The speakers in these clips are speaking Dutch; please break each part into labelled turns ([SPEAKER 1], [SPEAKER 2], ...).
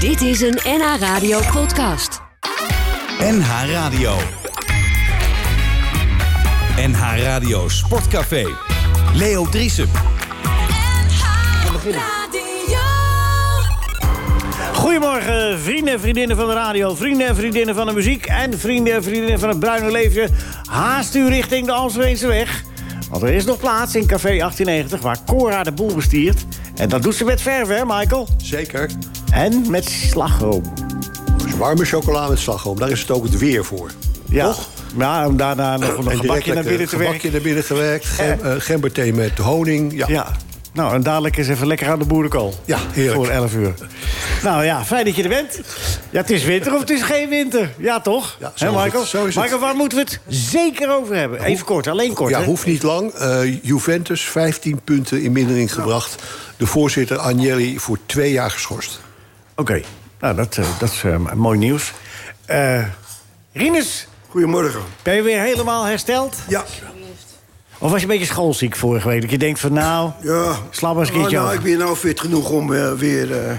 [SPEAKER 1] Dit is een NH Radio podcast.
[SPEAKER 2] NH Radio. NH Radio Sportcafé. Leo Driesen.
[SPEAKER 3] Goedemorgen, vrienden en vriendinnen van de radio, vrienden en vriendinnen van de muziek... en vrienden en vriendinnen van het bruine leefje. Haast u richting de Amstelveense weg. Want er is nog plaats in Café 1890 waar Cora de boel bestiert. En dat doet ze met verf, hè, Michael?
[SPEAKER 4] Zeker.
[SPEAKER 3] En met slagroom.
[SPEAKER 4] Dus warme chocola met slagroom, daar is het ook het weer voor.
[SPEAKER 3] Ja. Ja, Nou, om daarna nog een gebakje naar binnen te werken.
[SPEAKER 4] Gebakje naar binnen gewerkt, gem, eh, gemberthee met honing. Ja.
[SPEAKER 3] Ja. Nou, en dadelijk eens even lekker aan de boerenkool.
[SPEAKER 4] Ja, heerlijk.
[SPEAKER 3] Voor 11 uur. Nou ja, fijn dat je er bent. Ja, het is winter of het is geen winter. Ja, toch?
[SPEAKER 4] Ja, zo
[SPEAKER 3] Hè,
[SPEAKER 4] is het,
[SPEAKER 3] Michael?
[SPEAKER 4] zo is het.
[SPEAKER 3] Michael, waar moeten we het zeker over hebben? Even kort, alleen kort.
[SPEAKER 4] Ja,
[SPEAKER 3] hè?
[SPEAKER 4] hoeft niet lang. Eh, Juventus, 15 punten in mindering gebracht. De voorzitter Agnelli voor twee jaar geschorst.
[SPEAKER 3] Oké, nou, dat, eh, dat is eh, mooi nieuws. Eh Rinus,
[SPEAKER 5] Goedemorgen.
[SPEAKER 3] ben je weer helemaal hersteld?
[SPEAKER 5] Ja.
[SPEAKER 3] Of was je een beetje schoolziek vorige week? Dat je denkt van, nou,
[SPEAKER 5] ja.
[SPEAKER 3] sla maar eens een keertje
[SPEAKER 5] nou,
[SPEAKER 3] over.
[SPEAKER 5] Ik ben nou fit genoeg om eh, weer eh,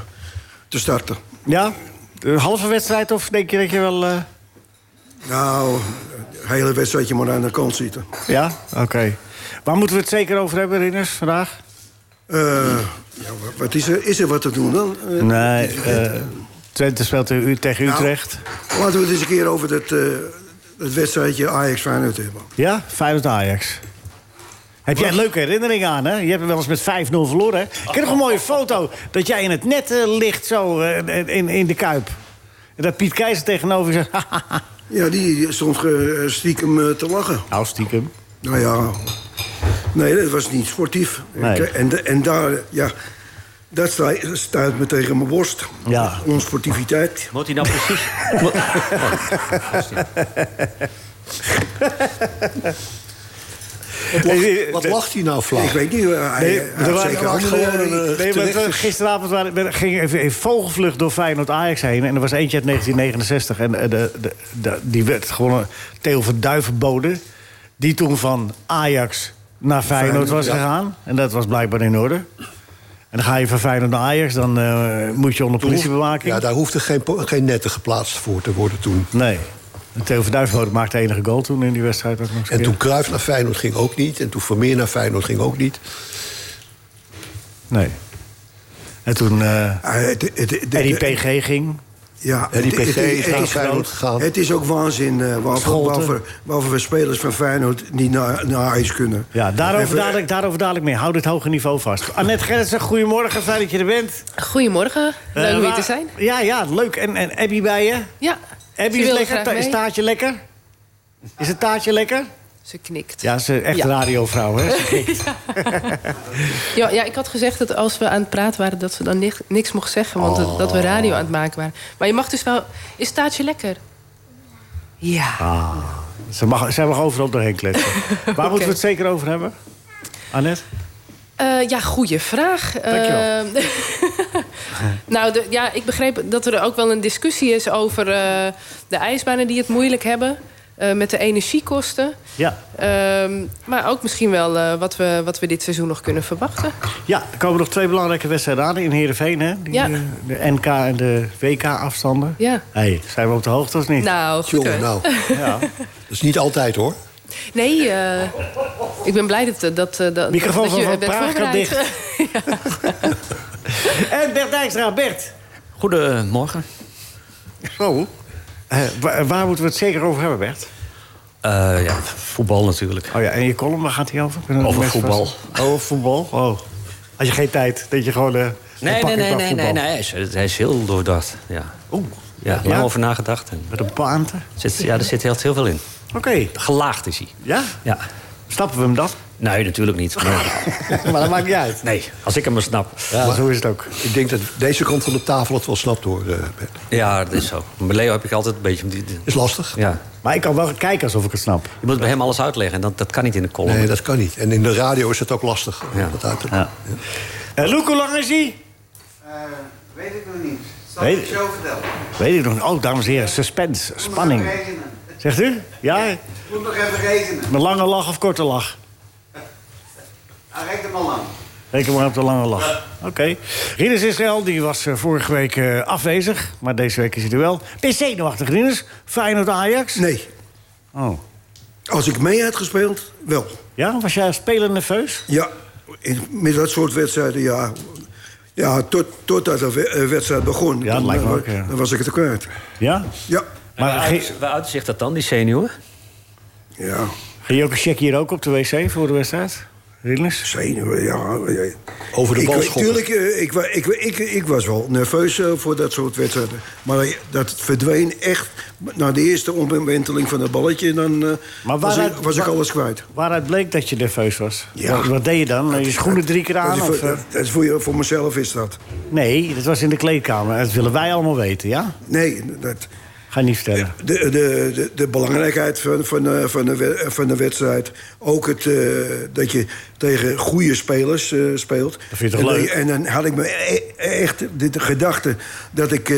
[SPEAKER 5] te starten.
[SPEAKER 3] Ja? Een halve wedstrijd of denk je dat je wel... eh,
[SPEAKER 5] Nou, het hele wedstrijdje maar aan de kant zitten.
[SPEAKER 3] Ja? Oké. Waar moeten we het zeker over hebben, Rinus, vandaag?
[SPEAKER 5] Eh, ja, wa- wat is, er, is er wat te doen dan? Eh,
[SPEAKER 3] Nee, eh, Twente speelt u- u- tegen
[SPEAKER 5] nou,
[SPEAKER 3] Utrecht.
[SPEAKER 5] laten we het eens een keer over dat, eh, het wedstrijdje ajax feyenoord hebben.
[SPEAKER 3] Ja, Feyenoord Ajax. Heb jij een leuke herinnering aan, hè? Je hebt hem wel eens met 5-0 verloren, hè? Ik heb nog een mooie foto dat jij in het net eh, ligt, zo, eh, in, in de Kuip. En dat Piet Keizer tegenover je zegt... hahaha.
[SPEAKER 5] Ja, die stond ge- stiekem eh, te lachen.
[SPEAKER 3] nou, stiekem.
[SPEAKER 5] Nou ja, nee, dat was niet sportief.
[SPEAKER 3] Nee.
[SPEAKER 5] Ik- eh, En, de- en daar, ja, dat stuit, stuit me tegen mijn borst.
[SPEAKER 3] Ja.
[SPEAKER 5] Onsportiviteit.
[SPEAKER 6] Wordt hij nou precies...
[SPEAKER 4] Wat
[SPEAKER 3] Eh,
[SPEAKER 4] lacht, wat lacht hij nou flauw?
[SPEAKER 5] Ik weet niet, eh, hij,
[SPEAKER 3] Nee,
[SPEAKER 5] hij
[SPEAKER 3] er
[SPEAKER 5] had
[SPEAKER 3] waren
[SPEAKER 5] zeker
[SPEAKER 3] ook
[SPEAKER 5] andere-
[SPEAKER 4] gewoon een, eh,
[SPEAKER 3] Nee, want,
[SPEAKER 4] terecht
[SPEAKER 3] eh,
[SPEAKER 4] is-
[SPEAKER 3] gisteravond waren, we- ging even in vogelvlucht door Feyenoord Ajax heen. En er was eentje uit 1969. En eh, de, de, de- die werd gewonnen, Theo van Duivenbode. Die toen van Ajax naar Feyenoord, was gegaan. En dat was blijkbaar in orde. En dan ga je van Feyenoord naar Ajax, dan eh, moet je onder politiebewaking.
[SPEAKER 4] Ja, daar hoefde geen, po- geen netten geplaatst voor te worden toen.
[SPEAKER 3] Nee. En Theo van Duivenbode maakte de enige goal toen in die wedstrijd. Ook nog eens een
[SPEAKER 4] En
[SPEAKER 3] keer.
[SPEAKER 4] toen Cruijff naar Feyenoord ging ook niet. En toen Vermeer naar Feyenoord ging ook niet.
[SPEAKER 3] Nee. En toen eh
[SPEAKER 5] Ah, het- het- het- het-
[SPEAKER 3] Eddie PG ging.
[SPEAKER 5] Ja,
[SPEAKER 4] En die
[SPEAKER 5] het- het-
[SPEAKER 4] PG
[SPEAKER 5] het-
[SPEAKER 4] is naar
[SPEAKER 5] het-
[SPEAKER 4] Feyenoord gegaan.
[SPEAKER 5] Het is ook waanzin eh, waarvoor,
[SPEAKER 3] Scholten.
[SPEAKER 5] waarvoor, waarvoor we spelers van Feyenoord niet naar, naar ijs kunnen.
[SPEAKER 3] Ja, daarover
[SPEAKER 5] Even-
[SPEAKER 3] dadelijk, daarover dadelijk meer. Hou dit hoge niveau vast. Annette Gerritsen, goedemorgen. Fijn dat je er bent.
[SPEAKER 7] Goedemorgen, leuk
[SPEAKER 3] Eh,
[SPEAKER 7] om hier
[SPEAKER 3] waar-
[SPEAKER 7] te zijn.
[SPEAKER 3] Ja, ja, leuk. En, en Abby bij je?
[SPEAKER 7] Ja,
[SPEAKER 3] Abby is
[SPEAKER 7] ze wilde
[SPEAKER 3] lekker?
[SPEAKER 7] graag
[SPEAKER 3] Ta- Is
[SPEAKER 7] mee.
[SPEAKER 3] taartje lekker? Is het taartje lekker?
[SPEAKER 7] Ze knikt. Ja.
[SPEAKER 3] Ja, ze is echt
[SPEAKER 7] Ja.
[SPEAKER 3] radiovrouw, hè? Ze knikt.
[SPEAKER 7] Ja, ik had gezegd dat als we aan het praten waren... dat ze dan ni- niks mocht zeggen, want dat- dat we
[SPEAKER 3] Oh.
[SPEAKER 7] radio aan het maken waren. Maar je mag dus wel... Is taartje lekker? Ja.
[SPEAKER 3] Ah. ze, mag, zij mag overal doorheen kletsen. Waar moeten we het zeker over hebben? Annette?
[SPEAKER 7] Eh, ja, goede vraag.
[SPEAKER 3] Dankjewel.
[SPEAKER 7] Eh, nou, de- ja, ik begreep dat er ook wel een discussie is over eh, de ijsbanen die het moeilijk hebben. eh, met de energiekosten.
[SPEAKER 3] Ja.
[SPEAKER 7] Ehm, maar ook misschien wel eh, wat, we, wat we dit seizoen nog kunnen verwachten.
[SPEAKER 3] ja, er komen nog twee belangrijke wedstrijden aan in Heerenveen, hè? Die,
[SPEAKER 7] Ja.
[SPEAKER 3] eh, De NK en de WK-afstanden.
[SPEAKER 7] Ja.
[SPEAKER 3] hey, zijn we op de hoogte of niet?
[SPEAKER 7] Nou, goed
[SPEAKER 4] Jongen,
[SPEAKER 7] hoor.
[SPEAKER 4] nou. Dat is niet altijd hoor.
[SPEAKER 7] Nee, eh, ik ben blij dat, dat, eh, dat,
[SPEAKER 3] Microfoon
[SPEAKER 7] dat
[SPEAKER 3] van
[SPEAKER 7] je
[SPEAKER 3] Van
[SPEAKER 7] bent
[SPEAKER 3] Praag kan
[SPEAKER 7] voorbereid.
[SPEAKER 3] dicht. En Bert Dijkstra, Bert.
[SPEAKER 6] Goedemorgen.
[SPEAKER 3] Zo. waar, waar moeten we het zeker over hebben, Bert?
[SPEAKER 6] Eh, ja, voetbal natuurlijk.
[SPEAKER 3] Oh ja, en je column, waar gaat die over? Kunnen
[SPEAKER 6] Over
[SPEAKER 3] mensen
[SPEAKER 6] voetbal.
[SPEAKER 3] vast- Over voetbal? Oh. Had je geen tijd, dat je gewoon... eh, een
[SPEAKER 6] Nee, nee,
[SPEAKER 3] pakje
[SPEAKER 6] nee,
[SPEAKER 3] pak
[SPEAKER 6] nee,
[SPEAKER 3] voetbal.
[SPEAKER 6] nee, nee. Hij, is, hij is heel doordacht. Ja,
[SPEAKER 3] Oeh,
[SPEAKER 6] ja lang
[SPEAKER 3] Ja?
[SPEAKER 6] over nagedacht. En
[SPEAKER 3] met een paante.
[SPEAKER 6] zit, ja, er zit heel, heel veel in.
[SPEAKER 3] Oké,
[SPEAKER 6] Gelaagd is hij.
[SPEAKER 3] ja?
[SPEAKER 6] Ja.
[SPEAKER 3] Snappen we hem dan?
[SPEAKER 6] Nee, natuurlijk niet. Maar,
[SPEAKER 3] maar dat maakt niet uit.
[SPEAKER 6] nee, als ik hem maar snap.
[SPEAKER 3] Ja, zo is het ook.
[SPEAKER 4] Ik denk dat deze kant van de tafel het wel snapt hoor, eh, Bert.
[SPEAKER 6] Ja, dat is zo. Bij Leo heb ik altijd een beetje... die- die-
[SPEAKER 4] Is lastig.
[SPEAKER 6] Ja.
[SPEAKER 3] Maar ik kan wel kijken alsof ik het snap.
[SPEAKER 6] Je moet bij hem alles uitleggen. En dat, dat kan niet in de column.
[SPEAKER 4] Nee, dat kan niet. En in de radio is het ook lastig. om
[SPEAKER 6] Ja.
[SPEAKER 4] dat uit te
[SPEAKER 6] Ja.
[SPEAKER 3] Eh Loek, hoe lang is hij?
[SPEAKER 8] Eh, Weet ik nog niet. Zal
[SPEAKER 3] Weet-
[SPEAKER 8] ik het zo vertellen?
[SPEAKER 3] Weet ik nog niet. Oh, dames en heren, suspense, spanning.
[SPEAKER 8] Moet nog even rekenen.
[SPEAKER 3] Zegt u? Ja?
[SPEAKER 8] Moet nog even rekenen.
[SPEAKER 3] Met lange lach of korte lach?
[SPEAKER 8] Hij rekt hem al lang.
[SPEAKER 3] Reken maar op de lange lach. Oké. Rinus Israël die was eh, vorige week eh, afwezig. Maar deze week is hij er wel. Ben je zenuwachtig, Rinus? Feyenoord Ajax?
[SPEAKER 5] Nee,
[SPEAKER 3] Oh.
[SPEAKER 5] als ik mee had gespeeld, wel.
[SPEAKER 3] Ja, was jij als speler nerveus?
[SPEAKER 5] Ja, in- met dat soort wedstrijden, ja. Ja, tot, totdat de we- eh, wedstrijd begon.
[SPEAKER 3] Ja, dat
[SPEAKER 5] dan,
[SPEAKER 3] lijkt me
[SPEAKER 5] eh,
[SPEAKER 3] ook, ja.
[SPEAKER 5] dan was ik het er kwijt.
[SPEAKER 3] Ja?
[SPEAKER 5] Ja.
[SPEAKER 3] Maar
[SPEAKER 6] waar,
[SPEAKER 3] ging,
[SPEAKER 6] uit, waar uitzicht dat dan, die zenuwen?
[SPEAKER 5] Ja,
[SPEAKER 3] ging je ook een check hier ook op de wc voor de wedstrijd? Rinus?
[SPEAKER 5] zenuwen, ja. ja.
[SPEAKER 4] Over de
[SPEAKER 5] ik,
[SPEAKER 4] bal schoppen.
[SPEAKER 5] tuurlijk, eh, ik, wa- ik, wa- ik, ik was wel nerveus eh, voor dat soort wedstrijden. Maar eh, dat verdween echt na de eerste omwenteling van het balletje. En dan eh,
[SPEAKER 3] Maar
[SPEAKER 5] was, ik,
[SPEAKER 3] waaruit-
[SPEAKER 5] was ik
[SPEAKER 3] waar-
[SPEAKER 5] alles kwijt.
[SPEAKER 3] Waaruit bleek dat je nerveus was?
[SPEAKER 5] Ja.
[SPEAKER 3] Wat, wat deed je dan? Je schoenen drie keer
[SPEAKER 5] Dat
[SPEAKER 3] aan?
[SPEAKER 5] is
[SPEAKER 3] Of,
[SPEAKER 5] voor,
[SPEAKER 3] eh?
[SPEAKER 5] dat- dat is voor, je- voor mezelf is dat.
[SPEAKER 3] Nee, dat was in de kleedkamer. Dat willen wij allemaal weten, ja?
[SPEAKER 5] Nee, dat,
[SPEAKER 3] Ga je niet vertellen.
[SPEAKER 5] de, de, de, de belangrijkheid van, van, eh, van, de, we- van de wedstrijd. Ook het, eh, dat je tegen goede spelers eh, speelt.
[SPEAKER 3] Dat vind je toch
[SPEAKER 5] en,
[SPEAKER 3] leuk?
[SPEAKER 5] En dan had ik me e- echt de, de gedachte dat ik... eh,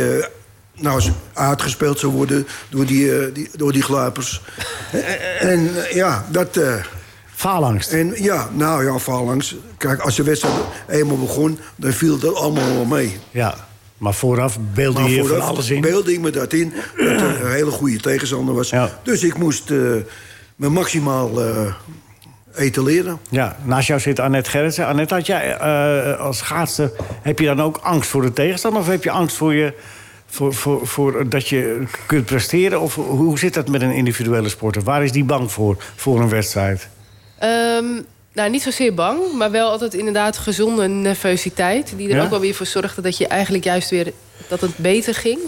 [SPEAKER 5] nou, eens uitgespeeld zou worden door die, eh, die, door die gluipers. en eh, ja, dat... eh,
[SPEAKER 3] Faalangst.
[SPEAKER 5] en ja, nou ja, voorlangs. Kijk, als de wedstrijd eenmaal begon, dan viel dat allemaal wel mee.
[SPEAKER 3] Ja. Maar vooraf beelde je
[SPEAKER 5] Maar
[SPEAKER 3] eh, van
[SPEAKER 5] vooraf
[SPEAKER 3] alles in.
[SPEAKER 5] beelde ik me dat in. Dat er een hele goede tegenstander was.
[SPEAKER 3] Ja.
[SPEAKER 5] Dus ik moest eh, me maximaal eh etaleren.
[SPEAKER 3] Ja, naast jou zit Annette Gerritsen. Annette, had jij eh, als schaatser... heb je dan ook angst voor de tegenstander? Of heb je angst voor je... Voor, voor, voor dat je kunt presteren? Of hoe zit dat met een individuele sporter? Waar is die bang voor, voor een wedstrijd?
[SPEAKER 7] Ehm, nou, niet zozeer bang, maar wel altijd inderdaad gezonde nervositeit. Die er
[SPEAKER 3] Ja?
[SPEAKER 7] ook wel weer voor zorgde dat je eigenlijk juist weer dat het beter ging.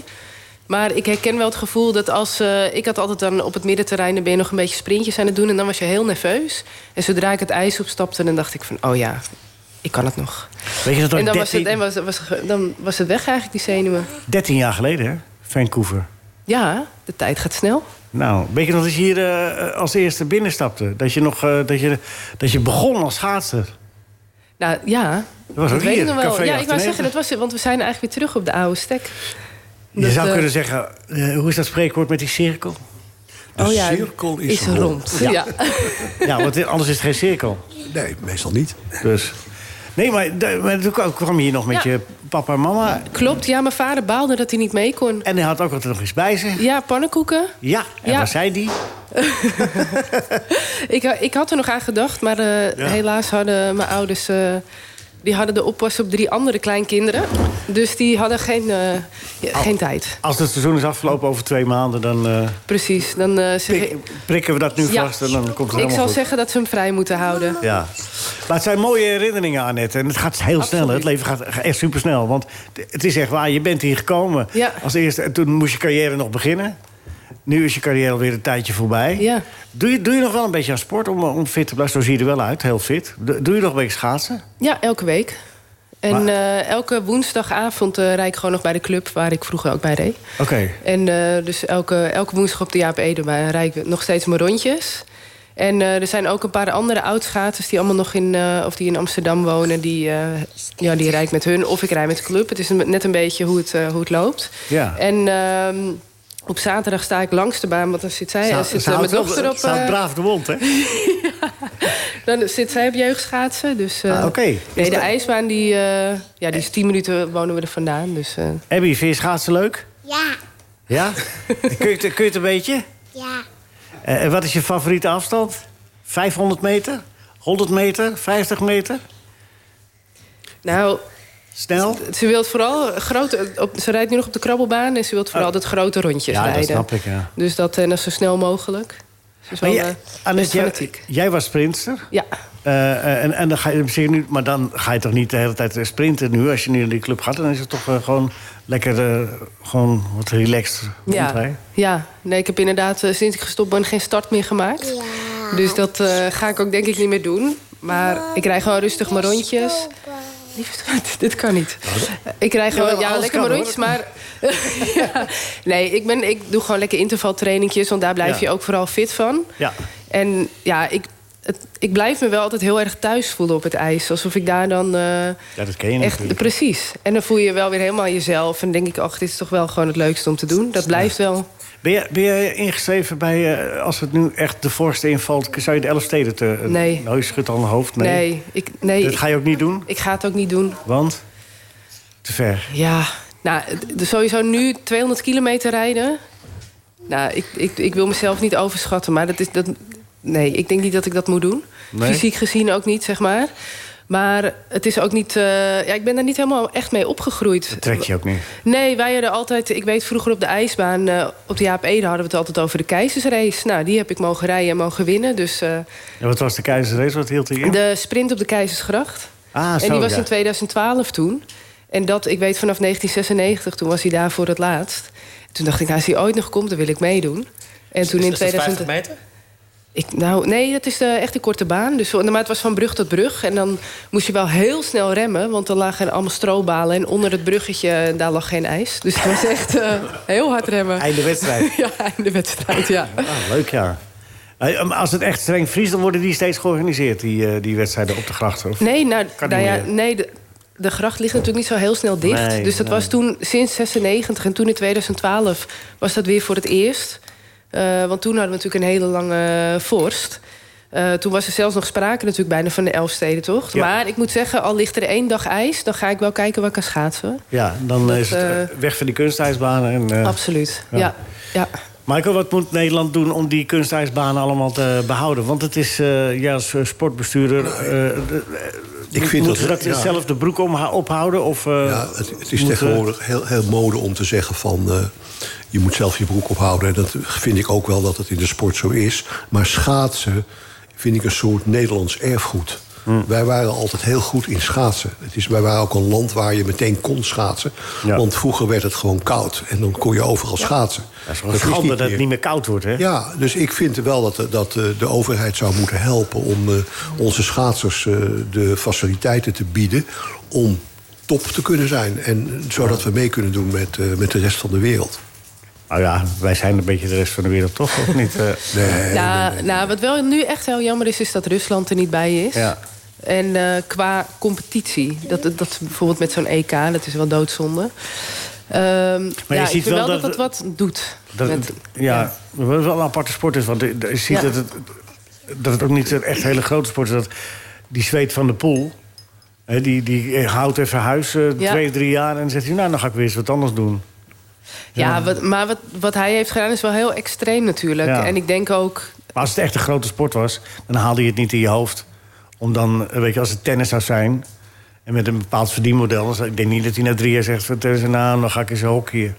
[SPEAKER 7] Maar ik herken wel het gevoel dat als... eh, ik had altijd dan op het middenterrein... dan ben je nog een beetje sprintjes aan het doen... en dan was je heel nerveus. En zodra ik het ijs opstapte, dan dacht ik van... oh ja, ik kan het nog.
[SPEAKER 3] Weet je dat ook
[SPEAKER 7] En dan was, het,
[SPEAKER 3] 13,
[SPEAKER 7] en was, was, dan was het weg eigenlijk, die zenuwen.
[SPEAKER 3] 13 jaar geleden, hè? Vancouver.
[SPEAKER 7] Ja, de tijd gaat snel.
[SPEAKER 3] Nou, weet je nog dat je hier eh, als eerste binnenstapte? Dat je, nog, eh, dat, je, dat je begon als schaatser.
[SPEAKER 7] Nou ja,
[SPEAKER 3] Dat was ook
[SPEAKER 7] weet
[SPEAKER 3] hier,
[SPEAKER 7] ik nog wel.
[SPEAKER 3] Café
[SPEAKER 7] ja, ik
[SPEAKER 3] 98.
[SPEAKER 7] wou zeggen, dat was het, want we zijn eigenlijk weer terug op de oude stek.
[SPEAKER 3] Je
[SPEAKER 7] Dat,
[SPEAKER 3] zou
[SPEAKER 7] eh,
[SPEAKER 3] kunnen zeggen, eh, hoe is dat spreekwoord met die cirkel?
[SPEAKER 4] De
[SPEAKER 7] oh ja,
[SPEAKER 4] cirkel is,
[SPEAKER 7] is rond. Ja.
[SPEAKER 3] ja, want anders is het geen cirkel.
[SPEAKER 4] Nee, meestal niet.
[SPEAKER 3] Dus. Nee, maar, de- maar toen kwam- kwam je hier nog met
[SPEAKER 7] Ja.
[SPEAKER 3] je papa en mama.
[SPEAKER 7] Klopt, ja, mijn vader baalde dat hij niet mee kon.
[SPEAKER 3] En hij had ook altijd nog iets bij zich.
[SPEAKER 7] Ja, pannenkoeken.
[SPEAKER 3] Ja, en
[SPEAKER 7] Ja.
[SPEAKER 3] waar zei die?
[SPEAKER 7] Ik, ha- ik had er nog aan gedacht, maar eh, helaas hadden mijn ouders... eh, die hadden de oppas op drie andere kleinkinderen. Dus die hadden geen, eh, ja, geen tijd.
[SPEAKER 3] Als het seizoen is afgelopen over twee maanden, dan eh,
[SPEAKER 7] Precies. Dan, eh, zeg ik,
[SPEAKER 3] prik- prikken we dat nu
[SPEAKER 7] Ja.
[SPEAKER 3] vast en dan komt het
[SPEAKER 7] ik
[SPEAKER 3] helemaal
[SPEAKER 7] zal
[SPEAKER 3] goed.
[SPEAKER 7] zeggen dat ze hem vrij moeten houden.
[SPEAKER 3] Ja. Maar het zijn mooie herinneringen, Annette. En het gaat heel snel. hè. Het leven gaat echt supersnel. Want het is echt waar, je bent hier gekomen.
[SPEAKER 7] Ja.
[SPEAKER 3] Als eerste, en toen moest je carrière nog beginnen. Nu is je carrière alweer een tijdje voorbij.
[SPEAKER 7] Ja.
[SPEAKER 3] Doe, je, doe je nog wel een beetje aan sport om, om fit te blijven? Zo zie je er wel uit, heel fit. Doe, doe je nog een beetje schaatsen?
[SPEAKER 7] Ja, elke week. En
[SPEAKER 3] Maar-
[SPEAKER 7] eh, elke woensdagavond eh rijd ik gewoon nog bij de club waar ik vroeger ook bij reed.
[SPEAKER 3] Oké.
[SPEAKER 7] En eh, dus elke, elke woensdag op de Jaap Ede maar rijd ik nog steeds mijn rondjes. En eh, er zijn ook een paar andere oudschaters die allemaal nog in, eh, of die in Amsterdam wonen. Die, eh, ja, die rijd ik met hun of ik rijd met de club. Het is een- net een beetje hoe het, eh, hoe het loopt.
[SPEAKER 3] Ja.
[SPEAKER 7] En ehm, op zaterdag sta ik langs de baan, want dan zit zij,
[SPEAKER 3] Ze-
[SPEAKER 7] dan
[SPEAKER 3] ze
[SPEAKER 7] zit eh, mijn
[SPEAKER 3] houdt wel-
[SPEAKER 7] dochter op.
[SPEAKER 3] Ze houdt
[SPEAKER 7] eh,
[SPEAKER 3] braaf de mond, hè?
[SPEAKER 7] dan zit zij op jeugdschaatsen. Dus, eh,
[SPEAKER 3] Ah, oké.
[SPEAKER 7] Nee,
[SPEAKER 3] Is
[SPEAKER 7] de
[SPEAKER 3] dat-
[SPEAKER 7] ijsbaan die, eh, ja, die is 10 minuten wonen we er vandaan. Dus, eh,
[SPEAKER 3] Abby, vind je schaatsen leuk?
[SPEAKER 9] Ja,
[SPEAKER 3] Ja? kun, je het, kun je het een beetje?
[SPEAKER 9] ja,
[SPEAKER 3] Eh, en wat is je favoriete afstand? 500 meter? 100 meter? 50 meter?
[SPEAKER 7] nou,
[SPEAKER 3] Snel?
[SPEAKER 7] ze wil vooral grote. Op, ze rijdt nu nog op de krabbelbaan en ze wil vooral dat grote rondjes
[SPEAKER 3] Oh. Ja, dat
[SPEAKER 7] rijden.
[SPEAKER 3] snap ik, ja.
[SPEAKER 7] Dus dat en dat zo snel mogelijk. Ze is
[SPEAKER 3] Maar
[SPEAKER 7] wel,
[SPEAKER 3] jij-
[SPEAKER 7] eh,
[SPEAKER 3] Annette,
[SPEAKER 7] best
[SPEAKER 3] jij-
[SPEAKER 7] fanatiek.
[SPEAKER 3] jij was sprinter.
[SPEAKER 7] Ja.
[SPEAKER 3] Eh, eh, en, en dan ga je op zich nu, maar dan ga je toch niet de hele tijd eh, sprinten nu? Als je nu in die club gaat, dan is het toch eh, gewoon lekker eh, gewoon wat relaxed
[SPEAKER 7] Ja.
[SPEAKER 3] rondrijden?
[SPEAKER 7] ja, nee, ik heb inderdaad eh, sinds ik gestopt ben geen start meer gemaakt. Dus dat eh, ga ik ook denk ik niet meer doen. Maar ik rij gewoon rustig mijn rondjes. Liefst, dit kan niet.
[SPEAKER 3] Nou,
[SPEAKER 7] Ik krijg
[SPEAKER 3] Jawel,
[SPEAKER 7] gewoon ja,
[SPEAKER 3] alles
[SPEAKER 7] lekker
[SPEAKER 3] kan,
[SPEAKER 7] mijn rondjes, maar... Ja. Nee, ik, ben, ik doe gewoon lekker intervaltrainingjes... want daar blijf
[SPEAKER 3] Ja.
[SPEAKER 7] je ook vooral fit van.
[SPEAKER 3] Ja.
[SPEAKER 7] En ja, ik, het, ik blijf me wel altijd heel erg thuis voelen op het ijs. Alsof ik daar dan eh,
[SPEAKER 3] Ja, dat ken je
[SPEAKER 7] echt...
[SPEAKER 3] natuurlijk.
[SPEAKER 7] Precies. En dan voel je wel weer helemaal jezelf. En denk ik, ach, dit is toch wel gewoon het leukste om te doen. Dat blijft wel.
[SPEAKER 3] Ben jij, ben jij ingeschreven bij, eh, als het nu echt de vorst invalt... zou je de Elfsteden te...
[SPEAKER 7] Nee.
[SPEAKER 3] Nou, je schudt al een hoofd. Nee.
[SPEAKER 7] Nee, ik, nee
[SPEAKER 3] Dat
[SPEAKER 7] ik-
[SPEAKER 3] ga je ook niet doen,
[SPEAKER 7] ik ga het ook niet doen.
[SPEAKER 3] want... Te ver.
[SPEAKER 7] Ja, nou, d- sowieso nu 200 kilometer rijden. Nou, ik, ik, ik wil mezelf niet overschatten, maar dat is dat. Nee, ik denk niet dat ik dat moet doen.
[SPEAKER 3] Nee?
[SPEAKER 7] Fysiek gezien ook niet, zeg maar. Maar het is ook niet. eh, ja, ik ben daar niet helemaal echt mee opgegroeid.
[SPEAKER 3] Dat trek je ook niet.
[SPEAKER 7] Nee, wij hadden altijd. Ik weet vroeger op de ijsbaan, eh, op de Jaap Ede hadden we het altijd over de keizersrace. Nou, die heb ik mogen rijden en mogen winnen. Dus eh,
[SPEAKER 3] En wat was de keizersrace? Wat hield hij in?
[SPEAKER 7] de sprint op de Keizersgracht.
[SPEAKER 3] Ah, zo,
[SPEAKER 7] En die was
[SPEAKER 3] ja.
[SPEAKER 7] in 2012 toen. En dat, ik weet vanaf 1996, toen was hij daar voor het laatst. Toen dacht ik, nou, als hij ooit nog komt, dan wil ik meedoen. En toen in 2000...
[SPEAKER 6] meter?
[SPEAKER 7] Ik, nou, nee, dat is de, echt een korte baan. Dus, maar het was van brug tot brug. En dan moest je wel heel snel remmen, want dan lagen er allemaal strobalen. En onder het bruggetje, daar lag geen ijs. Dus het was echt eh, heel hard remmen.
[SPEAKER 3] Einde wedstrijd.
[SPEAKER 7] Ja, einde wedstrijd, ja.
[SPEAKER 3] Ah, leuk, ja. Eh, maar Als het echt streng vriest, dan worden die steeds georganiseerd, die, eh, die wedstrijden op de grachten. Of...
[SPEAKER 7] Nee, nou,
[SPEAKER 3] Kan
[SPEAKER 7] nou
[SPEAKER 3] niet
[SPEAKER 7] ja,
[SPEAKER 3] meer.
[SPEAKER 7] nee de, de gracht ligt natuurlijk niet zo heel snel dicht.
[SPEAKER 3] Nee,
[SPEAKER 7] dus dat
[SPEAKER 3] nee.
[SPEAKER 7] was toen sinds 96 en toen in 2012 was dat weer voor het eerst. Eh, want toen hadden we natuurlijk een hele lange vorst. Eh, toen was er zelfs nog sprake natuurlijk bijna van de Elfstedentocht.
[SPEAKER 3] Ja.
[SPEAKER 7] Maar ik moet zeggen, al ligt er één dag ijs... dan ga ik wel kijken waar ik kan schaatsen.
[SPEAKER 3] Ja, dan
[SPEAKER 7] Dat,
[SPEAKER 3] is het eh,
[SPEAKER 7] eh,
[SPEAKER 3] weg van die kunstijsbanen. En, eh,
[SPEAKER 7] Absoluut,
[SPEAKER 3] Ja.
[SPEAKER 7] ja. ja.
[SPEAKER 3] Michael, wat moet Nederland doen om die kunstijsbanen allemaal te behouden? Want het is, eh, ja, als eh, sportbestuurder... eh, de-
[SPEAKER 4] Ik
[SPEAKER 3] moet-
[SPEAKER 4] vind
[SPEAKER 3] moeten
[SPEAKER 4] dat-
[SPEAKER 3] ze dat
[SPEAKER 4] ja.
[SPEAKER 3] zelf de broek omha- ophouden? Of, eh,
[SPEAKER 4] Ja, het, het is
[SPEAKER 3] moeten-
[SPEAKER 4] tegenwoordig heel, heel mode om te zeggen van... eh, je moet zelf je broek ophouden. En dat vind ik ook wel dat het in de sport zo is. Maar schaatsen vind ik een soort Nederlands erfgoed.
[SPEAKER 3] Hm.
[SPEAKER 4] Wij waren altijd heel goed in schaatsen. Het is, wij waren ook een land waar je meteen kon schaatsen.
[SPEAKER 3] Ja.
[SPEAKER 4] Want vroeger werd het gewoon koud. En dan kon je overal schaatsen.
[SPEAKER 3] Dat is wel een schande dat het niet meer koud wordt, hè?
[SPEAKER 4] Ja, dus ik vind wel dat, de- dat eh, de overheid zou moeten helpen om eh, onze schaatsers eh, de faciliteiten te bieden om top te kunnen zijn. En zodat we mee kunnen doen met, eh, met de rest van de wereld.
[SPEAKER 3] Nou ja, wij zijn een beetje de rest van de wereld toch, of niet? Eh,
[SPEAKER 4] Nee.
[SPEAKER 7] Nou, nou, wat wel nu echt heel jammer is, is dat Rusland er niet bij is.
[SPEAKER 3] Ja.
[SPEAKER 7] En eh, qua competitie, dat, dat, dat bijvoorbeeld met zo'n EK, dat is wel doodzonde. Ehm, ja,
[SPEAKER 3] ziet
[SPEAKER 7] ik vind
[SPEAKER 3] wel
[SPEAKER 7] wel
[SPEAKER 3] dat
[SPEAKER 7] dat, het wat doet.
[SPEAKER 3] Dat,
[SPEAKER 7] met-
[SPEAKER 3] het- ja, wat wel een aparte sport is. Want je je ziet
[SPEAKER 7] Ja.
[SPEAKER 3] dat, het, dat het ook niet een echt hele grote sport is. Dat die zweet van de poel. Hè, die, die houdt even huis eh,
[SPEAKER 7] Ja.
[SPEAKER 3] twee, drie jaar. En dan zegt hij, nou, dan ga ik weer eens wat anders doen.
[SPEAKER 7] ja, wat, maar wat, wat hij heeft gedaan is wel heel extreem natuurlijk.
[SPEAKER 3] Ja.
[SPEAKER 7] En ik denk ook,
[SPEAKER 3] Maar als het echt een grote sport was, dan haalde je het niet in je hoofd. Om dan, eh, weet je, als het tennis zou zijn... en met een bepaald verdienmodel... dan zou- ik denk niet dat hij na drie jaar zegt... van tennis, nou, dan ga ik eens hockeyen.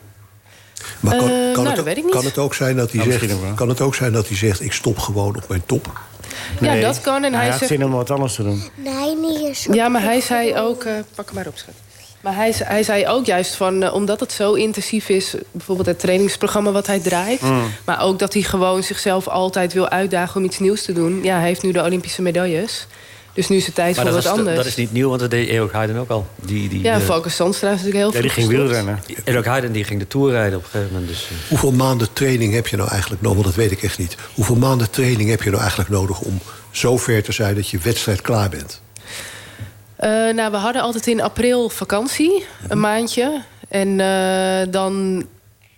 [SPEAKER 4] Maar kan,
[SPEAKER 7] Eh,
[SPEAKER 4] kan,
[SPEAKER 7] nou,
[SPEAKER 4] het,
[SPEAKER 7] dat
[SPEAKER 4] ook-
[SPEAKER 7] weet ik niet.
[SPEAKER 4] kan het ook zijn dat hij
[SPEAKER 3] Nou,
[SPEAKER 4] zegt,
[SPEAKER 3] misschien ook wel.
[SPEAKER 4] kan het ook zijn dat hij zegt, ik stop gewoon op mijn top.
[SPEAKER 3] Nee.
[SPEAKER 7] ja, dat kan. En
[SPEAKER 3] Nou,
[SPEAKER 7] hij
[SPEAKER 3] had
[SPEAKER 7] zegt,
[SPEAKER 3] zin om wat anders te doen.
[SPEAKER 9] Nee, niet eens.
[SPEAKER 7] Ja, maar hij zei ook... eh, pak hem maar op, schat. Maar hij, ze- hij zei ook juist van, eh, omdat het zo intensief is... bijvoorbeeld het trainingsprogramma wat hij draait...
[SPEAKER 3] Mm.
[SPEAKER 7] maar ook dat hij gewoon zichzelf altijd wil uitdagen om iets nieuws te doen. Ja, hij heeft nu de Olympische medailles. Dus nu is het tijd
[SPEAKER 6] Maar
[SPEAKER 7] voor
[SPEAKER 6] dat,
[SPEAKER 7] wat
[SPEAKER 6] was-
[SPEAKER 7] anders.
[SPEAKER 6] dat is niet nieuw, want dat deed Erik Heiden ook al. Die, die,
[SPEAKER 7] Ja, en
[SPEAKER 6] eh,
[SPEAKER 7] Valken Zandstra is natuurlijk heel
[SPEAKER 3] Ja, die
[SPEAKER 7] vroeg
[SPEAKER 3] ging
[SPEAKER 7] gestopt.
[SPEAKER 3] wielrennen.
[SPEAKER 6] Erik Heiden die ging de Tour rijden op een gegeven moment. Dus, eh,
[SPEAKER 4] Hoeveel maanden training heb je nou eigenlijk nodig? Want dat weet ik echt niet. Hoeveel maanden training heb je nou eigenlijk nodig om zo ver te zijn dat je wedstrijd klaar bent?
[SPEAKER 7] Eh, nou, we hadden altijd in april vakantie, een maandje. En eh, dan,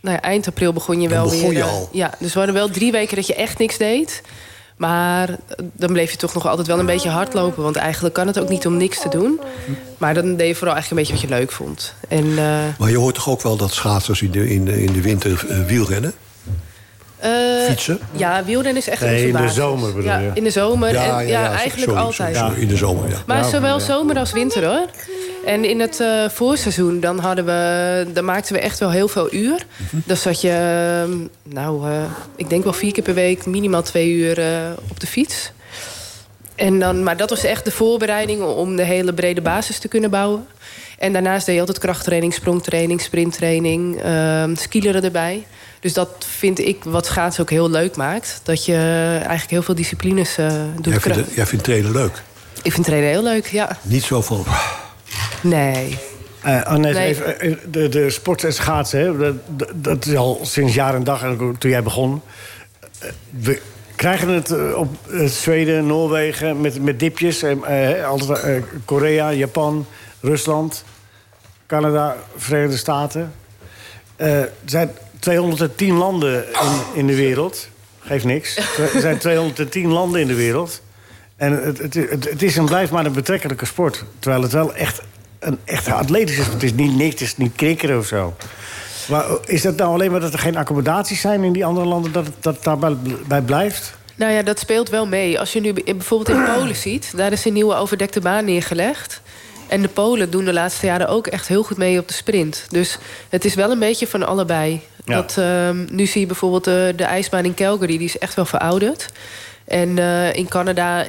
[SPEAKER 7] nou ja, eind april begon je
[SPEAKER 4] Dan
[SPEAKER 7] wel
[SPEAKER 4] begon
[SPEAKER 7] weer.
[SPEAKER 4] je
[SPEAKER 7] eh,
[SPEAKER 4] al.
[SPEAKER 7] ja, dus we hadden wel drie weken dat je echt niks deed. Maar eh, dan bleef je toch nog altijd wel een beetje hardlopen. Want eigenlijk kan het ook niet om niks te doen. Maar dan deed je vooral eigenlijk een beetje wat je leuk vond. En, eh,
[SPEAKER 4] Maar je hoort toch ook wel dat schaatsers in de, in de, in de winter eh, wielrennen?
[SPEAKER 7] eh,
[SPEAKER 4] Fietsen?
[SPEAKER 7] Ja, wielrennen is echt
[SPEAKER 3] Nee,
[SPEAKER 7] onze
[SPEAKER 3] in de
[SPEAKER 7] basis.
[SPEAKER 3] zomer bedoel
[SPEAKER 7] ja,
[SPEAKER 3] je?
[SPEAKER 7] In de zomer. en, ja,
[SPEAKER 4] zo-
[SPEAKER 7] eigenlijk
[SPEAKER 4] sorry,
[SPEAKER 7] altijd.
[SPEAKER 4] sorry, sorry, in de zomer, ja.
[SPEAKER 7] Maar zowel zomer als winter hoor. En in het eh, voorseizoen dan hadden we, dan maakten we echt wel heel veel uur. Dan zat je, eh, nou, eh, ik denk wel vier keer per week minimaal twee uur eh, op de fiets. En dan, maar dat was echt de voorbereiding om de hele brede basis te kunnen bouwen. En daarnaast deed je altijd krachttraining, sprongtraining, sprinttraining, ehm skileren erbij. Dus dat vind ik wat schaatsen ook heel leuk maakt. Dat je eigenlijk heel veel disciplines eh
[SPEAKER 4] Jij
[SPEAKER 7] doet.
[SPEAKER 4] vindt,
[SPEAKER 7] Kracht-
[SPEAKER 4] het- jij vindt trainen leuk.
[SPEAKER 7] Ik vind trainen heel leuk, ja.
[SPEAKER 4] Niet zo van.
[SPEAKER 7] Nee.
[SPEAKER 3] Eh Annette,
[SPEAKER 7] Nee.
[SPEAKER 3] even, eh, de, de sport en schaatsen, hè, dat, dat- dat is al sinds jaar en dag, en ook toen jij begon. Eh, We Krijgen we het eh, op eh, Zweden, Noorwegen met, met dipjes? en, eh, altijd, eh, Korea, Japan, Rusland, Canada, Verenigde Staten. Eh, er zijn 210 landen in, in de wereld. Geeft niks. Er zijn 210 landen in de wereld. En het, het, het, het is en blijft maar een betrekkelijke sport. Terwijl het wel echt een echte atletische sport is. Het is niet niks, het is niet krikken of zo. Maar is dat nou alleen maar dat er geen accommodaties zijn in die andere landen... dat het dat daarbij bij blijft?
[SPEAKER 7] Nou ja, dat speelt wel mee. Als je nu bij- bijvoorbeeld in Polen ziet, daar is een nieuwe overdekte baan neergelegd. En de Polen doen de laatste jaren ook echt heel goed mee op de sprint. Dus het is wel een beetje van allebei.
[SPEAKER 3] Ja.
[SPEAKER 7] Dat, ehm, nu zie je bijvoorbeeld de, de ijsbaan in Calgary, die is echt wel verouderd. En eh, in Canada, eh,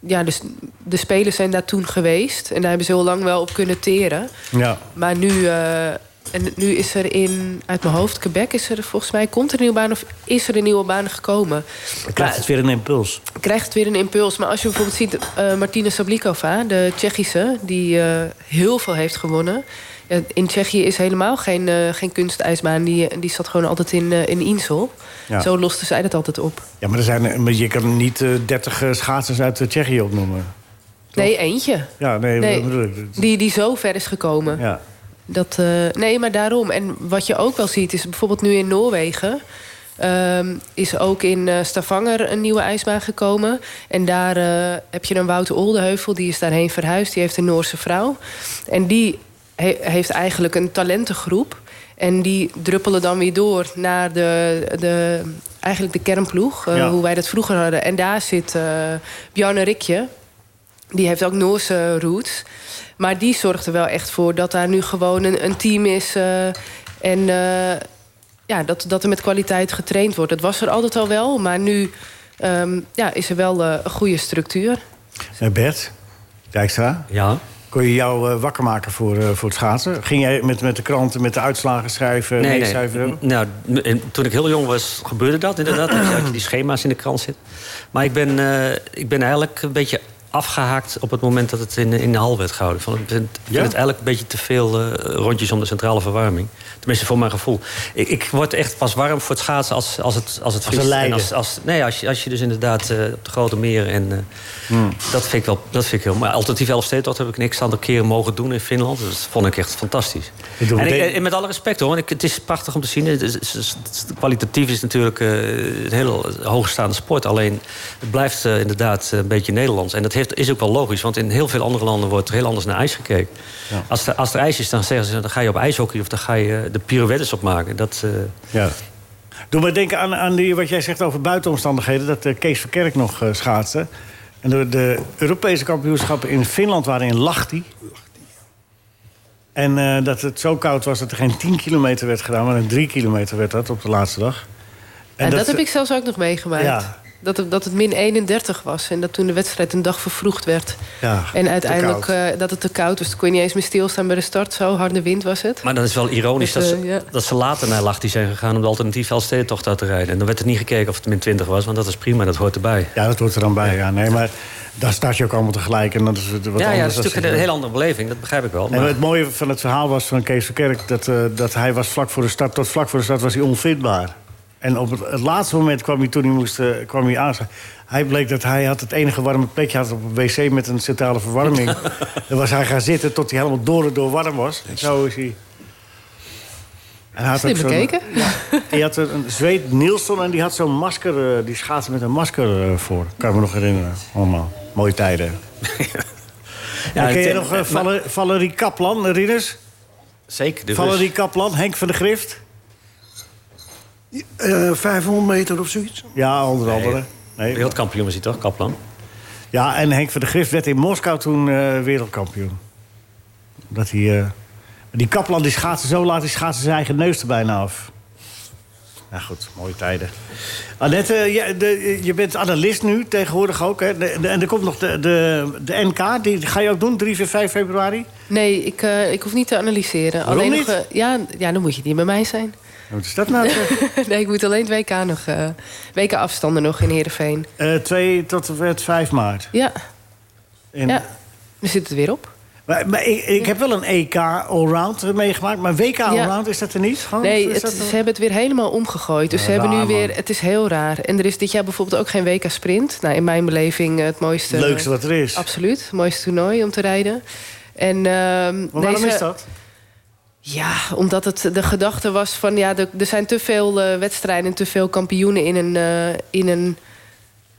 [SPEAKER 7] ja, dus de spelers zijn daar toen geweest. En daar hebben ze heel lang wel op kunnen teren.
[SPEAKER 3] Ja.
[SPEAKER 7] Maar nu, eh, en nu is er in, uit mijn hoofd, Quebec is er volgens mij, komt er een nieuwe baan of is er een nieuwe baan gekomen?
[SPEAKER 3] krijgt het weer een impuls.
[SPEAKER 7] krijgt het weer een impuls. Maar als je bijvoorbeeld ziet eh Martina Sablikova, de Tsjechische... die eh, heel veel heeft gewonnen. Ja, in Tsjechië is helemaal geen, eh geen kunstijsbaan. Die, die zat gewoon altijd in, eh, in Insel.
[SPEAKER 3] Ja.
[SPEAKER 7] Zo loste zij dat altijd op.
[SPEAKER 3] Ja, maar, er zijn, maar je kan niet eh, 30 eh, schaatsers uit eh, Tsjechië opnoemen.
[SPEAKER 7] Nee, eentje.
[SPEAKER 3] Ja, nee,
[SPEAKER 7] Nee.
[SPEAKER 3] dat bedoel ik.
[SPEAKER 7] Die, die zo ver is gekomen.
[SPEAKER 3] Ja.
[SPEAKER 7] Dat, eh, nee, maar daarom. En wat je ook wel ziet is bijvoorbeeld nu in Noorwegen... ehm, is ook in eh, Stavanger een nieuwe ijsbaan gekomen. En daar eh, heb je dan Wouter Oldeheuvel, die is daarheen verhuisd. Die heeft een Noorse vrouw. En die he- heeft eigenlijk een talentengroep. En die druppelen dan weer door naar de, de, eigenlijk de kernploeg. eh,
[SPEAKER 3] Ja.
[SPEAKER 7] Hoe wij dat vroeger hadden. En daar zit eh Bjarne Rikje, die heeft ook Noorse roots. Maar die zorgt er wel echt voor dat daar nu gewoon een, een team is. eh, en eh, ja, dat, dat er met kwaliteit getraind wordt. Dat was er altijd al wel, maar nu ehm, ja, is er wel eh, een goede structuur.
[SPEAKER 3] Eh, Bert, Dijkstra,
[SPEAKER 6] Ja.
[SPEAKER 3] kon je jou eh, wakker maken voor, eh, voor het schaatsen? Ging jij met, met de kranten, met de uitslagen schrijven, nee, meecijferen?
[SPEAKER 6] N- Nou, m- en toen ik heel jong was, gebeurde dat inderdaad. Dan zag je die schema's in de krant zitten. Maar ik ben, eh, ik ben eigenlijk een beetje afgehaakt op het moment dat het in, in de hal werd gehouden. Van, ik vind, ik vind het eigenlijk een beetje te veel eh, rondjes om de centrale verwarming. Tenminste, voor mijn gevoel. Ik, ik word echt pas warm voor het schaatsen als, als het, als het
[SPEAKER 3] Als we
[SPEAKER 6] vriest. En
[SPEAKER 3] lijden.
[SPEAKER 6] als, als, nee, als je, als je dus inderdaad eh, op de grote meren en... eh, Dat vind ik wel, dat vind ik heel... Maar alternatief Elfstedentocht heb ik niks aantal keren mogen doen in Finland. Dat vond ik echt fantastisch.
[SPEAKER 3] Ik doe
[SPEAKER 6] En ik,
[SPEAKER 3] meteen-
[SPEAKER 6] en met alle respect hoor, want ik, het is prachtig om te zien. Het is- het is- het is- kwalitatief is het natuurlijk eh, een heel hoogstaande sport. Alleen het blijft eh, inderdaad een beetje Nederlands. En dat heeft, is ook wel logisch, want in heel veel andere landen wordt er heel anders naar ijs gekeken. Als, er, als er ijs is, dan zeggen ze dan ga je op ijshockey of dan ga je eh, de pirouettes op maken. Dat, eh,
[SPEAKER 3] Ja. Doe maar denken aan, aan die, wat jij zegt over buitenomstandigheden. Dat eh, Kees Verkerk nog eh, schaatste. En de, de Europese kampioenschappen in Finland waren in Lahti. En eh, dat het zo koud was dat er geen 10 kilometer werd gedaan... maar een 3 kilometer werd dat op de laatste dag.
[SPEAKER 7] En dat, heb ik zelfs ook nog meegemaakt.
[SPEAKER 3] Ja.
[SPEAKER 7] Dat, het, dat het min 31 was en dat toen de wedstrijd een dag vervroegd werd.
[SPEAKER 3] Ja,
[SPEAKER 7] en uiteindelijk
[SPEAKER 3] te koud.
[SPEAKER 7] eh, dat het te koud was. Toen kon je niet eens meer stilstaan bij de start. Zo harde wind was het.
[SPEAKER 6] maar dan is wel ironisch
[SPEAKER 7] Dus,
[SPEAKER 6] dat, ze,
[SPEAKER 7] eh, ja.
[SPEAKER 6] dat ze later naar Lachti zijn gegaan... om de alternatief Elfstedentocht uit te rijden. En dan werd er niet gekeken of het min 20 was, want dat is prima, dat hoort erbij.
[SPEAKER 3] Ja, dat hoort er dan bij. Ja. Nee, maar daar start je ook allemaal tegelijk. En dat is het wat
[SPEAKER 6] ja, ja, dat
[SPEAKER 3] anders
[SPEAKER 6] is natuurlijk een
[SPEAKER 3] hele
[SPEAKER 6] hele andere beleving, dat begrijp ik wel.
[SPEAKER 3] En
[SPEAKER 6] maar-
[SPEAKER 3] het mooie van het verhaal was van Kees Verkerk... dat, eh, dat hij was vlak voor de start, tot vlak voor de start was hij onvindbaar. En op het, het laatste moment kwam hij, toen hij moest, eh, kwam hij aan. Hij bleek dat hij had het enige warme plekje had op een wc met een centrale verwarming. Daar was hij gaan zitten tot hij helemaal door en door warm was. En zo is hij... En hij had
[SPEAKER 7] Slim
[SPEAKER 3] ook zo'n-
[SPEAKER 7] bekeken.
[SPEAKER 3] Die had een, een Zweed, Nielsen, en die had zo'n masker... eh, die schaatsen met een masker eh, voor. Kan ik me nog herinneren. Allemaal. Mooie tijden.
[SPEAKER 6] Ja,
[SPEAKER 3] en ken je
[SPEAKER 6] het-
[SPEAKER 3] nog eh,
[SPEAKER 6] maar-
[SPEAKER 3] Valer- Valerie Kaplan, herinners?
[SPEAKER 6] Zeker. de
[SPEAKER 3] Valerie
[SPEAKER 6] Rus.
[SPEAKER 3] Kaplan, Henk van de Grift?
[SPEAKER 5] Eh, 500 meter of zoiets.
[SPEAKER 3] Ja, onder andere. Nee.
[SPEAKER 6] Wereldkampioen was hij toch, Kaplan?
[SPEAKER 3] Ja, en Henk van de Grift werd in Moskou toen eh, wereldkampioen. Omdat hij... eh, die Kaplan die schaatsen zo laat, die schaatsen zijn eigen neus er bijna af. Nou goed, mooie tijden. Annette, eh, je, de, je bent analist nu, tegenwoordig ook. Hè? De- de- en er komt nog de, de, de NK, die ga je ook doen, 3, 4, 5 februari?
[SPEAKER 7] Nee, ik, eh, ik hoef niet te analyseren.
[SPEAKER 3] Waarom
[SPEAKER 7] alleen
[SPEAKER 3] niet?
[SPEAKER 7] Nog, eh, ja, ja, dan moet je niet bij mij zijn.
[SPEAKER 3] Wat is dat nou? zeg?
[SPEAKER 7] nee, ik moet alleen het WK nog. eh WK afstanden nog in Heerenveen.
[SPEAKER 3] Eh 2 tot en met 5 maart.
[SPEAKER 7] Ja,
[SPEAKER 3] In-
[SPEAKER 7] ja. Daar zit het weer op.
[SPEAKER 3] Maar, maar ik, ik heb wel een EK allround meegemaakt, maar WK allround is dat er niet? Gewoon,
[SPEAKER 7] Nee,
[SPEAKER 3] Oh, is
[SPEAKER 7] het,
[SPEAKER 3] dat er-
[SPEAKER 7] ze hebben het weer helemaal omgegooid. Dus
[SPEAKER 3] Ja,
[SPEAKER 7] ze hebben
[SPEAKER 3] raar,
[SPEAKER 7] nu
[SPEAKER 3] man.
[SPEAKER 7] weer... Het is heel raar. En er is dit jaar bijvoorbeeld ook geen WK-sprint. Nou, in mijn beleving eh, het mooiste...
[SPEAKER 3] het leukste wat er is.
[SPEAKER 7] Absoluut. Het mooiste toernooi om te rijden. En, ehm,
[SPEAKER 3] Maar waarom
[SPEAKER 7] deze-
[SPEAKER 3] is dat?
[SPEAKER 7] Ja, omdat het de gedachte was van... ja, er, er zijn te veel eh, wedstrijden en te veel kampioenen in een, eh, in een,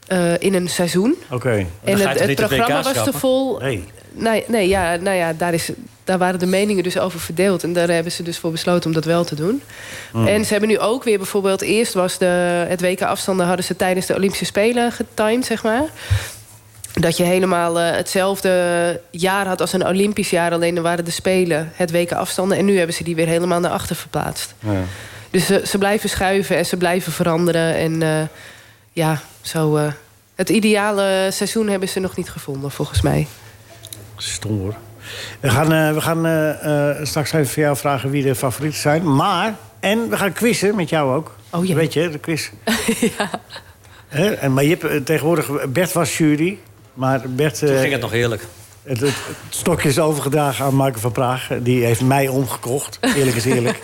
[SPEAKER 7] eh, in een seizoen.
[SPEAKER 3] Oké.
[SPEAKER 6] dan
[SPEAKER 7] En het,
[SPEAKER 6] ga je toch
[SPEAKER 7] het
[SPEAKER 6] niet het
[SPEAKER 7] programma
[SPEAKER 6] WK
[SPEAKER 7] was te
[SPEAKER 6] schrappen?
[SPEAKER 7] vol.
[SPEAKER 3] Nee.
[SPEAKER 7] Nee, nee ja, nou ja, daar, is, daar waren de meningen dus over verdeeld. En daar hebben ze dus voor besloten om dat wel te doen. En ze hebben nu ook weer bijvoorbeeld... Eerst was de, het WK afstanden hadden ze tijdens de Olympische Spelen getimed, zeg maar. Dat je helemaal eh, hetzelfde jaar had als een Olympisch jaar. Alleen er waren de Spelen, het WK afstanden. En nu hebben ze die weer helemaal naar achter verplaatst. Dus ze, ze blijven schuiven en ze blijven veranderen. En eh, ja, zo... eh, het ideale seizoen hebben ze nog niet gevonden, volgens mij.
[SPEAKER 3] Stom hoor. We gaan, eh, we gaan eh, eh, straks even voor jou vragen wie de favorieten zijn. Maar, en we gaan quizzen met jou ook.
[SPEAKER 7] Oh, jee.
[SPEAKER 3] Weet je, de quiz. ja. en, maar je hebt, eh, tegenwoordig, Bert was jury. Maar Bert, eh,
[SPEAKER 6] Toen ging het nog heerlijk.
[SPEAKER 3] het, het- het stokje is overgedragen aan Michael van Praag. Die heeft mij omgekocht. Eerlijk is eerlijk.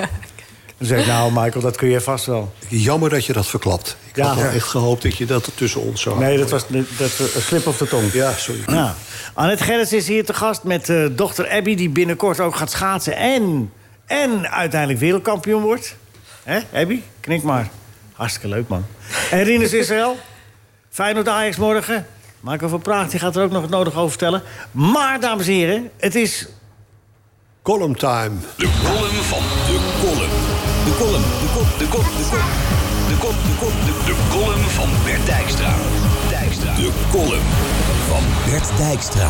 [SPEAKER 3] Toen zei ik, nou Michael, dat kun je vast wel.
[SPEAKER 4] Jammer dat je dat verklapt. Ik
[SPEAKER 3] Ja.
[SPEAKER 4] had wel
[SPEAKER 3] Ja.
[SPEAKER 4] echt gehoopt dat je dat tussen ons zou
[SPEAKER 3] Nee,
[SPEAKER 4] houden.
[SPEAKER 3] dat was niet- dat, eh, een slip of de tong.
[SPEAKER 4] Ja, sorry.
[SPEAKER 3] Ja. Annette Gerrits is hier te gast met eh, dochter Abby... die binnenkort ook gaat schaatsen en, en uiteindelijk wereldkampioen wordt. Hè, Abby? Knik maar. Hartstikke leuk, man. En Rinus Israël? Feyenoord Ajax morgen. Marco van Praag die gaat er ook nog het nodige over vertellen. Maar, dames en heren, het is...
[SPEAKER 4] Column time.
[SPEAKER 2] De column van de column. De column, de kop, de kop, de kop. De kop, de kop, de De column van Bert Dijkstra. Dijkstra. De column van Bert Dijkstra.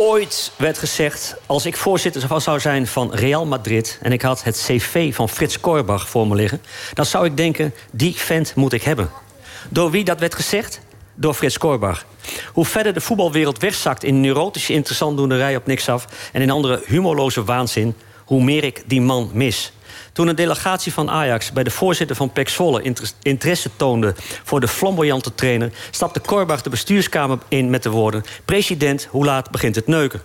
[SPEAKER 6] Ooit werd gezegd, als ik voorzitter zou zijn van Real Madrid... en ik had het cv van Frits Korbach voor me liggen... dan zou ik denken, die vent moet ik hebben. Door wie dat werd gezegd? Door Frits Korbach. Hoe verder de voetbalwereld wegzakt in neurotische interessantdoenerij op niks af... en in andere humorloze waanzin, hoe meer ik die man mis. Toen een delegatie van Ajax bij de voorzitter van PEC Zwolle inter- interesse toonde voor de flamboyante trainer, stapte Korbach de bestuurskamer in met de woorden: President, hoe laat begint het neuken?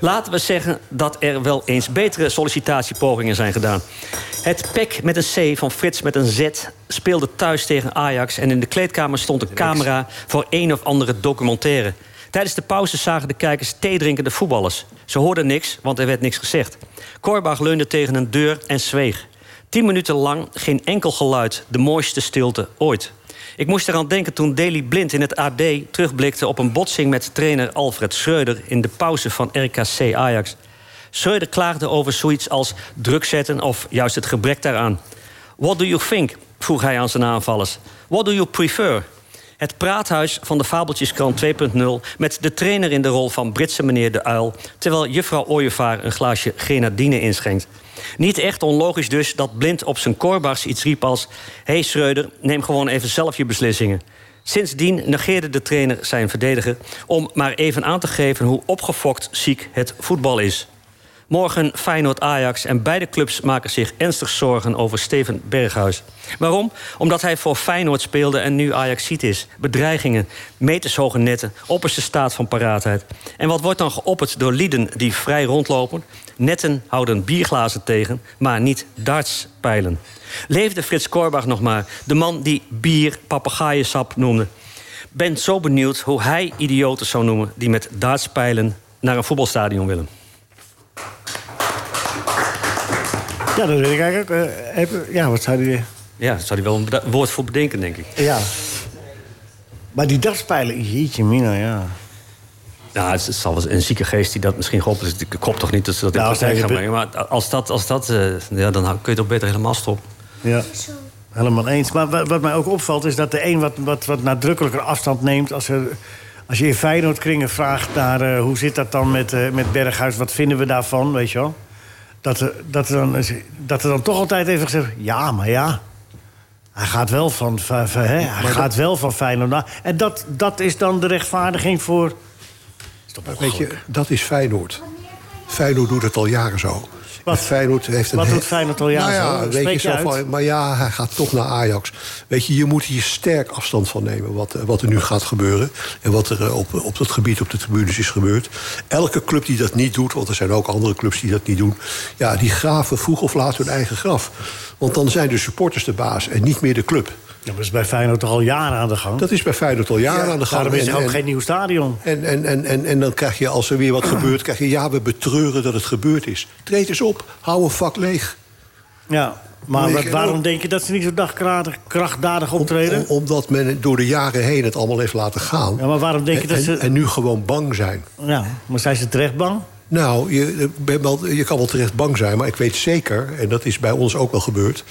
[SPEAKER 6] Laten we zeggen dat er wel eens betere sollicitatiepogingen zijn gedaan. Het PEC met een C van Frits met een Z speelde thuis tegen Ajax en in de kleedkamer stond een camera voor een of andere documentaire. Tijdens de pauze zagen de kijkers theedrinkende voetballers. Ze hoorden niks, want er werd niks gezegd. Korbach leunde tegen een deur en zweeg. Tien minuten lang geen enkel geluid, de mooiste stilte ooit. Ik moest eraan denken toen Daily Blind in het AD terugblikte op een botsing met trainer Alfred Schreuder in de pauze van RKC Ajax. Schreuder klaagde over zoiets als druk zetten of juist het gebrek daaraan. What do you think? vroeg hij aan zijn aanvallers. What do you prefer? Het praathuis van de Fabeltjeskrant 2.0 met de trainer in de rol van Britse meneer De Uil, terwijl juffrouw Ooievaar een glaasje grenadine inschenkt. Niet echt onlogisch dus dat blind op zijn korbars iets riep als: hey Schreuder, neem gewoon even zelf je beslissingen. Sindsdien negeerde de trainer zijn verdediger om maar even aan te geven hoe opgefokt ziek het voetbal is. Morgen Feyenoord-Ajax en beide clubs maken zich ernstig zorgen over Steven Berghuis. Waarom? Omdat hij voor Feyenoord speelde en nu Ajaxiet is. Bedreigingen, metershoge netten, opperste staat van paraatheid. En wat wordt dan geopperd door lieden die vrij rondlopen? Netten houden bierglazen tegen, maar niet dartspijlen. Leefde Frits Korbach nog maar, de man die bier papegaaiensap noemde. Ben zo benieuwd hoe hij idioten zou noemen die met dartspijlen naar een voetbalstadion willen.
[SPEAKER 3] Ja, dat weet ik eigenlijk ook. Eh, heb- ja, wat zei die?
[SPEAKER 6] Ja, daar zou hij wel een beda- woord voor bedenken, denk ik.
[SPEAKER 3] Ja. Maar die dagspijlen, jeetje mina, ja.
[SPEAKER 6] Ja, het, het zal wel een zieke geest die dat misschien geholpen is. Ik hoop toch niet dat ze dat in
[SPEAKER 3] Nou, als
[SPEAKER 6] de praktijk
[SPEAKER 3] hij de
[SPEAKER 6] gaan brengen. Maar als dat, als dat eh, ja, dan kun je toch beter helemaal stoppen.
[SPEAKER 3] Ja, helemaal eens. Maar wa- wat mij ook opvalt is dat de een wat, wat, wat nadrukkelijker afstand neemt... als, er, als je in Feyenoordkringen vraagt naar eh, hoe zit dat dan met, eh, met Berghuis... wat vinden we daarvan, weet je wel? Dat er, dat, er dan, eens- dat er dan toch altijd even gezegd wordt, ja, maar ja... Hij gaat wel van, fa- fa- hè, hij gaat wel van Feyenoord naar... En dat, dat is dan de rechtvaardiging voor...
[SPEAKER 4] Weet je, dat is Feyenoord. Feyenoord doet het al jaren zo.
[SPEAKER 3] Wat-
[SPEAKER 4] En Feyenoord heeft een
[SPEAKER 3] wat
[SPEAKER 4] he-
[SPEAKER 3] doet Feyenoord al jaren
[SPEAKER 4] Nou ja,
[SPEAKER 3] zo?
[SPEAKER 4] weet je
[SPEAKER 3] Spreek je
[SPEAKER 4] zo
[SPEAKER 3] uit?
[SPEAKER 4] van, maar ja, hij gaat toch naar Ajax. Weet je, je moet hier sterk afstand van nemen wat, eh, wat er nu gaat gebeuren. En wat er eh, op, op dat gebied, op de tribunes is gebeurd. Elke club die dat niet doet, want er zijn ook andere clubs die dat niet doen. Ja, die graven vroeg of laat hun eigen graf. Want dan zijn de supporters de baas en niet meer de club.
[SPEAKER 3] Ja, dat is bij Feyenoord toch al jaren aan de gang.
[SPEAKER 4] Dat is bij Feyenoord al jaren aan de gang.
[SPEAKER 3] Daarom is er
[SPEAKER 4] En-
[SPEAKER 3] ook
[SPEAKER 4] en-
[SPEAKER 3] geen nieuw stadion.
[SPEAKER 4] en, en, en, en, en dan krijg je, als er weer wat gebeurt, krijg je... ja, we betreuren dat het gebeurd is. Treed eens op, hou een vak leeg.
[SPEAKER 3] Ja, maar
[SPEAKER 4] Nee,
[SPEAKER 3] wat-
[SPEAKER 4] ik-
[SPEAKER 3] waarom denk je dat ze niet zo dagkratig, krachtdadig optreden?
[SPEAKER 4] Om- omdat men door de jaren heen het allemaal heeft laten gaan.
[SPEAKER 3] Ja, maar waarom denk je
[SPEAKER 4] en,
[SPEAKER 3] dat ze-
[SPEAKER 4] en, en nu gewoon bang zijn.
[SPEAKER 3] Ja, maar zijn ze terecht bang?
[SPEAKER 4] Nou, je, eh, ben wel, je kan wel terecht bang zijn, maar ik weet zeker... en dat is bij ons ook wel gebeurd...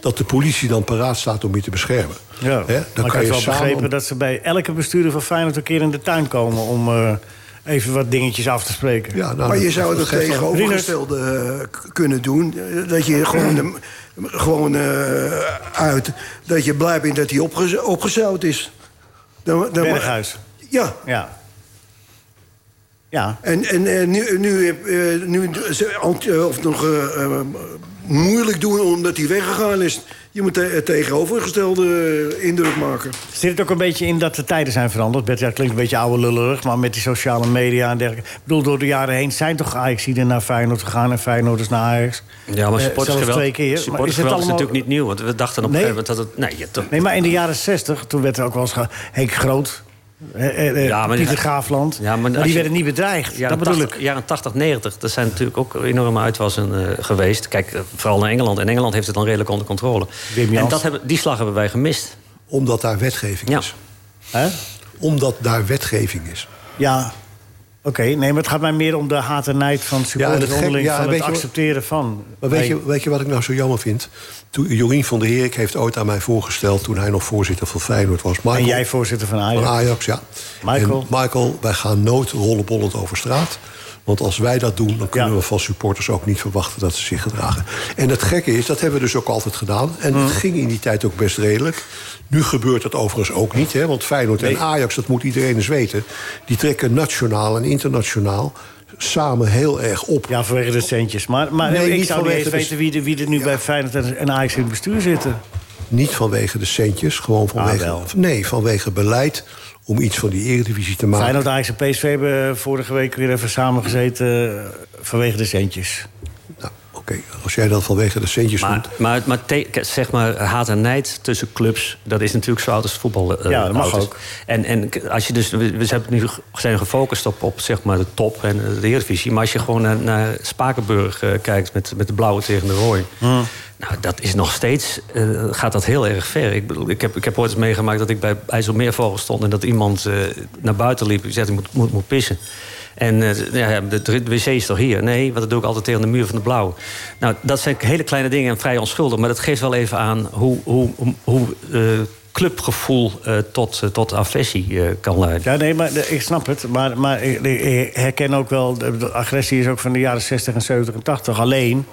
[SPEAKER 4] dat de politie dan paraat staat om je te beschermen. Hè,
[SPEAKER 3] Ja, maar ik heb wel begrepen dat ze bij elke bestuurder van Feyenoord... een keer in de tuin komen om eh, even wat dingetjes af te spreken.
[SPEAKER 4] Ja, nou,
[SPEAKER 5] maar je
[SPEAKER 4] dat-
[SPEAKER 5] zou
[SPEAKER 4] dat
[SPEAKER 5] het ook
[SPEAKER 4] geeft wel-
[SPEAKER 5] tegenovergestelde eh, k- kunnen doen. Eh, Dat je gewoon, de- gewoon eh, uit... dat je blij bent dat hij opge opgezout is. Dan, dan
[SPEAKER 3] Berghuis,
[SPEAKER 5] Ja.
[SPEAKER 3] ja. Ja,
[SPEAKER 5] En, en, eh, nu, nu, heb- eh, nu ze- ant- eh, of nog eh, eh, moeilijk doen omdat hij weggegaan is. Je moet te- het tegenovergestelde eh, indruk maken.
[SPEAKER 3] zit het ook een beetje in dat de tijden zijn veranderd? Bert, ja, dat klinkt een beetje oude lullerig, maar met die sociale media en dergelijke. Ik bedoel, door de jaren heen zijn toch Ajaxiden naar Feyenoord gegaan... en Feyenoorders naar Ajax?
[SPEAKER 6] Ja, maar
[SPEAKER 3] Eh, zelfs
[SPEAKER 6] supportersgeweld
[SPEAKER 3] twee keer. Maar is
[SPEAKER 6] supportersgeweld is,
[SPEAKER 3] het allemaal-
[SPEAKER 6] natuurlijk niet nieuw. Want we dachten op
[SPEAKER 3] Nee?
[SPEAKER 6] een gegeven moment dat het... Nee, je, toch,
[SPEAKER 3] Nee, maar in de jaren zestig, toen werd er ook wel eens... ge- Henk Groot, eh, eh, eh,
[SPEAKER 6] Ja, maar-
[SPEAKER 3] Pieter Graafland.
[SPEAKER 6] Ja,
[SPEAKER 3] maar
[SPEAKER 6] maar als
[SPEAKER 3] die
[SPEAKER 6] je-
[SPEAKER 3] werden niet bedreigd,
[SPEAKER 6] jaren
[SPEAKER 3] dat bedoel
[SPEAKER 6] 80,
[SPEAKER 3] ik.
[SPEAKER 6] Jaren 80, 90, dat zijn natuurlijk ook enorme uitwassen eh, geweest. Kijk, eh, vooral naar Engeland. En Engeland heeft het dan redelijk onder controle.
[SPEAKER 3] Wim Jans.
[SPEAKER 6] En dat hebben, die slag hebben wij gemist.
[SPEAKER 4] Omdat daar wetgeving
[SPEAKER 6] Ja.
[SPEAKER 4] is.
[SPEAKER 3] Hè?
[SPEAKER 4] Omdat daar wetgeving is.
[SPEAKER 3] Ja, oké. nee, maar het gaat mij meer om de haat en nijd van
[SPEAKER 4] Ja, en
[SPEAKER 3] supporters
[SPEAKER 4] het gek-
[SPEAKER 3] onderling...
[SPEAKER 4] ja,
[SPEAKER 3] van
[SPEAKER 4] weet
[SPEAKER 3] het
[SPEAKER 4] je wat-
[SPEAKER 3] accepteren van.
[SPEAKER 4] Maar weet,
[SPEAKER 3] Nee.
[SPEAKER 4] je, weet je wat ik nou zo jammer vind? Toen, Jorien van der Herik heeft ooit aan mij voorgesteld... toen hij nog voorzitter van Feyenoord was. Michael,
[SPEAKER 3] En jij voorzitter van Ajax.
[SPEAKER 4] van Ajax, ja.
[SPEAKER 3] Michael.
[SPEAKER 4] En Michael, wij gaan nooit rollenbollend over straat. Want als wij dat doen, dan kunnen
[SPEAKER 3] Ja.
[SPEAKER 4] we van supporters ook niet verwachten dat ze zich gedragen. En het gekke is, dat hebben we dus ook altijd gedaan. En
[SPEAKER 3] Mm.
[SPEAKER 4] het ging in die tijd ook best redelijk. Nu gebeurt dat overigens ook niet, hè, want Feyenoord en Ajax, dat moet iedereen eens weten... die trekken nationaal en internationaal samen heel erg op.
[SPEAKER 3] Ja, vanwege de centjes. Maar, maar
[SPEAKER 4] Nee,
[SPEAKER 3] ik
[SPEAKER 4] niet
[SPEAKER 3] zou niet eens
[SPEAKER 4] vanwege de-
[SPEAKER 3] weten wie er, wie er nu bij Feyenoord en- en Ajax in het bestuur zitten.
[SPEAKER 4] Niet vanwege de centjes, gewoon vanwege...
[SPEAKER 3] Ah, wel.
[SPEAKER 4] nee, vanwege beleid om iets van die eredivisie te maken.
[SPEAKER 3] Feyenoord, Ajax en PSV hebben eh, vorige week weer even samengezeten eh, vanwege de centjes.
[SPEAKER 4] Nou, Oké, als jij dat vanwege de centjes
[SPEAKER 6] Maar,
[SPEAKER 4] doet...
[SPEAKER 6] maar, maar te- zeg maar, haat en nijd tussen clubs... dat is natuurlijk zo oud als voetbal. eh,
[SPEAKER 3] Ja, dat mag
[SPEAKER 6] oud is.
[SPEAKER 3] ook.
[SPEAKER 6] En, en k- als je dus, we we zijn nu ge- zijn gefocust op, op zeg maar, de top en eh, de Eredivisie. Maar als je gewoon naar, naar Spakenburg eh, kijkt met, met de blauwe tegen de rooi...
[SPEAKER 3] Hm.
[SPEAKER 6] Nou, dat is nog steeds, eh, gaat dat heel erg ver. Ik, bedoel, ik, heb, ik heb ooit eens meegemaakt dat ik bij IJsselmeervogel stond... en dat iemand eh, naar buiten liep en zei, ik moet, moet, moet pissen. En eh, ja, de, de wc is toch hier? Nee, want dat doe ik altijd tegen de muur van de blauw. Nou, dat zijn hele kleine dingen en vrij onschuldig. Maar dat geeft wel even aan hoe, hoe, hoe, hoe, eh, clubgevoel eh, tot, eh, tot agressie eh, kan leiden.
[SPEAKER 3] Ja, nee, maar de- ik snap het. Maar, maar ik, ik herken ook wel, de, de agressie is ook van de jaren 60 en 70 en 80. Alleen,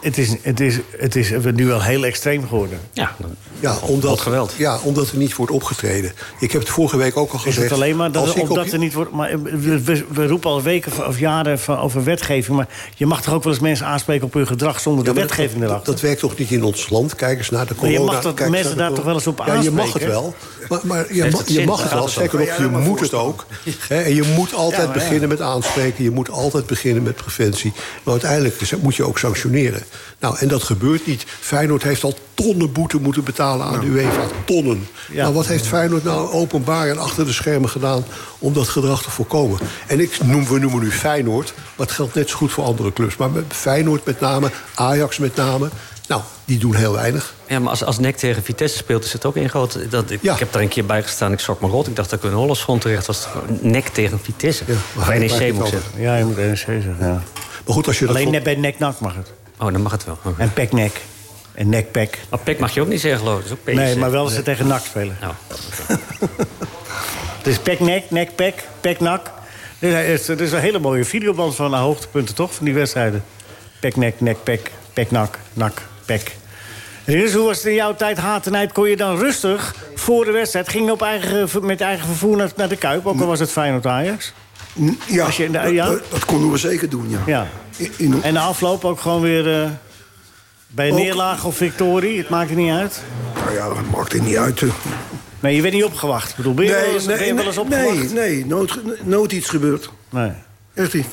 [SPEAKER 3] het is, het is, het is nu wel heel extreem geworden.
[SPEAKER 6] Ja, dan-
[SPEAKER 4] Ja,
[SPEAKER 6] tot-
[SPEAKER 4] omdat,
[SPEAKER 6] tot geweld.
[SPEAKER 4] Ja, omdat er niet wordt opgetreden. Ik heb het vorige week ook al
[SPEAKER 3] Is
[SPEAKER 4] gezegd.
[SPEAKER 3] het alleen maar
[SPEAKER 4] als
[SPEAKER 3] dat,
[SPEAKER 4] ik op-
[SPEAKER 3] omdat er niet wordt... Maar eh, we, we- we roepen al weken of- of jaren van, over wetgeving... maar je mag toch ook wel eens mensen aanspreken op hun gedrag... zonder
[SPEAKER 4] Ja,
[SPEAKER 3] de
[SPEAKER 4] maar
[SPEAKER 3] wetgeving
[SPEAKER 4] dat,
[SPEAKER 3] erachter?
[SPEAKER 4] dat werkt toch niet in ons land? Kijk eens naar de
[SPEAKER 3] Maar
[SPEAKER 4] corona.
[SPEAKER 3] je mag dat
[SPEAKER 4] kijk eens naar
[SPEAKER 3] mensen
[SPEAKER 4] de
[SPEAKER 3] daar
[SPEAKER 4] cor-
[SPEAKER 3] toch wel eens op
[SPEAKER 4] Ja, je mag het
[SPEAKER 3] aanspreken?
[SPEAKER 4] wel. Maar, maar je,
[SPEAKER 6] Heeft
[SPEAKER 4] ma-
[SPEAKER 6] het
[SPEAKER 4] je
[SPEAKER 6] zin?
[SPEAKER 4] mag het
[SPEAKER 6] Gaat
[SPEAKER 4] wel.
[SPEAKER 6] het
[SPEAKER 4] Zeker
[SPEAKER 5] dan?
[SPEAKER 4] nog,
[SPEAKER 5] Kan
[SPEAKER 4] je
[SPEAKER 5] jij dat
[SPEAKER 4] moet
[SPEAKER 5] maar
[SPEAKER 4] het ook. Hè, en je moet altijd
[SPEAKER 3] Ja, maar ja.
[SPEAKER 4] beginnen met aanspreken. Je moet altijd beginnen met preventie. Maar uiteindelijk is- moet je ook sanctioneren. Nou, en dat gebeurt niet. Feyenoord heeft al tonnen boete moeten betalen aan de UEFA. Tonnen.
[SPEAKER 3] Ja.
[SPEAKER 4] Nou, wat heeft Feyenoord nou openbaar en achter de schermen gedaan... om dat gedrag te voorkomen? En ik noem, we noemen nu Feyenoord, maar het geldt net zo goed voor andere clubs. Maar met Feyenoord met name, Ajax met name... Nou, die doen heel weinig.
[SPEAKER 6] Ja, maar als, als NEC tegen Vitesse speelt, is het ook ingegoten. Dat, ik,
[SPEAKER 4] Ja.
[SPEAKER 6] ik heb daar een keer bij gestaan, ik schrok me rot. Ik dacht dat ik in een Hollandsgrond terecht was. NEC tegen Vitesse.
[SPEAKER 4] Ja,
[SPEAKER 6] of
[SPEAKER 4] maar- maar-
[SPEAKER 6] NEC moet ik
[SPEAKER 4] maar-
[SPEAKER 6] zeggen.
[SPEAKER 3] Ja, je moet NEC E zeggen, ja.
[SPEAKER 4] Maar goed, als je dat
[SPEAKER 3] Alleen
[SPEAKER 4] voor-
[SPEAKER 3] net bij nek-nak mag het.
[SPEAKER 6] Oh, dan mag het wel. Oké.
[SPEAKER 3] En E pek-nek. En nek-pek.
[SPEAKER 6] Maar pek mag je ook niet zeggen, geloof ik. Dat is ook
[SPEAKER 3] Nee,
[SPEAKER 6] PSV.
[SPEAKER 3] maar wel als ze tegen nak spelen.
[SPEAKER 6] Nou,
[SPEAKER 3] Het is pek-nek, nek-pek, pek-nak. Dus hij is- Er is een hele mooie videoband van naar hoogtepunten, toch? Van die wedstrijden. Pek-nek, nek-pek, pek-nak, nak, pek. En Dus hoe was het in jouw tijd, haat en nijd? Kon je dan rustig voor de wedstrijd... ging je op eigen, met eigen vervoer naar, naar de Kuip? Ook al was het Feyenoord Ajax.
[SPEAKER 5] Ja,
[SPEAKER 3] Als je in de-
[SPEAKER 5] dat-
[SPEAKER 3] ja?
[SPEAKER 5] Dat, dat konden we zeker doen, ja.
[SPEAKER 3] Ja.
[SPEAKER 5] In, in-
[SPEAKER 3] En de afloop ook gewoon weer eh, bij
[SPEAKER 5] Ook-
[SPEAKER 3] neerlaag of victorie. Het maakt er niet uit.
[SPEAKER 5] nou ja, dat maakt het niet uit. hè.
[SPEAKER 3] Nee, je werd niet opgewacht. Ik bedoel, ben je wel eens, ben je wel eens opgewacht?
[SPEAKER 5] nee, nee, nooit, ge- nooit iets gebeurd.
[SPEAKER 3] nee.
[SPEAKER 5] Echt niet.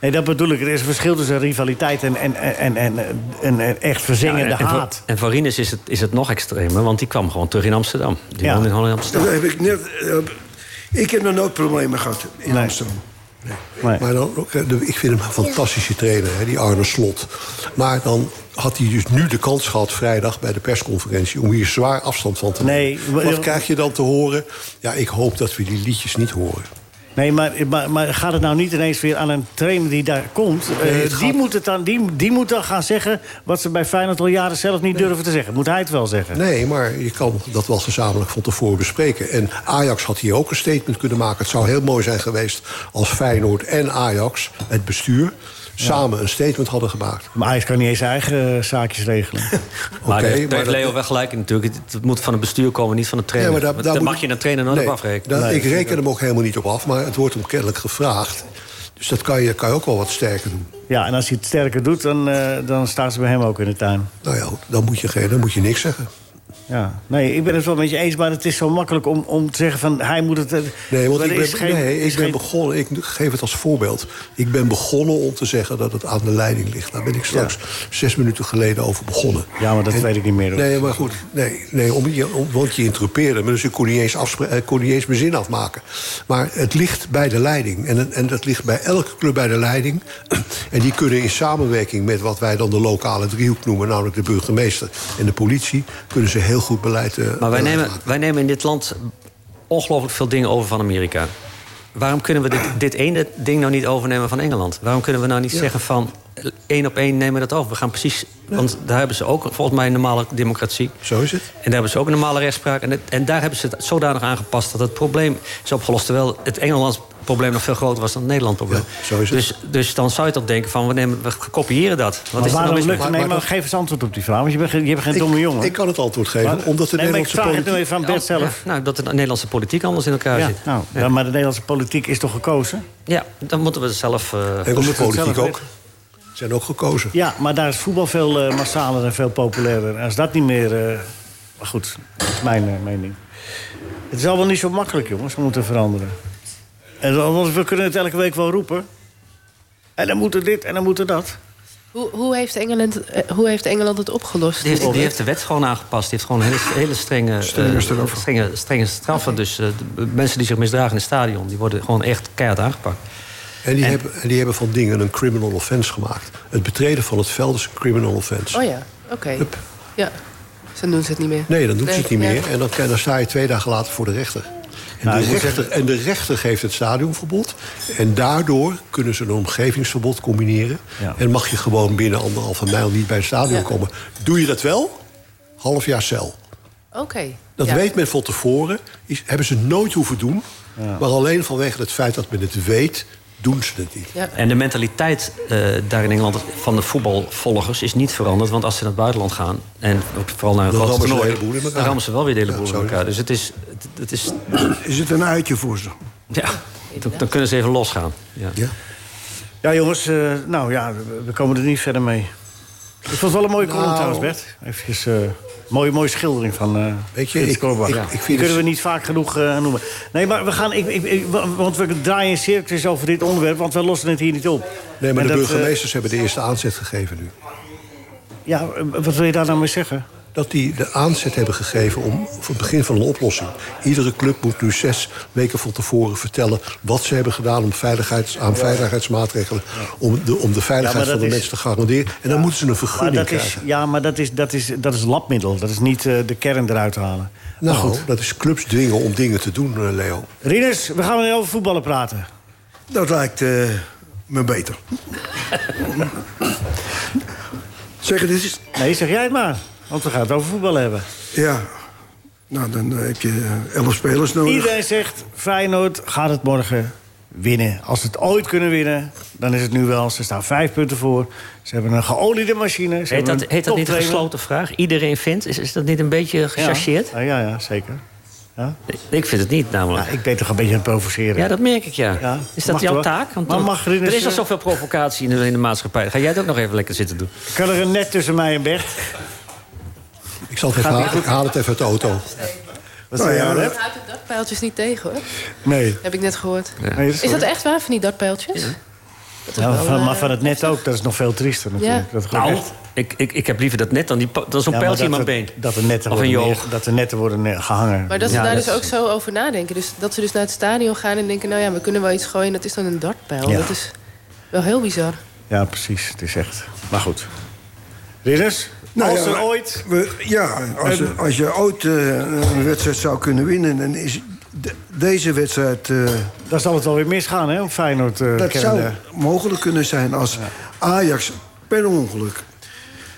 [SPEAKER 3] Nee, dat bedoel ik. Er is een verschil tussen rivaliteit en, en, en, en, en, en echt verzengende
[SPEAKER 6] en, voor,
[SPEAKER 3] haat.
[SPEAKER 6] en voor Rinus is het, is het nog extremer, want die kwam gewoon terug in Amsterdam. Die
[SPEAKER 3] Ja.
[SPEAKER 6] woonde gewoon in Amsterdam.
[SPEAKER 5] Dat heb ik net... eh, ik heb nog nooit problemen gehad in
[SPEAKER 3] Nee.
[SPEAKER 5] Amsterdam.
[SPEAKER 3] Nee.
[SPEAKER 4] Maar dan, ook, eh, de- ik vind hem een fantastische trainer, hè, die Arne Slot. Maar dan had hij dus nu de kans gehad vrijdag bij de persconferentie... om hier zwaar afstand van te nemen.
[SPEAKER 3] Nee, maar-
[SPEAKER 4] Wat krijg je dan te horen? Ja, ik hoop dat we die liedjes niet horen.
[SPEAKER 3] Nee, maar, maar, maar gaat het nou niet ineens weer aan een trainer die daar komt? Eh,
[SPEAKER 4] het
[SPEAKER 3] die,
[SPEAKER 4] gaat-
[SPEAKER 3] moet het dan, die, die moet dan gaan zeggen wat ze bij Feyenoord al jaren zelf niet durven te zeggen. Moet hij het wel zeggen?
[SPEAKER 4] Nee, maar je kan dat wel gezamenlijk van tevoren bespreken. En Ajax had hier ook een statement kunnen maken. Het zou heel mooi zijn geweest als Feyenoord en Ajax, het bestuur... samen een statement hadden gemaakt.
[SPEAKER 3] Maar Ajax kan niet eens zijn eigen eh, zaakjes regelen.
[SPEAKER 6] Maar
[SPEAKER 4] Oké,
[SPEAKER 6] daar heeft
[SPEAKER 4] maar dat-
[SPEAKER 6] Leo wel gelijk in natuurlijk. Het, het moet van het bestuur komen, niet van de trainer.
[SPEAKER 4] Ja, maar
[SPEAKER 6] Want
[SPEAKER 4] daar- daar
[SPEAKER 6] daar
[SPEAKER 4] moet-
[SPEAKER 6] mag je een trainer nooit
[SPEAKER 4] Nee,
[SPEAKER 6] op afrekenen.
[SPEAKER 4] daar- ik reken hem ook helemaal niet op af, maar het wordt hem kennelijk gevraagd. Dus dat kan je, kan je ook wel wat sterker doen.
[SPEAKER 3] ja, en als hij het sterker doet, dan, eh, dan staan ze bij hem ook in de tuin.
[SPEAKER 4] Nou ja, dan moet je, geen- dan moet je niks zeggen.
[SPEAKER 3] Ja. Nee, ik ben het wel met je eens, maar het is zo makkelijk om, om te zeggen van hij moet het. eh,
[SPEAKER 4] Nee, want
[SPEAKER 3] maar
[SPEAKER 4] ik
[SPEAKER 3] er
[SPEAKER 4] ben,
[SPEAKER 3] is geen-
[SPEAKER 4] nee,
[SPEAKER 3] is
[SPEAKER 4] ik ben
[SPEAKER 3] geen-
[SPEAKER 4] begonnen, ik geef het als voorbeeld. Ik ben begonnen om te zeggen dat het aan de leiding ligt. Daar ben ik straks zes minuten geleden over begonnen.
[SPEAKER 3] Ja, maar dat weet ik niet meer, hoor.
[SPEAKER 4] Nee, maar goed. Nee, nee om, je- om- want je interrupeerde me, dus ik kon niet, eens afspre- eh, kon niet eens mijn zin afmaken. Maar het ligt bij de leiding. En, en dat ligt bij elke club bij de leiding. En die kunnen in samenwerking met wat wij dan de lokale driehoek noemen... namelijk de burgemeester en de politie... kunnen ze heel goed beleid eh,
[SPEAKER 6] Maar wij
[SPEAKER 4] beleid
[SPEAKER 6] nemen,
[SPEAKER 4] maken.
[SPEAKER 6] wij nemen in dit land ongelooflijk veel dingen over van Amerika. Waarom kunnen we dit, dit ene ding nou niet overnemen van Engeland? Waarom kunnen we nou niet zeggen van eh, één op één nemen we dat over? We gaan precies, want daar hebben ze ook volgens mij een normale democratie.
[SPEAKER 4] Zo is het.
[SPEAKER 6] En daar hebben ze ook een normale rechtspraak. En, het- en daar hebben ze het zodanig aangepast dat het probleem is opgelost. Terwijl het Engelands probleem nog veel groter was dan het Nederlands probleem.
[SPEAKER 4] Ja, zo is het.
[SPEAKER 6] Dus, dus dan zou je toch denken van we, nemen, we kopiëren dat. Wat
[SPEAKER 3] Maar
[SPEAKER 6] is er nou
[SPEAKER 3] waarom
[SPEAKER 6] mis
[SPEAKER 3] lukt
[SPEAKER 6] mee?
[SPEAKER 4] Maar-
[SPEAKER 3] het? Nee, maar,
[SPEAKER 4] maar dat-
[SPEAKER 3] geef eens antwoord op die vraag, want je bent, geen- je bent geen domme jongen.
[SPEAKER 4] Ik kan het antwoord geven,
[SPEAKER 3] Maar-
[SPEAKER 4] omdat de
[SPEAKER 3] nee, maar ik
[SPEAKER 4] Nederlandse
[SPEAKER 3] vraag het nu
[SPEAKER 4] politiek...
[SPEAKER 3] even aan Bert zelf.
[SPEAKER 6] Ja, nou, dat de Nederlandse politiek anders in elkaar
[SPEAKER 3] Ja,
[SPEAKER 6] zit.
[SPEAKER 3] nou, dan- maar de Nederlandse politiek is toch gekozen?
[SPEAKER 6] Ja, dan moeten we het zelf... eh,
[SPEAKER 4] De Nederlandse
[SPEAKER 3] Moet het
[SPEAKER 4] politiek
[SPEAKER 3] zelf
[SPEAKER 4] ook. Zijn ook gekozen.
[SPEAKER 3] Ja, maar daar is voetbal veel eh, massaler en veel populairder. Als dat niet meer... eh, maar goed, dat is mijn eh, mening. Het is allemaal niet zo makkelijk, jongens, om het te veranderen. En, dan- want we kunnen het elke week wel roepen. En dan moet er dit en dan moet er dat.
[SPEAKER 7] Hoe, hoe, heeft Engeland, eh, hoe heeft Engeland het opgelost?
[SPEAKER 6] die, heeft, die heeft de wet gewoon aangepast. Die heeft gewoon hele, hele strenge, eh, strenge, strenge straffen. Dus eh, de mensen die zich misdragen in het stadion... die worden gewoon echt keihard aangepakt.
[SPEAKER 4] En die, hebben, en die hebben van dingen een criminal offense gemaakt. Het betreden van het veld is een criminal offense.
[SPEAKER 7] Oh ja, oké.
[SPEAKER 4] Hup.
[SPEAKER 7] Ja, dus dan doen ze het niet meer.
[SPEAKER 4] Nee, dan doet ze het niet
[SPEAKER 7] Nee,
[SPEAKER 4] meer.
[SPEAKER 7] ja.
[SPEAKER 4] En dan, dan sta je twee dagen later voor de rechter. En,
[SPEAKER 3] Nou, ik
[SPEAKER 4] de,
[SPEAKER 3] moet
[SPEAKER 4] rechter, en de rechter geeft het stadionverbod. En daardoor kunnen ze een omgevingsverbod combineren.
[SPEAKER 3] Ja.
[SPEAKER 4] En mag je gewoon binnen anderhalve mijl niet bij het stadion
[SPEAKER 7] Ja.
[SPEAKER 4] komen. Doe je dat wel? Half jaar cel.
[SPEAKER 7] Oké.
[SPEAKER 4] Dat
[SPEAKER 7] ja.
[SPEAKER 4] weet men van tevoren. Is, hebben ze nooit hoeven doen. Maar alleen vanwege het feit dat men het weet, doen ze het niet.
[SPEAKER 7] Ja.
[SPEAKER 6] En de mentaliteit eh, daar in Engeland van de voetbalvolgers is niet veranderd. Want als ze naar het buitenland gaan, en ook vooral naar een
[SPEAKER 4] Dan
[SPEAKER 6] grote
[SPEAKER 4] rammen ze de hele
[SPEAKER 6] toernooi...
[SPEAKER 4] boel in elkaar.
[SPEAKER 6] dan rammen ze wel weer de hele
[SPEAKER 4] Ja,
[SPEAKER 6] boel
[SPEAKER 4] zo
[SPEAKER 6] in
[SPEAKER 4] is
[SPEAKER 6] elkaar. Dus het is... Het, het is
[SPEAKER 5] Is het een uitje voor ze?
[SPEAKER 6] ja, dan, dan kunnen ze even losgaan. Ja.
[SPEAKER 4] Ja.
[SPEAKER 3] Ja, jongens, eh, nou ja, we- we komen er niet verder mee. Ik vond het wel een mooie column
[SPEAKER 4] Nou.
[SPEAKER 3] trouwens, Bert. Even eh mooie, mooie schildering van eh
[SPEAKER 4] Weet je,
[SPEAKER 3] Frits
[SPEAKER 4] ik-
[SPEAKER 3] Korbach.
[SPEAKER 4] ik-
[SPEAKER 3] Ja.
[SPEAKER 4] ik vind
[SPEAKER 3] Die kunnen
[SPEAKER 4] het-
[SPEAKER 3] we niet vaak genoeg eh, noemen. Nee, maar we gaan... Ik, ik, ik- wa- want we draaien in cirkels over dit onderwerp... want we lossen het hier niet op.
[SPEAKER 4] Nee, maar
[SPEAKER 3] En
[SPEAKER 4] de
[SPEAKER 3] dat, eh,
[SPEAKER 4] burgemeesters hebben de eerste aanzet gegeven nu.
[SPEAKER 3] ja, eh, wat wil je daar nou mee zeggen?
[SPEAKER 4] Dat die de aanzet hebben gegeven om, voor het begin van een oplossing. Iedere club moet nu zes weken van tevoren vertellen... wat ze hebben gedaan om veiligheids, aan veiligheidsmaatregelen... om de, om de veiligheid
[SPEAKER 3] dat
[SPEAKER 4] van de
[SPEAKER 3] is-
[SPEAKER 4] mensen te garanderen. En dan moeten ze een
[SPEAKER 3] Maar
[SPEAKER 4] vergunning
[SPEAKER 3] dat is,
[SPEAKER 4] krijgen.
[SPEAKER 3] ja, maar dat is, dat, is, dat is labmiddel. Dat is niet eh, de kern eruit halen.
[SPEAKER 4] Nou, dat is clubs dwingen om dingen te doen, eh, Leo.
[SPEAKER 3] Rinus, we gaan weer over voetballen praten.
[SPEAKER 5] Dat lijkt eh, me beter. zeg, dit is...
[SPEAKER 3] Nee, zeg jij het maar. Want we gaan het over voetballen hebben.
[SPEAKER 5] Ja. Nou, dan eh, heb je eh, elf spelers nodig.
[SPEAKER 3] Iedereen zegt, Feyenoord gaat het morgen winnen. Als ze het ooit kunnen winnen, dan is het nu wel. Ze staan vijf punten voor. Ze hebben een geoliede machine. Ze
[SPEAKER 6] Heet
[SPEAKER 3] hebben
[SPEAKER 6] dat,
[SPEAKER 3] een
[SPEAKER 6] heet dat niet een
[SPEAKER 3] toptrainer.
[SPEAKER 6] gesloten vraag? Iedereen vindt? Is, is dat niet een beetje gechargeerd?
[SPEAKER 3] Ah, Ja, ja, ja, zeker.
[SPEAKER 6] Ik vind het niet, namelijk.
[SPEAKER 3] Ja, ik ben toch een beetje aan het provoceren.
[SPEAKER 6] Ja, dat merk ik, ja.
[SPEAKER 3] Ja,
[SPEAKER 6] Is dat
[SPEAKER 3] mag
[SPEAKER 6] jouw
[SPEAKER 3] wel.
[SPEAKER 6] taak? Want
[SPEAKER 3] Maar
[SPEAKER 6] dan-
[SPEAKER 3] mag er in
[SPEAKER 6] er
[SPEAKER 3] eens,
[SPEAKER 6] is al
[SPEAKER 3] eh,
[SPEAKER 6] zoveel provocatie in de, in de maatschappij. Ga jij het ook nog even lekker zitten doen?
[SPEAKER 3] Kan er een net tussen mij en Bert?
[SPEAKER 4] Ik zal het even halen. Ik haal het even uit de auto.
[SPEAKER 3] Wat
[SPEAKER 5] Nou
[SPEAKER 3] zei
[SPEAKER 5] ja,
[SPEAKER 3] je,
[SPEAKER 7] Dat
[SPEAKER 3] Bert?
[SPEAKER 7] houdt de dakpijltjes niet tegen, hoor.
[SPEAKER 3] Nee.
[SPEAKER 7] Heb ik net gehoord.
[SPEAKER 3] nee
[SPEAKER 7] Is dat echt waar, van die dakpijltjes? Dat is
[SPEAKER 3] Ja,
[SPEAKER 7] wel,
[SPEAKER 3] van,
[SPEAKER 7] eh,
[SPEAKER 3] maar van het net ook, dat is nog veel triester natuurlijk.
[SPEAKER 7] Ja.
[SPEAKER 3] Dat gewoon
[SPEAKER 6] Nou,
[SPEAKER 3] echt-
[SPEAKER 6] ik, ik, ik heb liever dat net dan, die, pa- dan zo'n
[SPEAKER 3] Ja, maar
[SPEAKER 6] pijltje in mijn
[SPEAKER 3] dat,
[SPEAKER 6] been.
[SPEAKER 3] Dat de netten
[SPEAKER 6] Of
[SPEAKER 3] worden,
[SPEAKER 6] in je
[SPEAKER 3] neer-
[SPEAKER 6] oog.
[SPEAKER 3] dat de netten worden neer- gehangen.
[SPEAKER 7] Maar dat ze
[SPEAKER 6] Ja,
[SPEAKER 7] daar
[SPEAKER 6] dat
[SPEAKER 7] dus ook zo over nadenken. Dus dat ze dus naar het stadion gaan en denken... nou ja, we kunnen wel iets gooien, dat is dan een dartpijl.
[SPEAKER 3] Ja.
[SPEAKER 7] Dat is wel heel bizar.
[SPEAKER 3] Ja, precies. Het is echt. Maar goed. Ridders,
[SPEAKER 5] Nou
[SPEAKER 3] als
[SPEAKER 5] ja,
[SPEAKER 3] er
[SPEAKER 5] maar-
[SPEAKER 3] ooit...
[SPEAKER 5] We, ja, als, als je ooit eh, een wedstrijd zou kunnen winnen... dan is de- deze wedstrijd... eh,
[SPEAKER 3] Dan zal het wel weer misgaan, hè? Op Feyenoord. eh,
[SPEAKER 5] dat
[SPEAKER 3] kennende.
[SPEAKER 5] zou mogelijk kunnen zijn als Ajax per ongeluk...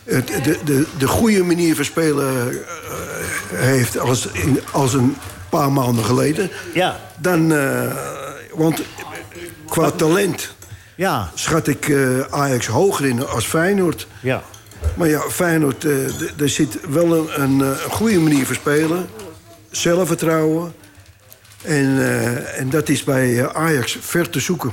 [SPEAKER 5] het- de, de, de goede manier van spelen eh, heeft als, in, als een paar maanden geleden...
[SPEAKER 3] Ja.
[SPEAKER 5] dan... eh, want qua talent
[SPEAKER 3] Ja,
[SPEAKER 5] schat ik eh, Ajax hoger in als Feyenoord...
[SPEAKER 3] ja.
[SPEAKER 5] Maar ja, Feyenoord, eh, d- er zit wel een, een, eh, goede manier voor spelen. Zelfvertrouwen. En, eh, en dat is bij eh, Ajax ver te zoeken.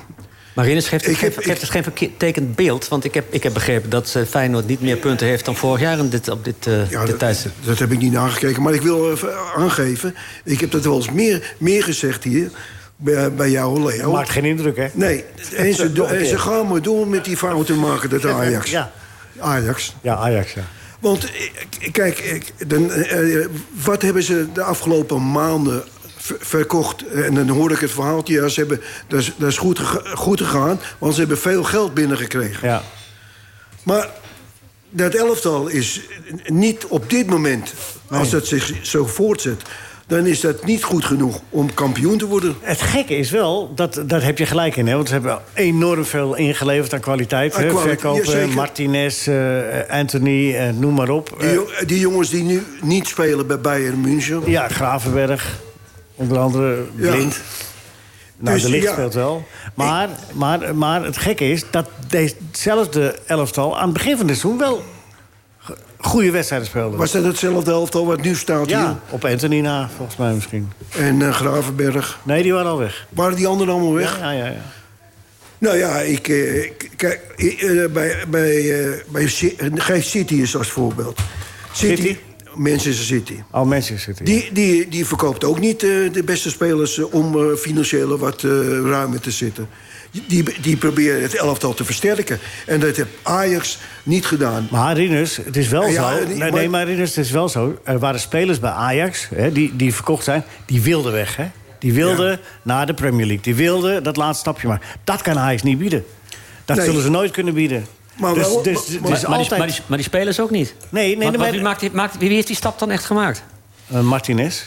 [SPEAKER 6] Marinus geeft, het
[SPEAKER 5] Ik heb-
[SPEAKER 6] geen-
[SPEAKER 5] ik-
[SPEAKER 6] geeft het geen vertekend beeld. Want ik heb, ik heb begrepen dat eh, Feyenoord niet meer punten heeft dan vorig jaar in dit, op dit, eh
[SPEAKER 5] Ja,
[SPEAKER 6] dit
[SPEAKER 5] dat,
[SPEAKER 6] tijdstip.
[SPEAKER 5] dat heb ik niet nagekeken. Maar ik wil even aangeven, ik heb dat wel eens meer, meer gezegd hier... bij, bij jou, Leo.
[SPEAKER 3] Maakt geen indruk, hè?
[SPEAKER 5] Nee, en ze, do- en ze gaan maar door met die fouten maken, dat Ajax.
[SPEAKER 3] Ja.
[SPEAKER 5] Ajax.
[SPEAKER 3] Ja, Ajax, ja.
[SPEAKER 5] Want eh, k- kijk, eh, dan, eh, eh, wat hebben ze de afgelopen maanden ver- verkocht? En dan hoor ik het verhaaltje, ja, ze hebben, dat, is, dat is goed, gega- goed gegaan... want ze hebben veel geld binnengekregen.
[SPEAKER 3] Ja,
[SPEAKER 5] Maar dat elftal is niet op dit moment, als dat zich zo voortzet... dan is dat niet goed genoeg om kampioen te worden.
[SPEAKER 3] Het gekke is wel, dat, daar heb je gelijk in. Hè? Want ze hebben enorm veel ingeleverd aan kwaliteit.
[SPEAKER 5] Aan
[SPEAKER 3] hè?
[SPEAKER 5] kwaliteit, ja,
[SPEAKER 3] Verkopen,
[SPEAKER 5] zeker.
[SPEAKER 3] Martinez, eh, Anthony, eh, noem maar op.
[SPEAKER 5] Die, jo- die jongens die nu niet spelen bij Bayern München...
[SPEAKER 3] Eh, ja, Gravenberg, onder andere
[SPEAKER 5] Ja.
[SPEAKER 3] Blind. Nou,
[SPEAKER 5] Dus,
[SPEAKER 3] de licht
[SPEAKER 5] ja.
[SPEAKER 3] speelt wel. Maar, maar, maar het gekke is dat dezezelfde elftal aan het begin van het seizoen wel ge- goede wedstrijden speelde.
[SPEAKER 5] Was dat hetzelfde elftal wat nu staat
[SPEAKER 3] ja, op Anthony na, volgens mij misschien.
[SPEAKER 5] hier? En eh, Gravenberg.
[SPEAKER 3] Nee, die waren al weg.
[SPEAKER 5] Waren die anderen allemaal weg?
[SPEAKER 3] Ja, ja, ja.
[SPEAKER 5] Nou ja, ik, eh, k- kijk, eh, eh, bij, bij, eh, bij, Ci- eh, geef City eens als voorbeeld. City,
[SPEAKER 3] City?
[SPEAKER 5] Oh, Manchester City.
[SPEAKER 3] Al Manchester City.
[SPEAKER 5] Die, die, die verkoopt ook niet eh, de beste spelers eh, om eh, financieel wat eh, ruimer te zitten. Die, die proberen het elftal te versterken. En dat heeft Ajax niet gedaan.
[SPEAKER 3] Maar Rinus, het is wel
[SPEAKER 5] Ja,
[SPEAKER 3] zo.
[SPEAKER 5] die-
[SPEAKER 3] Nee,
[SPEAKER 5] maar-
[SPEAKER 3] nee, maar Rinus, het is wel zo. Er waren spelers bij Ajax hè, die, die verkocht zijn, die wilden weg. Hè? Die wilden naar de Premier League. Die wilden dat laatste stapje maken. Dat kan Ajax niet bieden. Dat
[SPEAKER 5] Nee.
[SPEAKER 3] zullen ze nooit kunnen bieden.
[SPEAKER 5] Maar
[SPEAKER 3] dus,
[SPEAKER 5] wel-
[SPEAKER 3] dus,
[SPEAKER 5] maar-
[SPEAKER 3] dus
[SPEAKER 6] Maar, maar, die,
[SPEAKER 3] altijd
[SPEAKER 6] maar, die, maar die spelers ook niet.
[SPEAKER 3] Nee, nee,
[SPEAKER 6] Want-
[SPEAKER 3] nee,
[SPEAKER 6] want
[SPEAKER 3] maar-
[SPEAKER 6] wie, maakt, die- maakt, wie heeft die stap dan echt gemaakt?
[SPEAKER 3] Eh, Martinez,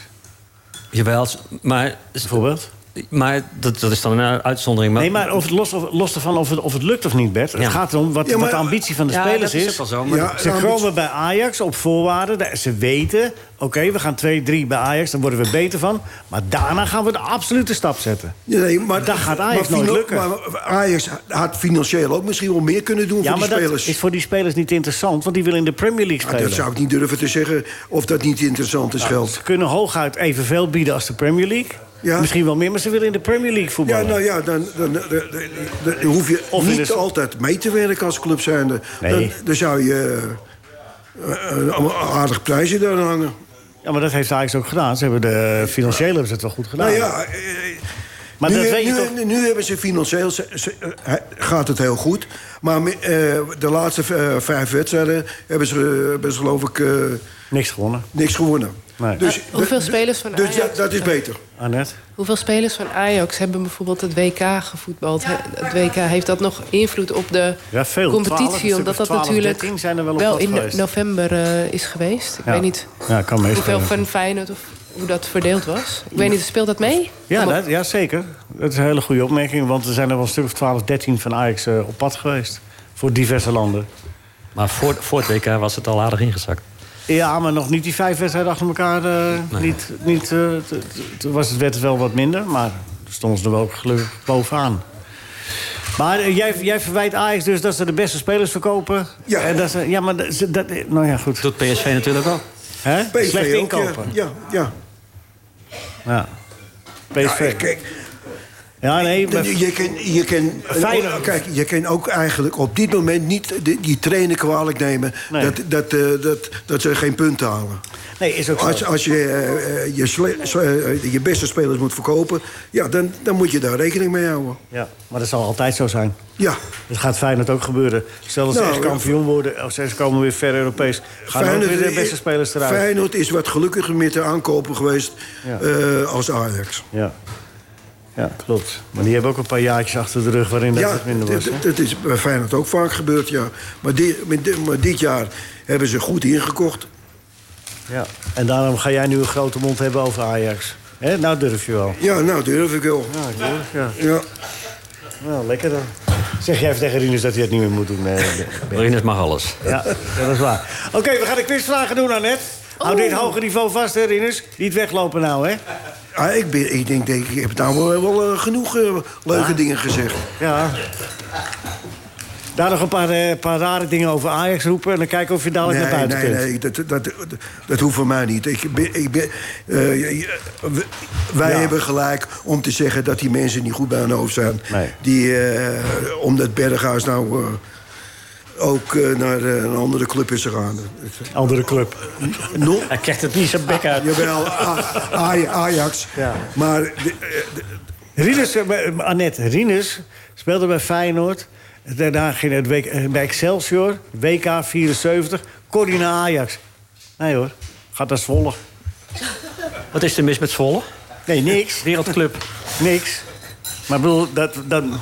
[SPEAKER 6] Jawel, maar,
[SPEAKER 3] bijvoorbeeld.
[SPEAKER 6] maar dat, dat is dan een uitzondering. Maar,
[SPEAKER 3] Nee, maar of het los, of, los ervan of het, of het lukt of niet, Bert. Het
[SPEAKER 6] Ja.
[SPEAKER 3] gaat erom wat,
[SPEAKER 5] Ja, maar-
[SPEAKER 3] wat de ambitie van de
[SPEAKER 6] ja,
[SPEAKER 3] spelers
[SPEAKER 6] dat is,
[SPEAKER 3] is.
[SPEAKER 6] ook wel zo. Maar
[SPEAKER 5] Ja.
[SPEAKER 3] Ze
[SPEAKER 5] nou,
[SPEAKER 3] komen bij Ajax op voorwaarden. daar- Ze weten, oké, we gaan 2-3 bij Ajax, dan worden we beter van. Maar daarna gaan we de absolute stap zetten.
[SPEAKER 5] Ja, nee, maar
[SPEAKER 3] Dat gaat Ajax nooit
[SPEAKER 5] fino-
[SPEAKER 3] lukken.
[SPEAKER 5] Maar Ajax had financieel ook misschien wel meer kunnen doen
[SPEAKER 3] Ja,
[SPEAKER 5] voor
[SPEAKER 3] maar
[SPEAKER 5] die spelers.
[SPEAKER 3] dat is voor die spelers niet interessant, want die willen in de Premier League
[SPEAKER 5] Nou,
[SPEAKER 3] spelen.
[SPEAKER 5] dat zou ik niet durven te zeggen of dat niet interessant is geld.
[SPEAKER 3] Ze kunnen hooguit evenveel bieden als de Premier League.
[SPEAKER 5] Ja.
[SPEAKER 3] Misschien wel meer, maar ze willen in de Premier League
[SPEAKER 5] Ja,
[SPEAKER 3] voetballen.
[SPEAKER 5] nou ja, dan, dan, dan- dan- dan hoef je
[SPEAKER 3] Of in
[SPEAKER 5] niet
[SPEAKER 3] de-
[SPEAKER 5] altijd mee te werken als club zijnde. Dan,
[SPEAKER 3] Nee.
[SPEAKER 5] dan zou je eh, eh, een aardig prijsje daar hangen.
[SPEAKER 3] Ja, maar dat heeft Ajax ook gedaan. Ze hebben de financiële hebben ze het wel goed gedaan.
[SPEAKER 5] Nou ja, eh,
[SPEAKER 3] maar
[SPEAKER 5] nu,
[SPEAKER 3] dat weet je
[SPEAKER 5] nu,
[SPEAKER 3] toch...
[SPEAKER 5] nu hebben ze financieel ze- ze- eh, gaat het heel goed. Maar me- eh, de laatste eh, vijf wedstrijden hebben ze, eh, hebben ze geloof ik eh,
[SPEAKER 3] Niks gewonnen,
[SPEAKER 5] niks gewonnen.
[SPEAKER 3] Nee.
[SPEAKER 5] Dus,
[SPEAKER 7] Maar hoeveel spelers van
[SPEAKER 5] dus
[SPEAKER 7] Ajax-
[SPEAKER 5] dat, dat is beter.
[SPEAKER 3] Annette.
[SPEAKER 7] Hoeveel spelers van Ajax hebben bijvoorbeeld het WK gevoetbald? He- Het WK, heeft dat nog invloed op de
[SPEAKER 3] Ja, veel. Twaalf, een
[SPEAKER 7] competitie?
[SPEAKER 3] stuk
[SPEAKER 7] Omdat
[SPEAKER 3] of
[SPEAKER 7] dat
[SPEAKER 3] twaalf,
[SPEAKER 7] natuurlijk
[SPEAKER 3] dertien zijn er wel op wat
[SPEAKER 7] in
[SPEAKER 3] geweest.
[SPEAKER 7] november eh, is geweest. Ik
[SPEAKER 3] Ja.
[SPEAKER 7] weet niet
[SPEAKER 3] Ja, kan
[SPEAKER 7] hoeveel
[SPEAKER 3] meespelen.
[SPEAKER 7] van Feyenoord of hoe dat verdeeld was. Ik weet niet, speelt dat mee?
[SPEAKER 3] Ja,
[SPEAKER 7] Kom op.
[SPEAKER 3] dat, ja, zeker. Dat is een hele goede opmerking, want er zijn er wel een stuk of 12, 13 van Ajax eh, op pad geweest. Voor diverse landen.
[SPEAKER 6] maar voor, voor het WK was het al aardig ingezakt.
[SPEAKER 3] Ja, maar nog niet die vijf wedstrijden achter elkaar. eh, niet, niet, eh, t- t- toen was het werd het wel wat minder, maar toen stonden ze er wel gelukkig bovenaan. Maar eh, jij, jij verwijt Ajax dus dat ze de beste spelers verkopen.
[SPEAKER 5] Ja.
[SPEAKER 3] En dat ze, ja maar dat, ze- dat, nou ja, goed.
[SPEAKER 6] Dat doet PSV natuurlijk ook.
[SPEAKER 3] Hè?
[SPEAKER 5] PSV
[SPEAKER 3] Slecht
[SPEAKER 5] ook, ja.
[SPEAKER 3] inkopen.
[SPEAKER 5] Ja, ja.
[SPEAKER 3] Ja.
[SPEAKER 5] Ja,
[SPEAKER 3] PSV.
[SPEAKER 5] kijk,
[SPEAKER 3] Ja, nee, bij-
[SPEAKER 5] je, je kan, je kan, Oh,
[SPEAKER 3] Feyenoord.
[SPEAKER 5] kijk, je kan ook eigenlijk op dit moment niet die, die trainer kwalijk nemen...
[SPEAKER 3] Nee.
[SPEAKER 5] Dat, dat, eh, dat, dat ze geen punten halen.
[SPEAKER 3] nee, is ook zo.
[SPEAKER 5] Als, als je eh, eh, je, sle- sle- eh, je beste spelers moet verkopen... Ja, dan, dan moet je daar rekening mee houden.
[SPEAKER 3] Ja, maar dat zal altijd zo zijn.
[SPEAKER 5] Ja,
[SPEAKER 3] Dat gaat Feyenoord ook gebeuren. Stel dat ze
[SPEAKER 5] Nou,
[SPEAKER 3] echt kampioen worden, of ze komen weer ver Europees... gaan ook weer de beste spelers eruit.
[SPEAKER 5] Feyenoord is wat gelukkiger met de aankopen geweest
[SPEAKER 3] Ja.
[SPEAKER 5] eh, als Ajax.
[SPEAKER 3] Ja. ja, klopt. Maar die hebben ook een paar jaartjes achter de rug waarin dat
[SPEAKER 5] Ja,
[SPEAKER 3] het minder was. hè?
[SPEAKER 5] dat- dat is bij Feyenoord ook vaak gebeurd, ja. Maar, dit- met dit- maar dit jaar hebben ze goed ingekocht.
[SPEAKER 3] Ja. En daarom ga jij nu een grote mond hebben over Ajax. Hè? Nou durf je wel.
[SPEAKER 5] Ja, nou, durf ik wel.
[SPEAKER 3] Ja, ik durf, ja.
[SPEAKER 5] Ja.
[SPEAKER 3] Nou, lekker dan. Zeg jij even tegen Rinus dat hij het niet meer moet doen. eh, Ben.
[SPEAKER 6] Rinus mag alles.
[SPEAKER 3] ja, dat is waar. Oké, we gaan de quizvragen doen, Annette. Hou dit hoge niveau vast, hè, Rinus. Niet weglopen nou, hè.
[SPEAKER 5] Ah, ik, ben, ik denk, denk, ik heb nou wel, wel, eh, genoeg eh, leuke dingen gezegd.
[SPEAKER 3] Ja. Daar nog een paar, eh, paar rare dingen over Ajax roepen... en dan kijken of je dadelijk naar
[SPEAKER 5] nee,
[SPEAKER 3] buiten
[SPEAKER 5] nee,
[SPEAKER 3] kunt.
[SPEAKER 5] nee, dat, dat, dat, dat hoeft voor mij niet. Ik ben, ik ben, eh, eh, w- wij
[SPEAKER 3] Ja.
[SPEAKER 5] hebben gelijk om te zeggen dat die mensen niet goed bij hun hoofd zijn.
[SPEAKER 3] Nee.
[SPEAKER 5] Die, eh, omdat Berghuis nou eh, ook eh, naar eh, een andere club is gegaan.
[SPEAKER 3] Andere club.
[SPEAKER 5] No,
[SPEAKER 6] Hij krijgt het niet zijn bek uit.
[SPEAKER 5] jawel, A- A- Ajax.
[SPEAKER 3] Ja.
[SPEAKER 5] Maar de- eh, de-
[SPEAKER 3] Rinus, eh, bij- eh, Annette, Rinus speelde bij Feyenoord. Daarna ging het week, eh, bij Excelsior, WK 74. Kon hij naar Ajax? Nee hoor, gaat naar Zwolle.
[SPEAKER 6] Wat is er mis met Zwolle?
[SPEAKER 3] Nee, niks,
[SPEAKER 6] Wereldclub.
[SPEAKER 3] niks. Maar ik bedoel, dat... dan.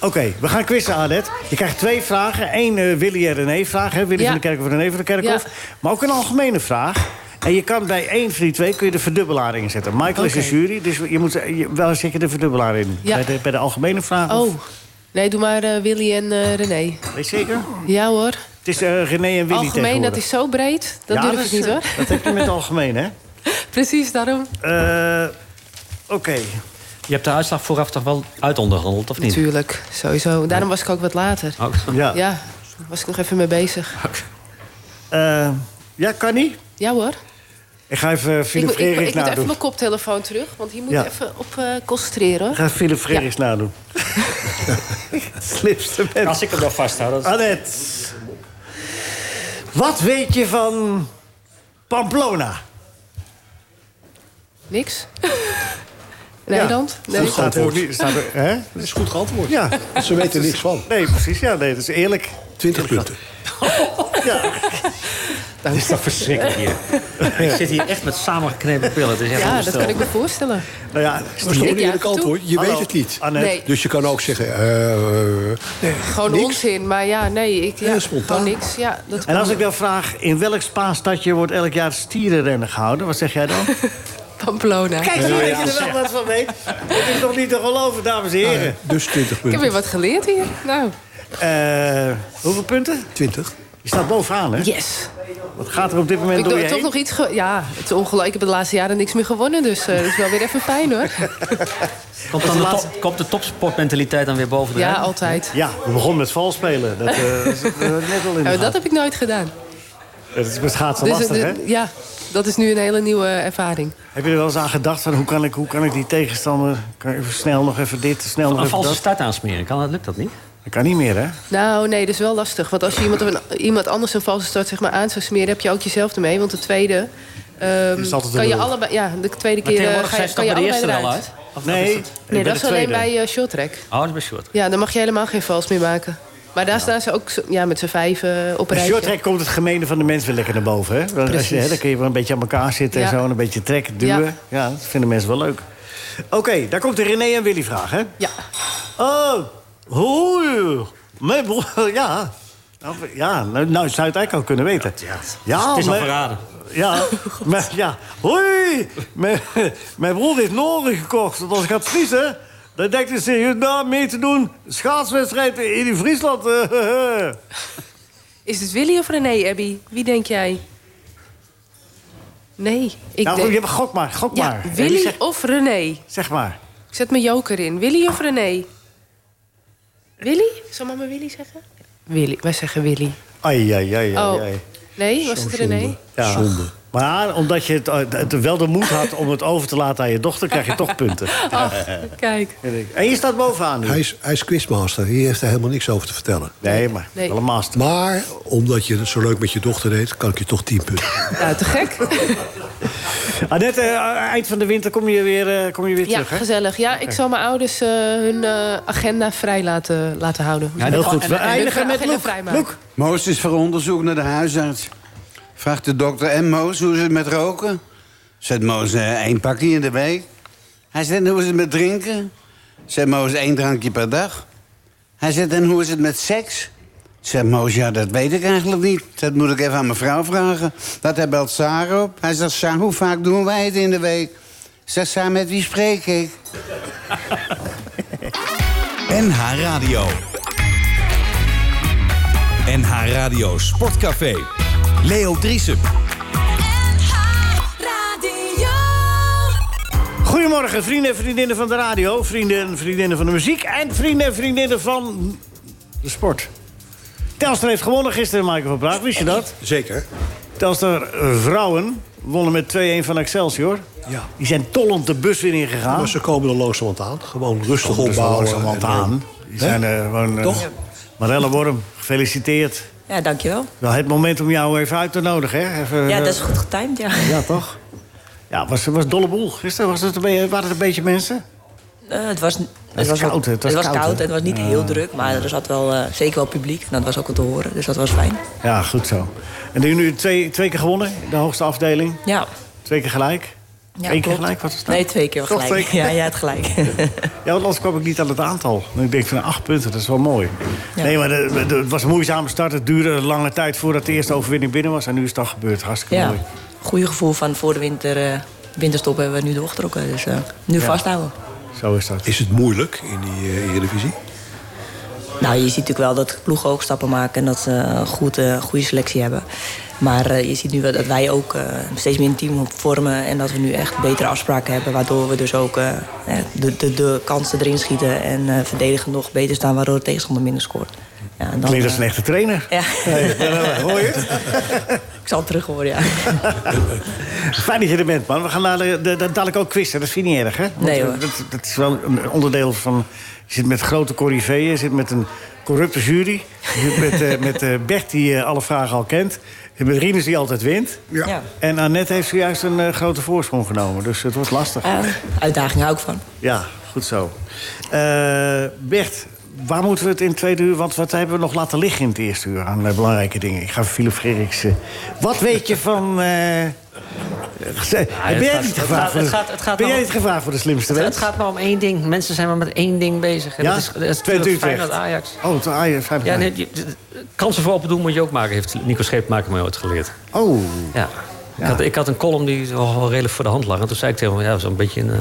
[SPEAKER 3] Oké, we gaan quizzen, Annette. Je krijgt twee vragen. Eén eh, Willy en René vraag, hè? Willy
[SPEAKER 7] Ja.
[SPEAKER 3] van de Kerkhof en René van de Kerkhof.
[SPEAKER 7] Ja.
[SPEAKER 3] Maar ook een algemene vraag. En je kan bij één van die twee kun je de verdubbelaar inzetten. Michael is de
[SPEAKER 7] Oké.
[SPEAKER 3] jury, dus je moet je, wel zeker de verdubbelaar in.
[SPEAKER 7] Ja.
[SPEAKER 3] Bij, de, bij de algemene vraag of-
[SPEAKER 7] Oh, nee, doe maar eh, Willy en eh, René.
[SPEAKER 3] Weet je zeker?
[SPEAKER 7] Ja hoor.
[SPEAKER 3] Het is eh, René en Willy
[SPEAKER 7] Algemeen, dat is zo breed. Dat durf ik niet hoor.
[SPEAKER 3] Dat heb je met het algemeen, hè?
[SPEAKER 7] Precies, daarom.
[SPEAKER 3] Eh, Oké.
[SPEAKER 6] Je hebt de uitslag vooraf toch wel uitonderhandeld, of niet?
[SPEAKER 7] Natuurlijk, sowieso. Daarom was ik ook wat later.
[SPEAKER 6] Oh,
[SPEAKER 3] Ja. Ja.
[SPEAKER 7] Ja, was ik nog even mee bezig.
[SPEAKER 3] Eh, ja, kan niet?
[SPEAKER 7] Ja hoor.
[SPEAKER 3] Ik ga even eh,
[SPEAKER 7] Ik,
[SPEAKER 3] Philip
[SPEAKER 7] moet- ik,
[SPEAKER 3] Frerichs
[SPEAKER 7] ik moet even
[SPEAKER 3] nadoen.
[SPEAKER 7] mijn koptelefoon terug, want hier moet
[SPEAKER 3] Ja.
[SPEAKER 7] ik even op eh, concentreren.
[SPEAKER 3] Ik ga
[SPEAKER 7] hoor.
[SPEAKER 3] Philip Frerichs nadoen. Slimste mens.
[SPEAKER 6] Als ik hem nog vasthoud, dat
[SPEAKER 3] Annette. Wat weet je van Pamplona?
[SPEAKER 7] Niks? Nederland?
[SPEAKER 3] Dat
[SPEAKER 7] Nee.
[SPEAKER 3] staat er ook niet. Staat er, hè?
[SPEAKER 4] Dat is goed geantwoord.
[SPEAKER 3] Ja.
[SPEAKER 4] Ze weten niks van.
[SPEAKER 3] Nee, precies. Ja, nee, dat is eerlijk.
[SPEAKER 4] 20 punten.
[SPEAKER 6] is toch verschrikkelijk hier. Ik zit hier echt met samengeknepen pillen. Het is echt
[SPEAKER 7] Ja, dat
[SPEAKER 6] onvoorstelbaar.
[SPEAKER 7] kan ik me voorstellen.
[SPEAKER 3] Nou ja,
[SPEAKER 4] Dat is toch een
[SPEAKER 7] Ik
[SPEAKER 4] eerlijk
[SPEAKER 7] juich toe.
[SPEAKER 4] antwoord? Je
[SPEAKER 3] Hallo,
[SPEAKER 4] weet het niet.
[SPEAKER 3] Annette.
[SPEAKER 7] Nee.
[SPEAKER 4] Dus je kan ook zeggen... eh, eh, nee,
[SPEAKER 7] Gewoon
[SPEAKER 4] niks.
[SPEAKER 7] onzin, maar ja, nee. Ik, ja,
[SPEAKER 4] Ja, spontaan.
[SPEAKER 7] Gewoon niks. Ja, dat
[SPEAKER 3] En als
[SPEAKER 7] kan.
[SPEAKER 3] ik dan vraag, in welk Spaans stadje wordt elk jaar het stierenrennen gehouden? Wat zeg jij dan?
[SPEAKER 7] Pamplona.
[SPEAKER 3] Kijk, zie je dat je er wel wat van weet. Het is toch niet te geloven, dames en heren.
[SPEAKER 4] Dus 20
[SPEAKER 7] Ik heb
[SPEAKER 4] punten.
[SPEAKER 7] weer wat geleerd hier. Nou,
[SPEAKER 3] Eh, hoeveel punten?
[SPEAKER 4] 20.
[SPEAKER 3] Je staat bovenaan, hè?
[SPEAKER 7] yes.
[SPEAKER 3] Wat gaat er op dit moment
[SPEAKER 7] Ik
[SPEAKER 3] door je
[SPEAKER 7] heb toch
[SPEAKER 3] heen?
[SPEAKER 7] nog iets... ge- Ja, het is ongelooflijk. Ik heb de laatste jaren niks meer gewonnen, dus eh, dat is wel weer even fijn, hoor.
[SPEAKER 6] Komt, dan de, top, komt de topsportmentaliteit dan weer boven de
[SPEAKER 7] Ja,
[SPEAKER 6] rij?
[SPEAKER 7] altijd.
[SPEAKER 3] Ja, we begonnen met valspelen. Dat eh, is het, eh, net al in
[SPEAKER 7] Ja,
[SPEAKER 3] de
[SPEAKER 7] maar dat
[SPEAKER 3] gaten.
[SPEAKER 7] heb ik nooit gedaan.
[SPEAKER 3] Het is best schaatsen
[SPEAKER 7] Dus,
[SPEAKER 3] lastig,
[SPEAKER 7] eh,
[SPEAKER 3] hè?
[SPEAKER 7] ja, dat is nu een hele nieuwe ervaring.
[SPEAKER 3] Heb je er wel eens aan gedacht van hoe kan ik, hoe kan ik die tegenstander... Kan ik even snel nog even dit, snel nog
[SPEAKER 6] Een
[SPEAKER 3] even
[SPEAKER 6] valse
[SPEAKER 3] dat?
[SPEAKER 6] start aansmeren, kan dat, lukt dat niet?
[SPEAKER 3] Dat kan niet meer, hè?
[SPEAKER 7] Nou, nee, dat is wel lastig. Want als je iemand, op een, iemand anders een valse start zeg maar, aan zou smeren... heb je ook jezelf ermee. Want de tweede... ehm,
[SPEAKER 3] Is altijd de
[SPEAKER 7] kan je
[SPEAKER 3] lul.
[SPEAKER 7] allebei, ja, de tweede
[SPEAKER 6] Maar
[SPEAKER 7] keer eh,
[SPEAKER 6] tegenwoordig
[SPEAKER 7] ga
[SPEAKER 6] zijn
[SPEAKER 7] je,
[SPEAKER 6] ze
[SPEAKER 7] kan
[SPEAKER 6] toch
[SPEAKER 7] je
[SPEAKER 6] bij de
[SPEAKER 7] allebei
[SPEAKER 6] eerste wel
[SPEAKER 7] eruit.
[SPEAKER 6] uit? Of
[SPEAKER 3] Nee,
[SPEAKER 6] is het?
[SPEAKER 7] Nee,
[SPEAKER 3] bij
[SPEAKER 7] dat
[SPEAKER 3] de
[SPEAKER 7] is alleen
[SPEAKER 3] tweede.
[SPEAKER 7] bij eh, short track.
[SPEAKER 6] Oh, dat is bij short.
[SPEAKER 7] Ja, dan mag je helemaal geen vals meer maken. Maar daar staan ze ook zo- ja, met z'n vijf eh, op een
[SPEAKER 3] Bij
[SPEAKER 7] rijtje.
[SPEAKER 3] shorttrack komt het gemene van de mens weer lekker naar boven, hè? Want Als je,
[SPEAKER 7] Precies.
[SPEAKER 3] hè, dan kun je wel een beetje aan elkaar zitten en
[SPEAKER 7] Ja.
[SPEAKER 3] zo... en een beetje trekken, duwen. Ja.
[SPEAKER 7] Ja.
[SPEAKER 3] dat vinden mensen wel leuk. Oké, daar komt de René en Willy vraag, hè?
[SPEAKER 7] Ja,
[SPEAKER 3] Oh, hoe? Mijn broer, ja. Nou, Ja, nou, nou zou je het eigenlijk al kunnen weten. Ja,
[SPEAKER 6] Het is al
[SPEAKER 3] mijn-
[SPEAKER 6] verraden.
[SPEAKER 3] Ja, mijn, ja. Hoi, mijn, mijn broer heeft Noren gekocht. Want als ik ga verliezen, dan denkt hij serieus na mee te doen. Schaatswedstrijd in in Friesland. eh.
[SPEAKER 7] is het Willy of René, Abby? Wie denk jij? Nee, ik
[SPEAKER 3] nou,
[SPEAKER 7] denk...
[SPEAKER 3] goed, ja, gok maar, gok
[SPEAKER 7] Ja,
[SPEAKER 3] maar.
[SPEAKER 7] Willy
[SPEAKER 3] Zeg,
[SPEAKER 7] of René?
[SPEAKER 3] zeg maar.
[SPEAKER 7] Ik zet mijn joker in. Willy of René? Willy? Zal mama Willy zeggen? Willy, wij zeggen Willy.
[SPEAKER 3] Ai, ai, ai, ai,
[SPEAKER 7] Oh,
[SPEAKER 3] ai.
[SPEAKER 7] nee, was het René?
[SPEAKER 3] Ja.
[SPEAKER 4] Zonde.
[SPEAKER 3] Maar Maar omdat je het, eh, het wel de moed had om het over te laten aan je dochter... krijg je toch punten.
[SPEAKER 7] Ach, kijk.
[SPEAKER 3] En je staat bovenaan nu.
[SPEAKER 4] Hij is, hij is quizmaster. Hier heeft hij helemaal niks over te vertellen.
[SPEAKER 3] Nee, maar
[SPEAKER 7] Nee.
[SPEAKER 3] wel een master.
[SPEAKER 4] Maar omdat je het zo leuk met je dochter deed, kan ik je toch 10 punten.
[SPEAKER 7] Ja, Nou, te gek.
[SPEAKER 3] Annette, eh, eind van de winter kom je weer, eh, kom je weer
[SPEAKER 7] Ja,
[SPEAKER 3] terug, hè?
[SPEAKER 7] gezellig. Ja, ik zal mijn ouders eh, hun eh, agenda vrij laten, laten houden.
[SPEAKER 3] Ja, heel goed.
[SPEAKER 7] En- eh,
[SPEAKER 3] We
[SPEAKER 7] en- en
[SPEAKER 3] eindigen
[SPEAKER 7] hun
[SPEAKER 3] met
[SPEAKER 7] agenda
[SPEAKER 3] Loek.
[SPEAKER 7] vrijmaken.
[SPEAKER 3] Loek.
[SPEAKER 8] Moos is voor onderzoek naar de huisarts. Vraagt de dokter, en Moos, hoe is het met roken? Zet Moos eh, één pakje in de week. Hij zegt, en hoe is het met drinken? Zet Moos één drankje per dag. Hij zegt, en hoe is het met seks? Zegt Moos, ja, dat weet ik eigenlijk niet. Dat moet ik even aan mijn vrouw vragen. Dat hij belt Saar op. Hij zegt, Saar, hoe vaak doen wij het in de week? Zegt Saar, met wie spreek ik?
[SPEAKER 2] NH Radio. NH Radio Sportcafé. Leo Driesen.
[SPEAKER 3] Goedemorgen, vrienden en vriendinnen van de radio. Vrienden en vriendinnen van de muziek. En vrienden en vriendinnen van de sport. Telstar heeft gewonnen gisteren, Michael van Praag. Wist je dat?
[SPEAKER 4] Zeker.
[SPEAKER 3] Telstar eh, vrouwen wonnen met 2-1 van Excelsior.
[SPEAKER 4] Ja.
[SPEAKER 3] Die zijn tollend de bus weer ingegaan.
[SPEAKER 4] Maar ze komen er langzamerhand aan. Gewoon rustig
[SPEAKER 3] Dus
[SPEAKER 4] opbouwen.
[SPEAKER 3] langzamerhand
[SPEAKER 4] en dan-
[SPEAKER 3] aan. Die zijn eh, gewoon... eh,
[SPEAKER 4] Toch? Ja.
[SPEAKER 3] Marelle Worm, gefeliciteerd.
[SPEAKER 9] Ja, dankjewel.
[SPEAKER 3] Wel het moment om jou even uit te nodigen, hè? Even,
[SPEAKER 9] Ja,
[SPEAKER 3] eh,
[SPEAKER 9] dat is goed getimed, ja.
[SPEAKER 3] Ja, toch? Ja, het was, was een dolle boel. Gisteren was het een beetje, waren het een beetje mensen.
[SPEAKER 9] Eh, het was, het
[SPEAKER 3] is
[SPEAKER 9] was wel-
[SPEAKER 3] koud, hè? Het
[SPEAKER 9] het
[SPEAKER 3] was
[SPEAKER 9] was
[SPEAKER 3] koud,
[SPEAKER 9] koud,
[SPEAKER 3] hè?
[SPEAKER 9] het was niet heel druk, maar er zat wel eh, zeker wel publiek. En dat was ook wel te horen, dus dat was fijn.
[SPEAKER 3] Ja, goed zo. En die nu twee, twee keer gewonnen, in de hoogste afdeling.
[SPEAKER 9] Ja.
[SPEAKER 3] Twee keer gelijk.
[SPEAKER 9] Ja,
[SPEAKER 3] Eén keer
[SPEAKER 9] klopt.
[SPEAKER 3] gelijk, wat is dat?
[SPEAKER 9] Nee, twee keer
[SPEAKER 3] Toch
[SPEAKER 9] gelijk.
[SPEAKER 3] twee keer?
[SPEAKER 9] Ja, ja, het gelijk.
[SPEAKER 3] Ja, want anders kwam ik niet aan het aantal. En ik denk van acht punten, dat is wel mooi.
[SPEAKER 9] Ja.
[SPEAKER 3] Nee, maar de- de- het was een moeizame start. Het duurde een lange tijd voordat de eerste overwinning binnen was. En nu is het al gebeurd. Hartstikke
[SPEAKER 9] ja.
[SPEAKER 3] mooi.
[SPEAKER 9] Goeie gevoel van voor de winter, eh, winterstop hebben we nu doorgetrokken. Dus eh, nu vasthouden.
[SPEAKER 3] Zo is dat.
[SPEAKER 4] Is het moeilijk in die eh, Eredivisie?
[SPEAKER 9] Nou, je ziet natuurlijk wel dat ploegen ook stappen maken en dat ze een goed, eh, goede selectie hebben. Maar eh, je ziet nu wel dat wij ook eh, steeds meer een team vormen en dat we nu echt betere afspraken hebben. Waardoor we dus ook eh, eh, de, de, de kansen erin schieten en eh, verdedigen nog beter staan, waardoor de tegenstander minder scoort. Ja, en dan,
[SPEAKER 3] Klinkt als
[SPEAKER 9] eh,
[SPEAKER 3] een echte trainer.
[SPEAKER 9] Ja,
[SPEAKER 3] Hoor je het?
[SPEAKER 9] ik zal het terug horen, ja.
[SPEAKER 3] Fijn dat je er bent, man. We gaan naar de- de- de- dadelijk ook quizzen. Dat vind je niet erg, hè? Want eh,
[SPEAKER 9] Nee, hoor.
[SPEAKER 3] Dat, dat is wel een onderdeel van... Je zit met grote coryfeeën, je zit met een corrupte jury. Je zit met, eh, met eh, Bert, die eh, alle vragen al kent. Je zit met Rinus, die altijd wint.
[SPEAKER 9] ja.
[SPEAKER 3] En Annette heeft zojuist een eh, grote voorsprong genomen. Dus het wordt lastig.
[SPEAKER 9] Eh, uitdaging hou ik van.
[SPEAKER 3] Ja, goed zo. Eh, Bert, waar moeten we het in het tweede uur... want wat hebben we nog laten liggen in het eerste uur aan eh, belangrijke dingen? Ik ga Philip Gerrits... eh, wat weet je van... eh, eh, ben jij
[SPEAKER 6] gaat-
[SPEAKER 3] niet
[SPEAKER 6] het
[SPEAKER 3] gevraagd
[SPEAKER 6] gaat-
[SPEAKER 3] voor
[SPEAKER 6] het
[SPEAKER 3] de-
[SPEAKER 6] gaat- het gaat
[SPEAKER 3] ben jij
[SPEAKER 6] nog-
[SPEAKER 3] niet gevraagd voor de slimste
[SPEAKER 6] Het, het
[SPEAKER 3] wens?
[SPEAKER 6] gaat maar om één ding. Mensen zijn maar met één ding bezig. En
[SPEAKER 3] Ja?
[SPEAKER 6] dat is, dat is
[SPEAKER 3] Twente
[SPEAKER 6] natuurlijk
[SPEAKER 3] Utrecht.
[SPEAKER 6] Feyenoord Ajax.
[SPEAKER 3] Oh, het Ajax. Feyenoord.
[SPEAKER 6] Ja, nee, je- de- de- kansen voor open doen moet je ook maken, heeft Nico Scheepmaker mij ooit geleerd.
[SPEAKER 3] Oh,
[SPEAKER 6] Ja. Ik, had, ik had een column die wel wel redelijk voor de hand lag. En toen zei ik tegen hem, ja, zo'n beetje een, eh,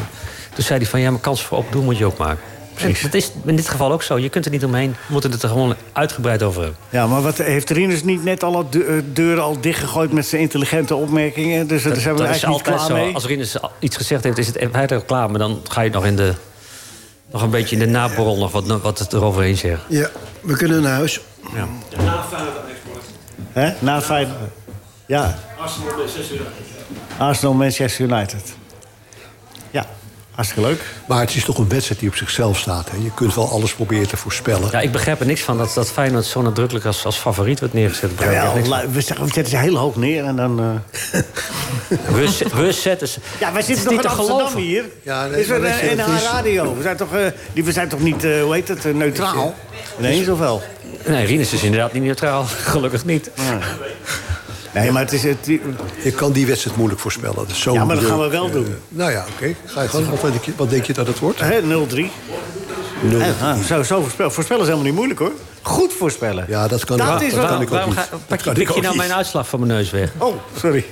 [SPEAKER 6] toen zei hij van, ja, maar kansen voor open doen moet je ook maken. En dat is in dit geval ook zo. Je kunt er niet omheen. We moeten het er gewoon uitgebreid over hebben.
[SPEAKER 3] ja, maar wat, heeft Rinus niet net alle de- eh, deuren al dichtgegooid... met zijn intelligente opmerkingen? Dus daar zijn we
[SPEAKER 6] dat is
[SPEAKER 3] eigenlijk niet
[SPEAKER 6] altijd
[SPEAKER 3] klaar
[SPEAKER 6] zo.
[SPEAKER 3] mee.
[SPEAKER 6] Als Rinus al- iets gezegd heeft, is het verder klaar. Maar dan ga je nog in de... Nog een beetje in de naborrel nog wat, wat het eroverheen zegt.
[SPEAKER 5] Ja, we kunnen naar huis.
[SPEAKER 3] Hè? Na Feyenoord. Ja. Arsenal Manchester United. Ja, hartstikke leuk.
[SPEAKER 4] Maar het is toch een wedstrijd die op zichzelf staat. Hè? Je kunt wel alles proberen te voorspellen.
[SPEAKER 6] Ja, ik begrijp er niks van dat, dat Feyenoord zo nadrukkelijk als, als favoriet wordt neergezet. Ik begrijp er
[SPEAKER 3] Jawel,
[SPEAKER 6] niks van.
[SPEAKER 3] la- we zeggen, we zetten ze heel hoog neer en dan... eh,
[SPEAKER 6] Rust, rust zetten ze.
[SPEAKER 3] Ja, wij
[SPEAKER 6] Het is
[SPEAKER 3] zitten nog in
[SPEAKER 6] niet te
[SPEAKER 3] Amsterdam
[SPEAKER 6] geloven.
[SPEAKER 3] hier.
[SPEAKER 4] Ja, nee,
[SPEAKER 3] is er
[SPEAKER 4] maar weet je,
[SPEAKER 3] eh,
[SPEAKER 4] het
[SPEAKER 3] NH
[SPEAKER 4] is-
[SPEAKER 3] Radio? We zijn toch, eh, die, we zijn toch niet, eh, hoe heet het, eh, neutraal? Ineens of wel?
[SPEAKER 6] Nee, Rinus is inderdaad niet neutraal. Gelukkig niet.
[SPEAKER 3] Nee, maar het is... Het,
[SPEAKER 4] Je kan die wedstrijd moeilijk voorspellen. Dat is zo
[SPEAKER 3] Ja, maar dat
[SPEAKER 4] moeilijk,
[SPEAKER 3] gaan we wel
[SPEAKER 4] eh,
[SPEAKER 3] doen.
[SPEAKER 4] Nou ja, oké. Ga je gang. Wat denk je, wat denk je dat het wordt?
[SPEAKER 3] hè, 0-3.
[SPEAKER 4] Nul.
[SPEAKER 3] Hè, ah, zo, zo voorspellen. Voorspellen is helemaal niet moeilijk, hoor. Goed voorspellen.
[SPEAKER 4] Ja, dat kan-
[SPEAKER 3] dat
[SPEAKER 4] dat
[SPEAKER 3] is
[SPEAKER 4] kan
[SPEAKER 3] wel...
[SPEAKER 4] ik ook
[SPEAKER 6] Waarom
[SPEAKER 4] niet.
[SPEAKER 6] ga,
[SPEAKER 4] Dat
[SPEAKER 6] pak je,
[SPEAKER 4] kan ik
[SPEAKER 6] pik je
[SPEAKER 4] ook
[SPEAKER 6] nou
[SPEAKER 4] niet.
[SPEAKER 6] mijn uitslag van mijn neus weg?
[SPEAKER 3] Oh, sorry.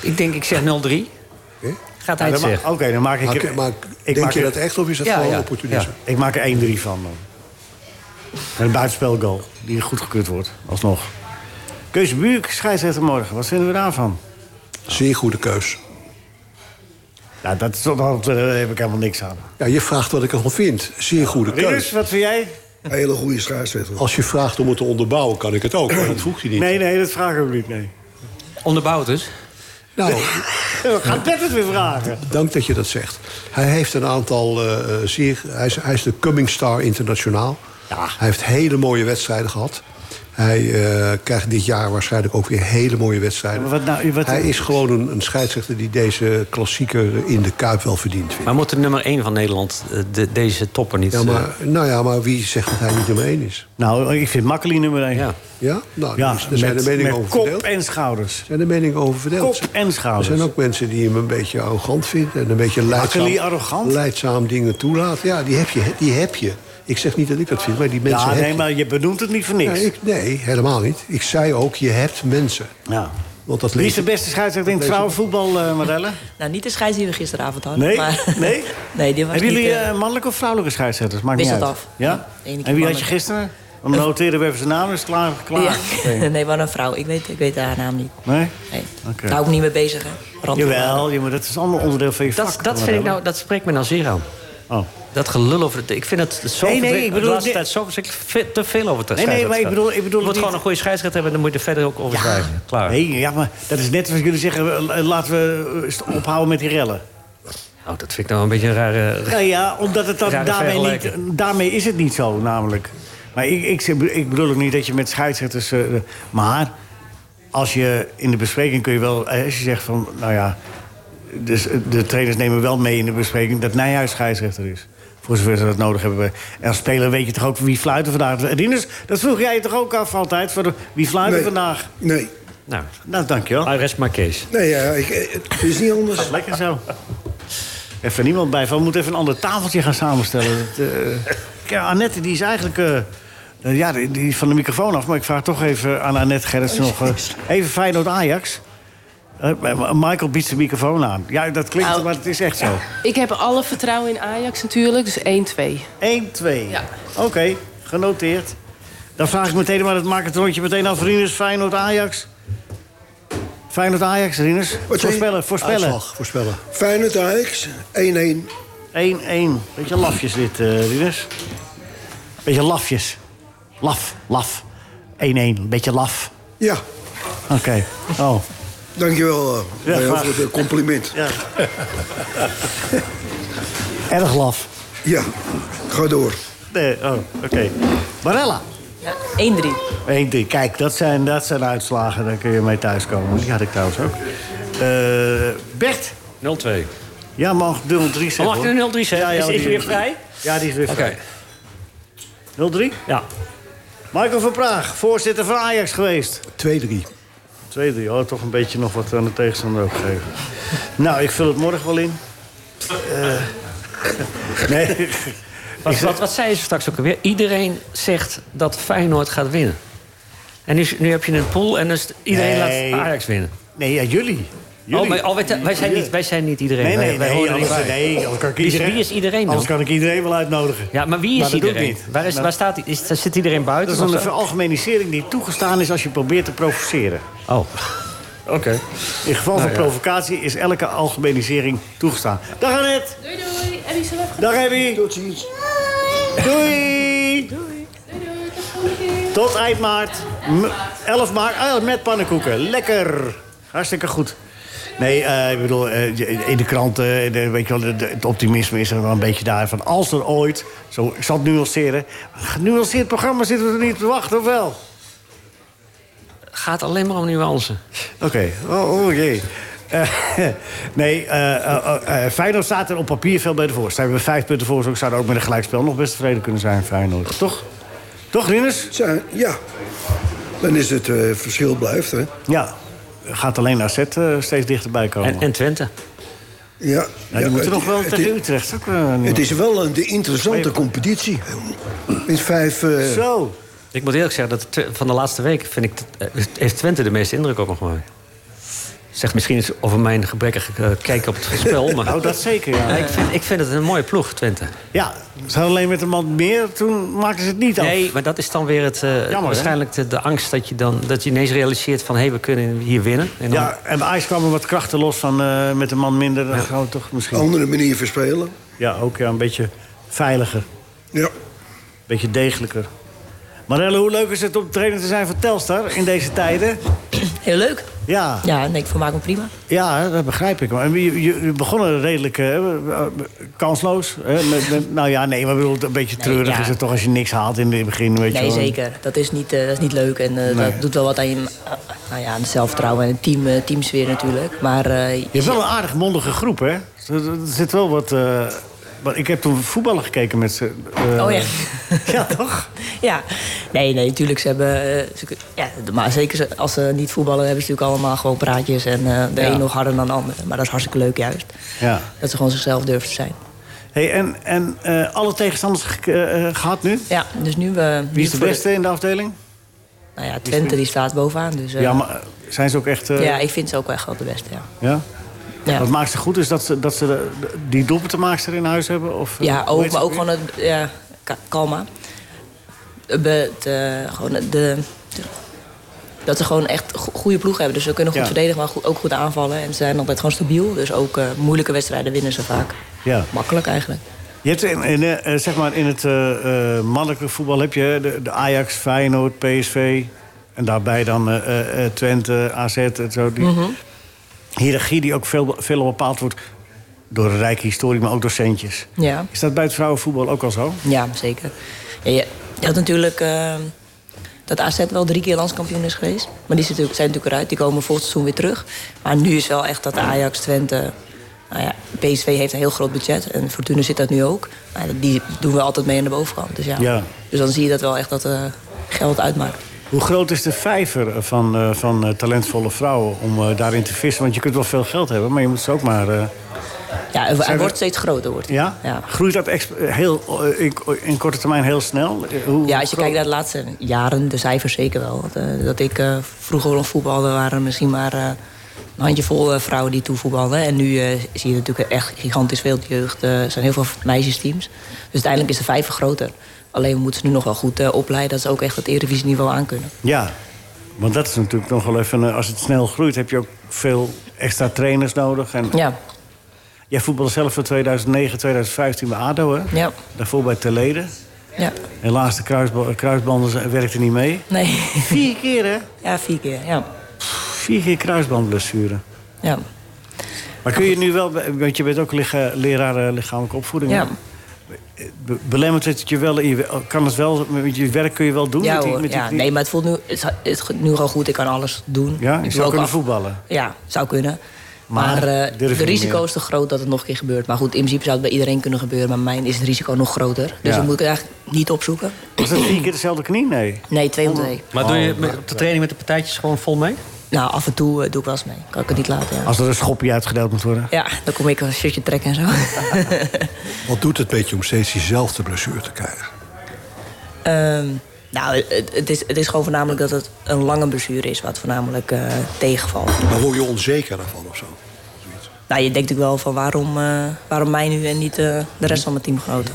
[SPEAKER 6] Ik denk, ik zeg 0-3. Gaat hij
[SPEAKER 3] Dan
[SPEAKER 6] het
[SPEAKER 3] ma-
[SPEAKER 6] zeggen?
[SPEAKER 3] Oké, dan maak ik...
[SPEAKER 4] Maar,
[SPEAKER 3] er-
[SPEAKER 4] maar
[SPEAKER 3] ik
[SPEAKER 4] denk
[SPEAKER 3] maak
[SPEAKER 4] je
[SPEAKER 3] er-
[SPEAKER 4] dat echt of is dat
[SPEAKER 6] Ja,
[SPEAKER 4] gewoon
[SPEAKER 6] ja,
[SPEAKER 4] opportunisme?
[SPEAKER 3] Ik maak er 1-3 van. man. En een buitenspelgoal die goedgekeurd wordt, alsnog. Kees Buurk, scheidsrechter morgen. Wat vinden we daarvan?
[SPEAKER 4] Zeer goede keus.
[SPEAKER 3] Nou, dat is, toch- daar heb ik helemaal niks aan.
[SPEAKER 4] Ja, je vraagt wat ik ervan vind. Zeer goede
[SPEAKER 3] Rinus,
[SPEAKER 4] keus.
[SPEAKER 3] wat vind jij?
[SPEAKER 5] Een hele goede schaarswedstrijd.
[SPEAKER 4] Als je vraagt om het te onderbouwen, kan ik het ook. Maar dat vroeg je niet.
[SPEAKER 3] Nee, nee, dat vraag ik ook niet, nee.
[SPEAKER 6] Onderbouwd dus?
[SPEAKER 4] Nou,
[SPEAKER 3] We gaan Bert het weer vragen.
[SPEAKER 4] dank dat je dat zegt. Hij heeft een aantal. eh, eh, zie ik, hij, is, hij is de coming star internationaal. Hij heeft hele mooie wedstrijden gehad. Hij eh, krijgt dit jaar waarschijnlijk ook weer hele mooie wedstrijden.
[SPEAKER 3] Ja, maar wat nou- wat-
[SPEAKER 4] hij is gewoon een, een scheidsrechter die deze klassieker in de Kuip wel verdient. Vindt.
[SPEAKER 6] Maar moet de nummer 1 van Nederland eh, de, deze topper niet...
[SPEAKER 4] Ja,
[SPEAKER 6] eh,
[SPEAKER 4] maar, nou ja, maar wie zegt dat hij niet nummer één is?
[SPEAKER 3] Nou, ik vind Makkeli nummer 1.
[SPEAKER 6] ja.
[SPEAKER 4] Ja, nou,
[SPEAKER 3] Ja,
[SPEAKER 4] dus daar zijn de
[SPEAKER 3] met,
[SPEAKER 4] meningen
[SPEAKER 3] met
[SPEAKER 4] over
[SPEAKER 3] kop
[SPEAKER 4] verdeeld.
[SPEAKER 3] en schouders.
[SPEAKER 4] zijn de meningen over
[SPEAKER 3] Kop
[SPEAKER 4] verdeeld.
[SPEAKER 3] en
[SPEAKER 4] Er
[SPEAKER 3] schouders.
[SPEAKER 4] zijn ook mensen die hem een beetje arrogant vinden en een beetje leidzaam,
[SPEAKER 3] Makkeli arrogant?
[SPEAKER 4] leidzaam dingen toelaat. Ja, die heb, je, die heb je. Ik zeg niet dat ik dat vind, maar die mensen
[SPEAKER 3] ja,
[SPEAKER 4] heb
[SPEAKER 3] nee,
[SPEAKER 4] je.
[SPEAKER 3] maar je benoemt het niet voor niks.
[SPEAKER 4] Nee, ik- nee, helemaal niet. Ik zei ook, je hebt mensen.
[SPEAKER 3] ja.
[SPEAKER 4] Want dat
[SPEAKER 3] Wie is
[SPEAKER 4] lees
[SPEAKER 3] de
[SPEAKER 4] ik-
[SPEAKER 3] beste scheidsrechter in
[SPEAKER 4] lees
[SPEAKER 3] het
[SPEAKER 4] ik-
[SPEAKER 3] vrouwenvoetbal, eh Marelle?
[SPEAKER 9] Nou, niet de scheids die we gisteravond hadden.
[SPEAKER 3] Nee?
[SPEAKER 9] maar-
[SPEAKER 3] Nee?
[SPEAKER 9] nee, die was
[SPEAKER 3] Hebben
[SPEAKER 9] niet...
[SPEAKER 3] jullie
[SPEAKER 9] eh,
[SPEAKER 3] eh, mannelijke of vrouwelijke scheidsrechters? Maakt
[SPEAKER 9] Wisselt
[SPEAKER 3] niet uit.
[SPEAKER 9] af.
[SPEAKER 3] Ja?
[SPEAKER 9] Eén
[SPEAKER 3] en wie
[SPEAKER 9] keer
[SPEAKER 3] had je
[SPEAKER 9] mannelijk.
[SPEAKER 3] gisteren? Dan noteren we even zijn naam, is klaar. klaar.
[SPEAKER 9] Ja. nee, wat een vrouw. Ik weet, ik weet haar naam niet.
[SPEAKER 3] Nee?
[SPEAKER 9] Nee.
[SPEAKER 3] Oké.
[SPEAKER 9] Daar hou ik niet mee bezig, hè. Randvoorwaarden.
[SPEAKER 3] Jawel, ja, maar dat is allemaal onderdeel van je
[SPEAKER 6] Dat,
[SPEAKER 3] vak.
[SPEAKER 6] dat, vind ik nou, dat spreekt me nou zeer aan.
[SPEAKER 3] Oh.
[SPEAKER 6] Dat gelul over het... Ik vind het zo...
[SPEAKER 3] Nee, nee,
[SPEAKER 6] verdre-
[SPEAKER 3] ik bedoel-
[SPEAKER 6] De laatste tijd zo verschrikkelijk ve- te veel over te
[SPEAKER 3] Nee, nee, maar ik bedoel- ik bedoel
[SPEAKER 6] Je moet
[SPEAKER 3] niet-
[SPEAKER 6] gewoon een goede scheidsrechter hebben... en dan moet je er verder ook over schrijven. Klaar.
[SPEAKER 3] Nee, ja, maar dat is net als jullie zeggen, eh, eh, laten we eh, st- ophouden met die rellen.
[SPEAKER 6] Nou, dat vind ik nou een beetje een rare...
[SPEAKER 3] Nou ja, omdat het dan
[SPEAKER 6] Rare
[SPEAKER 3] daarmee, niet,
[SPEAKER 6] vergelijking.
[SPEAKER 3] daarmee is het niet zo, namelijk. Maar ik, ik, zeg- ik bedoel ook niet dat je met scheidsrechters... eh, maar als je in de bespreking kun je wel... eh, Als je zegt van, nou ja... Dus eh, de trainers nemen wel mee in de bespreking dat Nijhuis scheidsrechter is. Voor zover ze dat nodig hebben. En als speler weet je toch ook wie fluiten vandaag. Rinus, dat vroeg jij je toch ook af altijd? Van, wie fluiten
[SPEAKER 5] Nee.
[SPEAKER 3] vandaag?
[SPEAKER 5] Nee.
[SPEAKER 6] Nou,
[SPEAKER 3] Nou, dankjewel.
[SPEAKER 6] I rest my case.
[SPEAKER 5] Nee, ja, ik, eh, het is niet anders.
[SPEAKER 3] Lekker zo. Even niemand bij. van. We moeten even een ander tafeltje gaan samenstellen. Dat, eh, ja, Annette, die is eigenlijk... eh, eh, ja, die, die is van de microfoon af. Maar ik vraag toch even aan Annette Gerrits nog... eh, even Feyenoord-Ajax. Eh, maar Michael biedt zijn microfoon aan. Ja, dat klinkt,
[SPEAKER 7] Au.
[SPEAKER 3] maar het is echt zo.
[SPEAKER 7] Ik heb alle vertrouwen in Ajax natuurlijk, dus 1-2.
[SPEAKER 3] 1, 2.
[SPEAKER 7] Ja.
[SPEAKER 3] Oké, genoteerd. Dan vraag ik meteen, maar dat maakt het rondje meteen af. Rinus, Feyenoord-Ajax. Feyenoord-Ajax, Rinus.
[SPEAKER 5] Wat zei je?
[SPEAKER 3] Voorspellen, voorspellen.
[SPEAKER 4] Uitslag, voorspellen.
[SPEAKER 5] Feyenoord Ajax, 1-1.
[SPEAKER 3] 1-1. Beetje lafjes dit, eh Rinus. Beetje lafjes. Laf, laf. 1-1. Beetje laf.
[SPEAKER 5] Ja,
[SPEAKER 3] Oké. Oh.
[SPEAKER 5] dankjewel eh,
[SPEAKER 3] Ja,
[SPEAKER 5] Leo,
[SPEAKER 3] graag.
[SPEAKER 5] voor het eh, compliment.
[SPEAKER 3] Ja. Erg laf.
[SPEAKER 5] Ja, ga door.
[SPEAKER 3] Nee, oh, oké. Barella.
[SPEAKER 9] Ja, 1-3.
[SPEAKER 3] 1-3. Kijk, dat zijn, dat zijn uitslagen. Daar kun je mee thuiskomen. Die had ik trouwens ook. Eh, Bert.
[SPEAKER 6] 0-2.
[SPEAKER 3] Ja, mag 0-3 zeggen.
[SPEAKER 6] Mag ik
[SPEAKER 3] hoor.
[SPEAKER 6] nu 0-3 zeggen?
[SPEAKER 3] Ja, ja,
[SPEAKER 6] is, is
[SPEAKER 3] die-
[SPEAKER 6] hij weer vrij?
[SPEAKER 3] Ja, die is weer
[SPEAKER 6] Oké.
[SPEAKER 3] vrij. 0-3.
[SPEAKER 6] Ja.
[SPEAKER 3] Michael van Praag, voorzitter van Ajax geweest.
[SPEAKER 4] 2-3.
[SPEAKER 3] 2-3. Oh, toch een beetje nog wat aan de tegenstander ook geven. nou, ik vul het morgen wel in. Eh, nee.
[SPEAKER 6] Wat, wat, wat zei ze straks ook alweer? Iedereen zegt dat Feyenoord gaat winnen. En nu, nu heb je een pool en dus iedereen
[SPEAKER 3] Nee.
[SPEAKER 6] laat Ajax winnen.
[SPEAKER 3] Nee, ja, jullie. jullie.
[SPEAKER 6] Oh, maar, oh, wij, wij zijn niet, wij zijn niet iedereen.
[SPEAKER 3] nee, nee,
[SPEAKER 6] Wij- wij
[SPEAKER 3] nee.
[SPEAKER 6] horen er niet
[SPEAKER 3] Anders,
[SPEAKER 6] bij.
[SPEAKER 3] nee anders kan ik
[SPEAKER 6] Wie is-
[SPEAKER 3] iedereen,
[SPEAKER 6] wie is iedereen dan?
[SPEAKER 3] Anders kan ik iedereen wel uitnodigen.
[SPEAKER 6] Ja, maar wie is
[SPEAKER 3] Maar dat doe ik
[SPEAKER 6] iedereen?
[SPEAKER 3] niet.
[SPEAKER 6] Waar, is,
[SPEAKER 3] Nou,
[SPEAKER 6] waar staat, is, zit iedereen buiten?
[SPEAKER 3] Dat is een
[SPEAKER 6] of zo?
[SPEAKER 3] veralgemenisering die toegestaan is als je probeert te provoceren.
[SPEAKER 6] Oh, oké.
[SPEAKER 3] In geval
[SPEAKER 6] Nou
[SPEAKER 3] van provocatie is elke algemenisering toegestaan. Dag Annette.
[SPEAKER 7] Doei doei, Abby, zo even
[SPEAKER 3] Dag Abby. Tot ziens. Doei. Tot eind maart. M- 11 maart. Ah, met pannenkoeken. Lekker. Hartstikke goed. Nee, eh, ik bedoel, eh, je- in de kranten, eh, de- weet je wel, de- de- het optimisme is er wel een beetje daar. Van als er ooit, zo, ik zal het nuanceren. Genuanceerd programma zitten we er niet op te wachten, of wel?
[SPEAKER 6] Gaat alleen maar om nuance.
[SPEAKER 3] Oké, oh, oh jee. Eh, nee, eh, eh, eh, Feyenoord staat er op papier veel beter voor. Ze hebben vijf punten voor, dus zouden ook met een gelijkspel nog best tevreden kunnen zijn, Feyenoord. Toch? Toch, Rinus?
[SPEAKER 5] Zijn, ja, dan is het eh, verschil blijft, hè.
[SPEAKER 3] Ja. Gaat alleen AZ eh, steeds dichterbij komen.
[SPEAKER 6] En, en Twente.
[SPEAKER 5] Ja,
[SPEAKER 3] nou, die
[SPEAKER 5] ja,
[SPEAKER 3] moeten
[SPEAKER 5] het-
[SPEAKER 3] nog wel
[SPEAKER 5] het-
[SPEAKER 3] tegen Utrecht. Ook, eh, nu.
[SPEAKER 5] Het is wel een de interessante competitie. In vijf... eh,
[SPEAKER 3] Zo.
[SPEAKER 6] Ik moet eerlijk zeggen, dat Twe- van de laatste week vind ik, dat- eh, heeft Twente de meeste indruk op me gemaakt. Zeg misschien iets over mijn gebrekkige eh, kijk op het spel. Maar...
[SPEAKER 3] Nou, dat zeker,
[SPEAKER 6] Ja,
[SPEAKER 3] ja.
[SPEAKER 6] ik, vind, ik vind het een mooie ploeg, Twente.
[SPEAKER 3] Ja, ze hadden alleen met een man meer, toen maakten ze het niet af.
[SPEAKER 6] Nee, maar dat is dan weer het, eh,
[SPEAKER 3] hè?
[SPEAKER 6] waarschijnlijk de, de angst dat je, dan, dat je ineens realiseert van... hé, hey, we kunnen hier winnen. En dan,
[SPEAKER 3] Ja, en bij IJs kwamen wat krachten los van eh, met een man minder. Dan gaan we toch misschien...
[SPEAKER 5] andere manier verspelen.
[SPEAKER 3] Ja, ook ja, een beetje veiliger.
[SPEAKER 5] Ja.
[SPEAKER 3] Beetje degelijker. Marelle, hoe leuk is het om trainer te zijn van Telstar in deze tijden?
[SPEAKER 7] Heel leuk.
[SPEAKER 3] Ja.
[SPEAKER 7] Ja, nee, ik vermaak me prima.
[SPEAKER 3] Ja, dat begrijp ik. Maar je, je, je begonnen redelijk eh, eh, kansloos. Hè? Met, met- nou ja, nee, maar ik bedoel, een beetje
[SPEAKER 7] Nee,
[SPEAKER 3] treurig
[SPEAKER 7] ja.
[SPEAKER 3] is het toch als je niks haalt in het begin. Weet je
[SPEAKER 7] Nee,
[SPEAKER 3] wel.
[SPEAKER 7] zeker. Dat is niet, eh, dat is niet leuk. En
[SPEAKER 3] Nee.
[SPEAKER 7] eh, dat doet wel wat aan je eh, nou ja, aan het zelfvertrouwen en het team, eh, teamsfeer natuurlijk. Maar eh,
[SPEAKER 3] Je hebt wel een aardig mondige groep, hè? Er, er zit wel wat... eh, maar ik heb toen voetballen gekeken met ze. eh,
[SPEAKER 7] Oh ja.
[SPEAKER 3] Ja, toch?
[SPEAKER 7] ja. Nee, nee, natuurlijk. Ze hebben. eh, ze kun- ja, maar zeker ze- als ze niet voetballen, hebben ze natuurlijk allemaal gewoon praatjes. En eh, de
[SPEAKER 3] Ja.
[SPEAKER 7] een nog harder dan de ander. Maar dat is hartstikke leuk, juist.
[SPEAKER 3] Ja.
[SPEAKER 7] Dat ze gewoon zichzelf durven te zijn.
[SPEAKER 3] Hey, en en eh, alle tegenstanders ge- eh, gehad nu?
[SPEAKER 7] Ja, dus nu. eh,
[SPEAKER 3] Wie is de
[SPEAKER 7] voor
[SPEAKER 3] beste in de afdeling?
[SPEAKER 7] nou ja, Twente die staat bovenaan. Dus, eh,
[SPEAKER 3] Ja, maar eh, zijn ze ook echt... eh,
[SPEAKER 7] ja, ik vind ze ook echt wel de beste. Ja.
[SPEAKER 3] ja?
[SPEAKER 7] Ja.
[SPEAKER 3] Wat maakt ze goed is dat ze, dat ze de, de- die doelpuntenmaakster in huis hebben? Of, eh,
[SPEAKER 7] Ja,
[SPEAKER 3] hoe
[SPEAKER 7] ook,
[SPEAKER 3] heet ze
[SPEAKER 7] maar ook
[SPEAKER 3] weer?
[SPEAKER 7] gewoon het, ja, ka- kalma. Be- het, eh, gewoon de, de- dat ze gewoon echt go- goede ploeg hebben. Dus ze kunnen goed
[SPEAKER 3] Ja.
[SPEAKER 7] verdedigen, maar goed- ook goed aanvallen. En ze zijn altijd gewoon stabiel. Dus ook eh, moeilijke wedstrijden winnen ze vaak.
[SPEAKER 3] Ja.
[SPEAKER 7] Makkelijk eigenlijk.
[SPEAKER 3] Je hebt in, in, eh, eh, zeg maar in het eh, eh, mannelijke voetbal heb je de, de Ajax, Feyenoord, PSV. En daarbij dan eh, eh, eh, Twente, AZ en zo. Die
[SPEAKER 7] Mhm.
[SPEAKER 3] hiërarchie die ook veel, veel bepaald wordt door een rijke historie, maar ook door centjes.
[SPEAKER 7] Ja,
[SPEAKER 3] Is dat bij het vrouwenvoetbal ook al zo?
[SPEAKER 7] ja zeker. Ja, je, je had natuurlijk eh, dat AZ wel drie keer landskampioen is geweest. Maar die zijn natuurlijk, zijn natuurlijk eruit. Die komen volgend seizoen weer terug. Maar nu is wel echt dat Ajax, Twente... Nou ja, PSV heeft een heel groot budget. En Fortuna zit dat nu ook. Maar die doen we altijd mee aan de bovenkant. Dus ja.
[SPEAKER 3] Ja.
[SPEAKER 7] Dus dan zie je dat wel echt dat eh, geld uitmaakt.
[SPEAKER 3] Hoe groot is de vijver van, eh, van eh, talentvolle vrouwen om eh, daarin te vissen? Want je kunt wel veel geld hebben, maar je moet ze ook maar... eh,
[SPEAKER 7] Ja, hij
[SPEAKER 3] Zijn we-
[SPEAKER 7] wordt steeds groter. Wordt hij.
[SPEAKER 3] ja?
[SPEAKER 7] ja.
[SPEAKER 3] Groeit dat exp- heel, eh, in, in korte termijn heel snel? Eh, Hoe,
[SPEAKER 7] Ja, als je
[SPEAKER 3] hoe
[SPEAKER 7] kijkt naar de laatste Eh, jaren, de cijfers zeker wel. Want, eh, dat ik eh, vroeger nog voetbalde, waren er misschien maar eh, een handjevol eh, vrouwen die toevoetbalden. En nu eh, zie je natuurlijk echt gigantisch veel jeugd. eh, Er zijn heel veel meisjesteams. Dus uiteindelijk is de vijver groter. Alleen we moeten ze nu nog wel goed eh, opleiden dat ze ook echt het eredivisieniveau aankunnen.
[SPEAKER 3] Ja, want dat is natuurlijk nog wel even... eh, Als het snel groeit, heb je ook veel extra trainers nodig. En
[SPEAKER 7] Ja,
[SPEAKER 3] Jij voetbalde zelf van 2009, 2015 bij ADO, hè?
[SPEAKER 7] ja,
[SPEAKER 3] Daarvoor bij Teleden.
[SPEAKER 7] ja.
[SPEAKER 3] Helaas, de kruisba- kruisbanden z- werkten niet mee.
[SPEAKER 7] Nee,
[SPEAKER 3] Vier keer, hè?
[SPEAKER 7] ja, vier keer. Ja,
[SPEAKER 3] Vier keer kruisbandblessure.
[SPEAKER 7] ja.
[SPEAKER 3] Maar kun je nu wel... be- Want je bent ook licha- leraar eh, lichamelijke opvoeding.
[SPEAKER 7] ja.
[SPEAKER 3] hè? Be- belemmert het je wel... in je we- oh, Kan het wel... Met je werk kun je wel doen?
[SPEAKER 7] Ja,
[SPEAKER 3] met die-
[SPEAKER 7] hoor,
[SPEAKER 3] met die
[SPEAKER 7] ja.
[SPEAKER 3] knie?
[SPEAKER 7] nee, maar het voelt nu, het is, het is nu gewoon goed. Ik kan alles doen.
[SPEAKER 3] Ja, je
[SPEAKER 7] ik
[SPEAKER 3] zou
[SPEAKER 7] ook
[SPEAKER 3] kunnen
[SPEAKER 7] af-
[SPEAKER 3] voetballen.
[SPEAKER 7] Ja, zou kunnen.
[SPEAKER 3] Maar
[SPEAKER 7] Maar, eh,
[SPEAKER 3] durf je
[SPEAKER 7] de
[SPEAKER 3] niet
[SPEAKER 7] risico
[SPEAKER 3] meer.
[SPEAKER 7] is te groot dat het nog een keer gebeurt. Maar goed, in principe zou het bij iedereen kunnen gebeuren. Maar bij mij is het risico nog groter. Dus
[SPEAKER 3] Ja.
[SPEAKER 7] dan moet ik het eigenlijk niet opzoeken.
[SPEAKER 3] Was dat vier keer dezelfde knie? Nee.
[SPEAKER 7] Nee, twee om twee.
[SPEAKER 6] Maar doe je met- op de training met de partijtjes gewoon vol mee?
[SPEAKER 7] Nou, af en toe eh, doe ik wel eens mee. Kan ik het niet laten. Ja,
[SPEAKER 3] Als er een schopje uitgedeeld moet worden.
[SPEAKER 7] ja dan kom ik een shirtje trekken en zo.
[SPEAKER 4] Wat doet het met je om steeds diezelfde blessure te krijgen?
[SPEAKER 7] Ehm, nou, het, het is, het is gewoon voornamelijk dat het een lange blessure is. Wat voornamelijk eh, tegenvalt.
[SPEAKER 4] Maar word je onzeker daarvan of zo? Zoiets.
[SPEAKER 7] Nou, je denkt natuurlijk wel van waarom, eh, waarom mij nu en niet eh, de rest van mijn teamgenoten.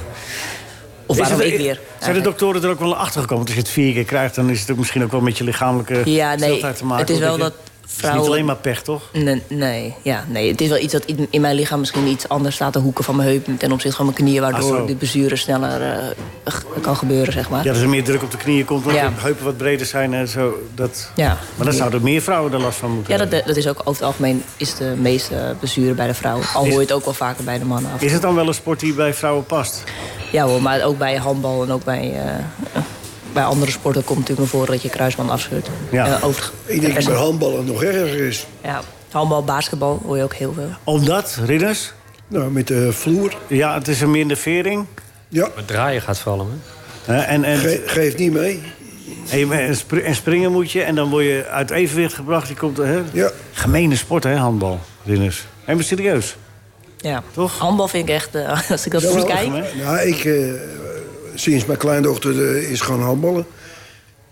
[SPEAKER 7] Of
[SPEAKER 3] Is
[SPEAKER 7] waarom
[SPEAKER 3] het-
[SPEAKER 7] ik weer.
[SPEAKER 3] Zijn de
[SPEAKER 7] eigenlijk.
[SPEAKER 3] doktoren er ook wel achter gekomen? Want als je het vier keer krijgt, dan is het ook misschien ook wel met je lichamelijke
[SPEAKER 7] Ja, nee,
[SPEAKER 3] gesteldheid te maken.
[SPEAKER 7] het is wel
[SPEAKER 3] hoor,
[SPEAKER 7] dat
[SPEAKER 3] je- Het is
[SPEAKER 7] vrouwen...
[SPEAKER 3] niet alleen maar pech, toch?
[SPEAKER 7] Nee, nee, ja, nee, het is wel iets dat in, in mijn lichaam misschien iets anders staat... de hoeken van mijn heupen ten opzichte van mijn knieën...
[SPEAKER 3] Ah, zo.
[SPEAKER 7] waardoor de blessure sneller eh, g- kan gebeuren, zeg maar.
[SPEAKER 3] Ja,
[SPEAKER 7] Ja,
[SPEAKER 3] dat er meer druk op de knieën komt, omdat
[SPEAKER 7] Ja.
[SPEAKER 3] de heupen wat breder zijn en zo. Dat...
[SPEAKER 7] ja.
[SPEAKER 3] Maar dan zouden meer vrouwen er last van moeten
[SPEAKER 7] dat,
[SPEAKER 3] hebben.
[SPEAKER 7] dat is ook over het algemeen is de meeste blessure bij de vrouw. Al
[SPEAKER 3] Is-
[SPEAKER 7] hoor je het ook wel vaker bij de mannen af.
[SPEAKER 3] Is het dan wel een sport die bij vrouwen past?
[SPEAKER 7] Ja hoor, maar ook bij handbal en ook bij, eh, bij andere sporten komt natuurlijk naar voren dat je kruisband afscheurt.
[SPEAKER 3] Ja.
[SPEAKER 7] Eh, over het-
[SPEAKER 5] Ik denk dat
[SPEAKER 7] best-
[SPEAKER 5] bij handballen nog erger is.
[SPEAKER 7] Ja, handbal, basketbal hoor je ook heel veel.
[SPEAKER 3] Omdat, ridders,
[SPEAKER 5] Nou, met de vloer.
[SPEAKER 3] ja, het is een minder vering.
[SPEAKER 5] Ja,
[SPEAKER 6] Maar draaien gaat vallen, hè?
[SPEAKER 3] hè, en, en,
[SPEAKER 5] ge- geef niet mee.
[SPEAKER 3] en, en spr- en springen moet je. En dan word je uit evenwicht gebracht. Je komt, hè?
[SPEAKER 5] Ja.
[SPEAKER 3] Gemene sport, hè, handbal, ridders. Helemaal serieus.
[SPEAKER 7] Ja.
[SPEAKER 3] Toch?
[SPEAKER 7] Handbal vind ik echt, eh, als ik dat
[SPEAKER 5] Ja,
[SPEAKER 7] goed
[SPEAKER 5] wel,
[SPEAKER 7] kijk...
[SPEAKER 3] hè?
[SPEAKER 5] Nou, ik, eh, sinds mijn kleindochter eh, is gaan handballen...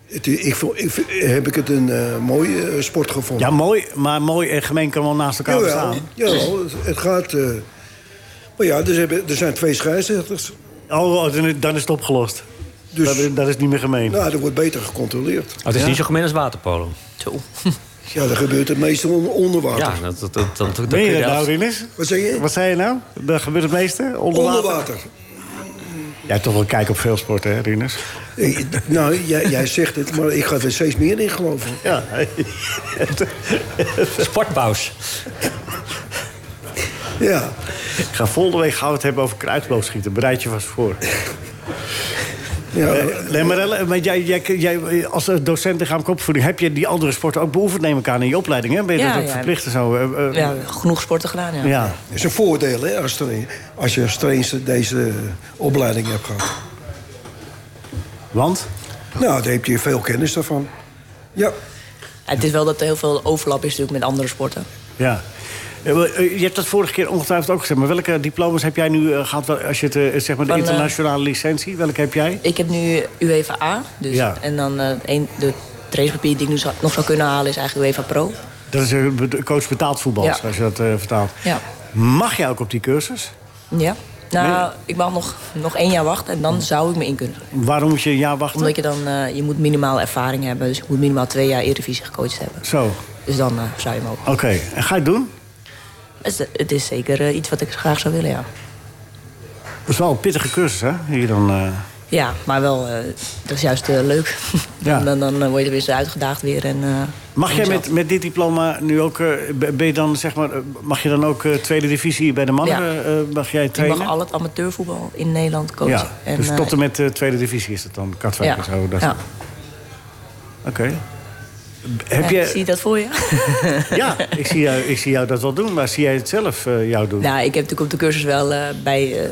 [SPEAKER 5] Het, i- ik, vond- ik, vind- heb ik het een eh, mooie eh, sport gevonden.
[SPEAKER 3] Ja, mooi, maar mooi en gemeen kan wel naast elkaar
[SPEAKER 5] Jawel,
[SPEAKER 3] bestaan.
[SPEAKER 5] jawel, het, het gaat... eh, maar ja, er zijn, er zijn twee scheidsrechters.
[SPEAKER 3] Oh, oh, dan- dan is het opgelost.
[SPEAKER 5] Dus
[SPEAKER 3] dat, is- dat is niet meer gemeen.
[SPEAKER 5] nou, er wordt beter gecontroleerd.
[SPEAKER 6] het is niet zo gemeen als waterpolo.
[SPEAKER 5] Ja, dat gebeurt het meestal on- onder water.
[SPEAKER 6] Ja, dat, dat, dat, dat, dat
[SPEAKER 3] ben
[SPEAKER 6] kun
[SPEAKER 3] je
[SPEAKER 6] je
[SPEAKER 3] dat nou,
[SPEAKER 6] elf-
[SPEAKER 3] Rinus?
[SPEAKER 5] Wat zeg je?
[SPEAKER 3] Wat zei je nou? Daar gebeurt het meeste? Onder
[SPEAKER 5] Onder
[SPEAKER 3] water?
[SPEAKER 5] water.
[SPEAKER 3] Jij hebt toch wel kijk op veel sporten, hè, Rinus?
[SPEAKER 5] Ik- Nou, jij, jij zegt het, maar ik ga er steeds meer in geloven.
[SPEAKER 3] Ja.
[SPEAKER 6] Sportpaus.
[SPEAKER 5] Ja.
[SPEAKER 3] Ik ga volgende week gauw het hebben over kruidloopschieten. Bereid je vast voor.
[SPEAKER 5] ja.
[SPEAKER 3] Eh, Nee, maar, Elle, maar jij, jij, jij als eh, docent lichamelijke opvoeding... heb je die andere sporten ook beoefend, neem ik aan, in je opleiding, hè? Ben je
[SPEAKER 9] Ja,
[SPEAKER 3] dat ook
[SPEAKER 9] ja.
[SPEAKER 3] verplicht en zo? Eh, eh,
[SPEAKER 9] Ja, genoeg sporten gedaan, ja.
[SPEAKER 3] ja.
[SPEAKER 5] Dat is een voordeel, hè, als, tra- als je als trainster deze opleiding hebt gehad.
[SPEAKER 3] Want?
[SPEAKER 5] Nou, daar heb je veel kennis daarvan. Ja.
[SPEAKER 9] Het is wel dat er heel veel overlap is natuurlijk met andere sporten.
[SPEAKER 3] Ja. Eh, wel, eh, Je hebt dat vorige keer ongetwijfeld ook gezegd. Maar welke diploma's heb jij nu eh, gehad? wel- Als je het, eh, zeg maar de
[SPEAKER 9] Van, eh,
[SPEAKER 3] internationale licentie, welke heb jij?
[SPEAKER 9] Ik heb nu UEFA A. Dus,
[SPEAKER 3] Ja.
[SPEAKER 9] En dan eh, een, de trainingspapier die ik nu zou- nog zou kunnen halen is eigenlijk UEFA Pro.
[SPEAKER 3] Dat is eh, be- coach betaald voetbal,
[SPEAKER 9] Ja.
[SPEAKER 3] als je dat eh, vertaalt.
[SPEAKER 9] Ja.
[SPEAKER 3] Mag jij ook op die cursus?
[SPEAKER 9] Ja. Nou, ik mag nog, nog één jaar wachten en dan zou ik me in kunnen.
[SPEAKER 3] Waarom moet je een jaar wachten?
[SPEAKER 9] Omdat je dan, eh, je moet minimaal ervaring hebben. Dus je moet minimaal twee jaar Eredivisie gecoacht hebben.
[SPEAKER 3] Zo,
[SPEAKER 9] Dus dan eh, zou je mogen.
[SPEAKER 3] oké. En ga je het doen?
[SPEAKER 9] Dus, eh, het is zeker eh, iets wat ik graag zou willen, ja.
[SPEAKER 3] Dat is wel een pittige cursus, hè? Hier dan, eh,
[SPEAKER 9] Ja, maar wel, eh, dat is juist eh, leuk.
[SPEAKER 3] Ja.
[SPEAKER 9] dan, dan eh, word je er weer eens uitgedaagd weer. En, eh,
[SPEAKER 3] Mag jij
[SPEAKER 9] jezelf-
[SPEAKER 3] met, met dit diploma nu ook, eh, be- ben je dan, zeg maar, eh, mag je dan ook eh, tweede divisie bij de mannen,
[SPEAKER 9] Ja.
[SPEAKER 3] eh, mag jij
[SPEAKER 9] Je
[SPEAKER 3] trainen?
[SPEAKER 9] mag al het amateurvoetbal in Nederland coachen.
[SPEAKER 3] ja,
[SPEAKER 9] En,
[SPEAKER 3] dus
[SPEAKER 9] eh,
[SPEAKER 3] tot en met eh, tweede divisie is het dan, Katwijk
[SPEAKER 9] ja.
[SPEAKER 3] en zo. Dat...
[SPEAKER 9] ja.
[SPEAKER 3] Oké. Heb
[SPEAKER 9] Ja,
[SPEAKER 3] je...
[SPEAKER 9] Zie je dat voor je?
[SPEAKER 3] Ja, ik zie, jou, ik zie jou dat wel doen, maar zie jij het zelf eh, jou doen?
[SPEAKER 9] Nou, ik heb natuurlijk op de cursus wel eh, bij eh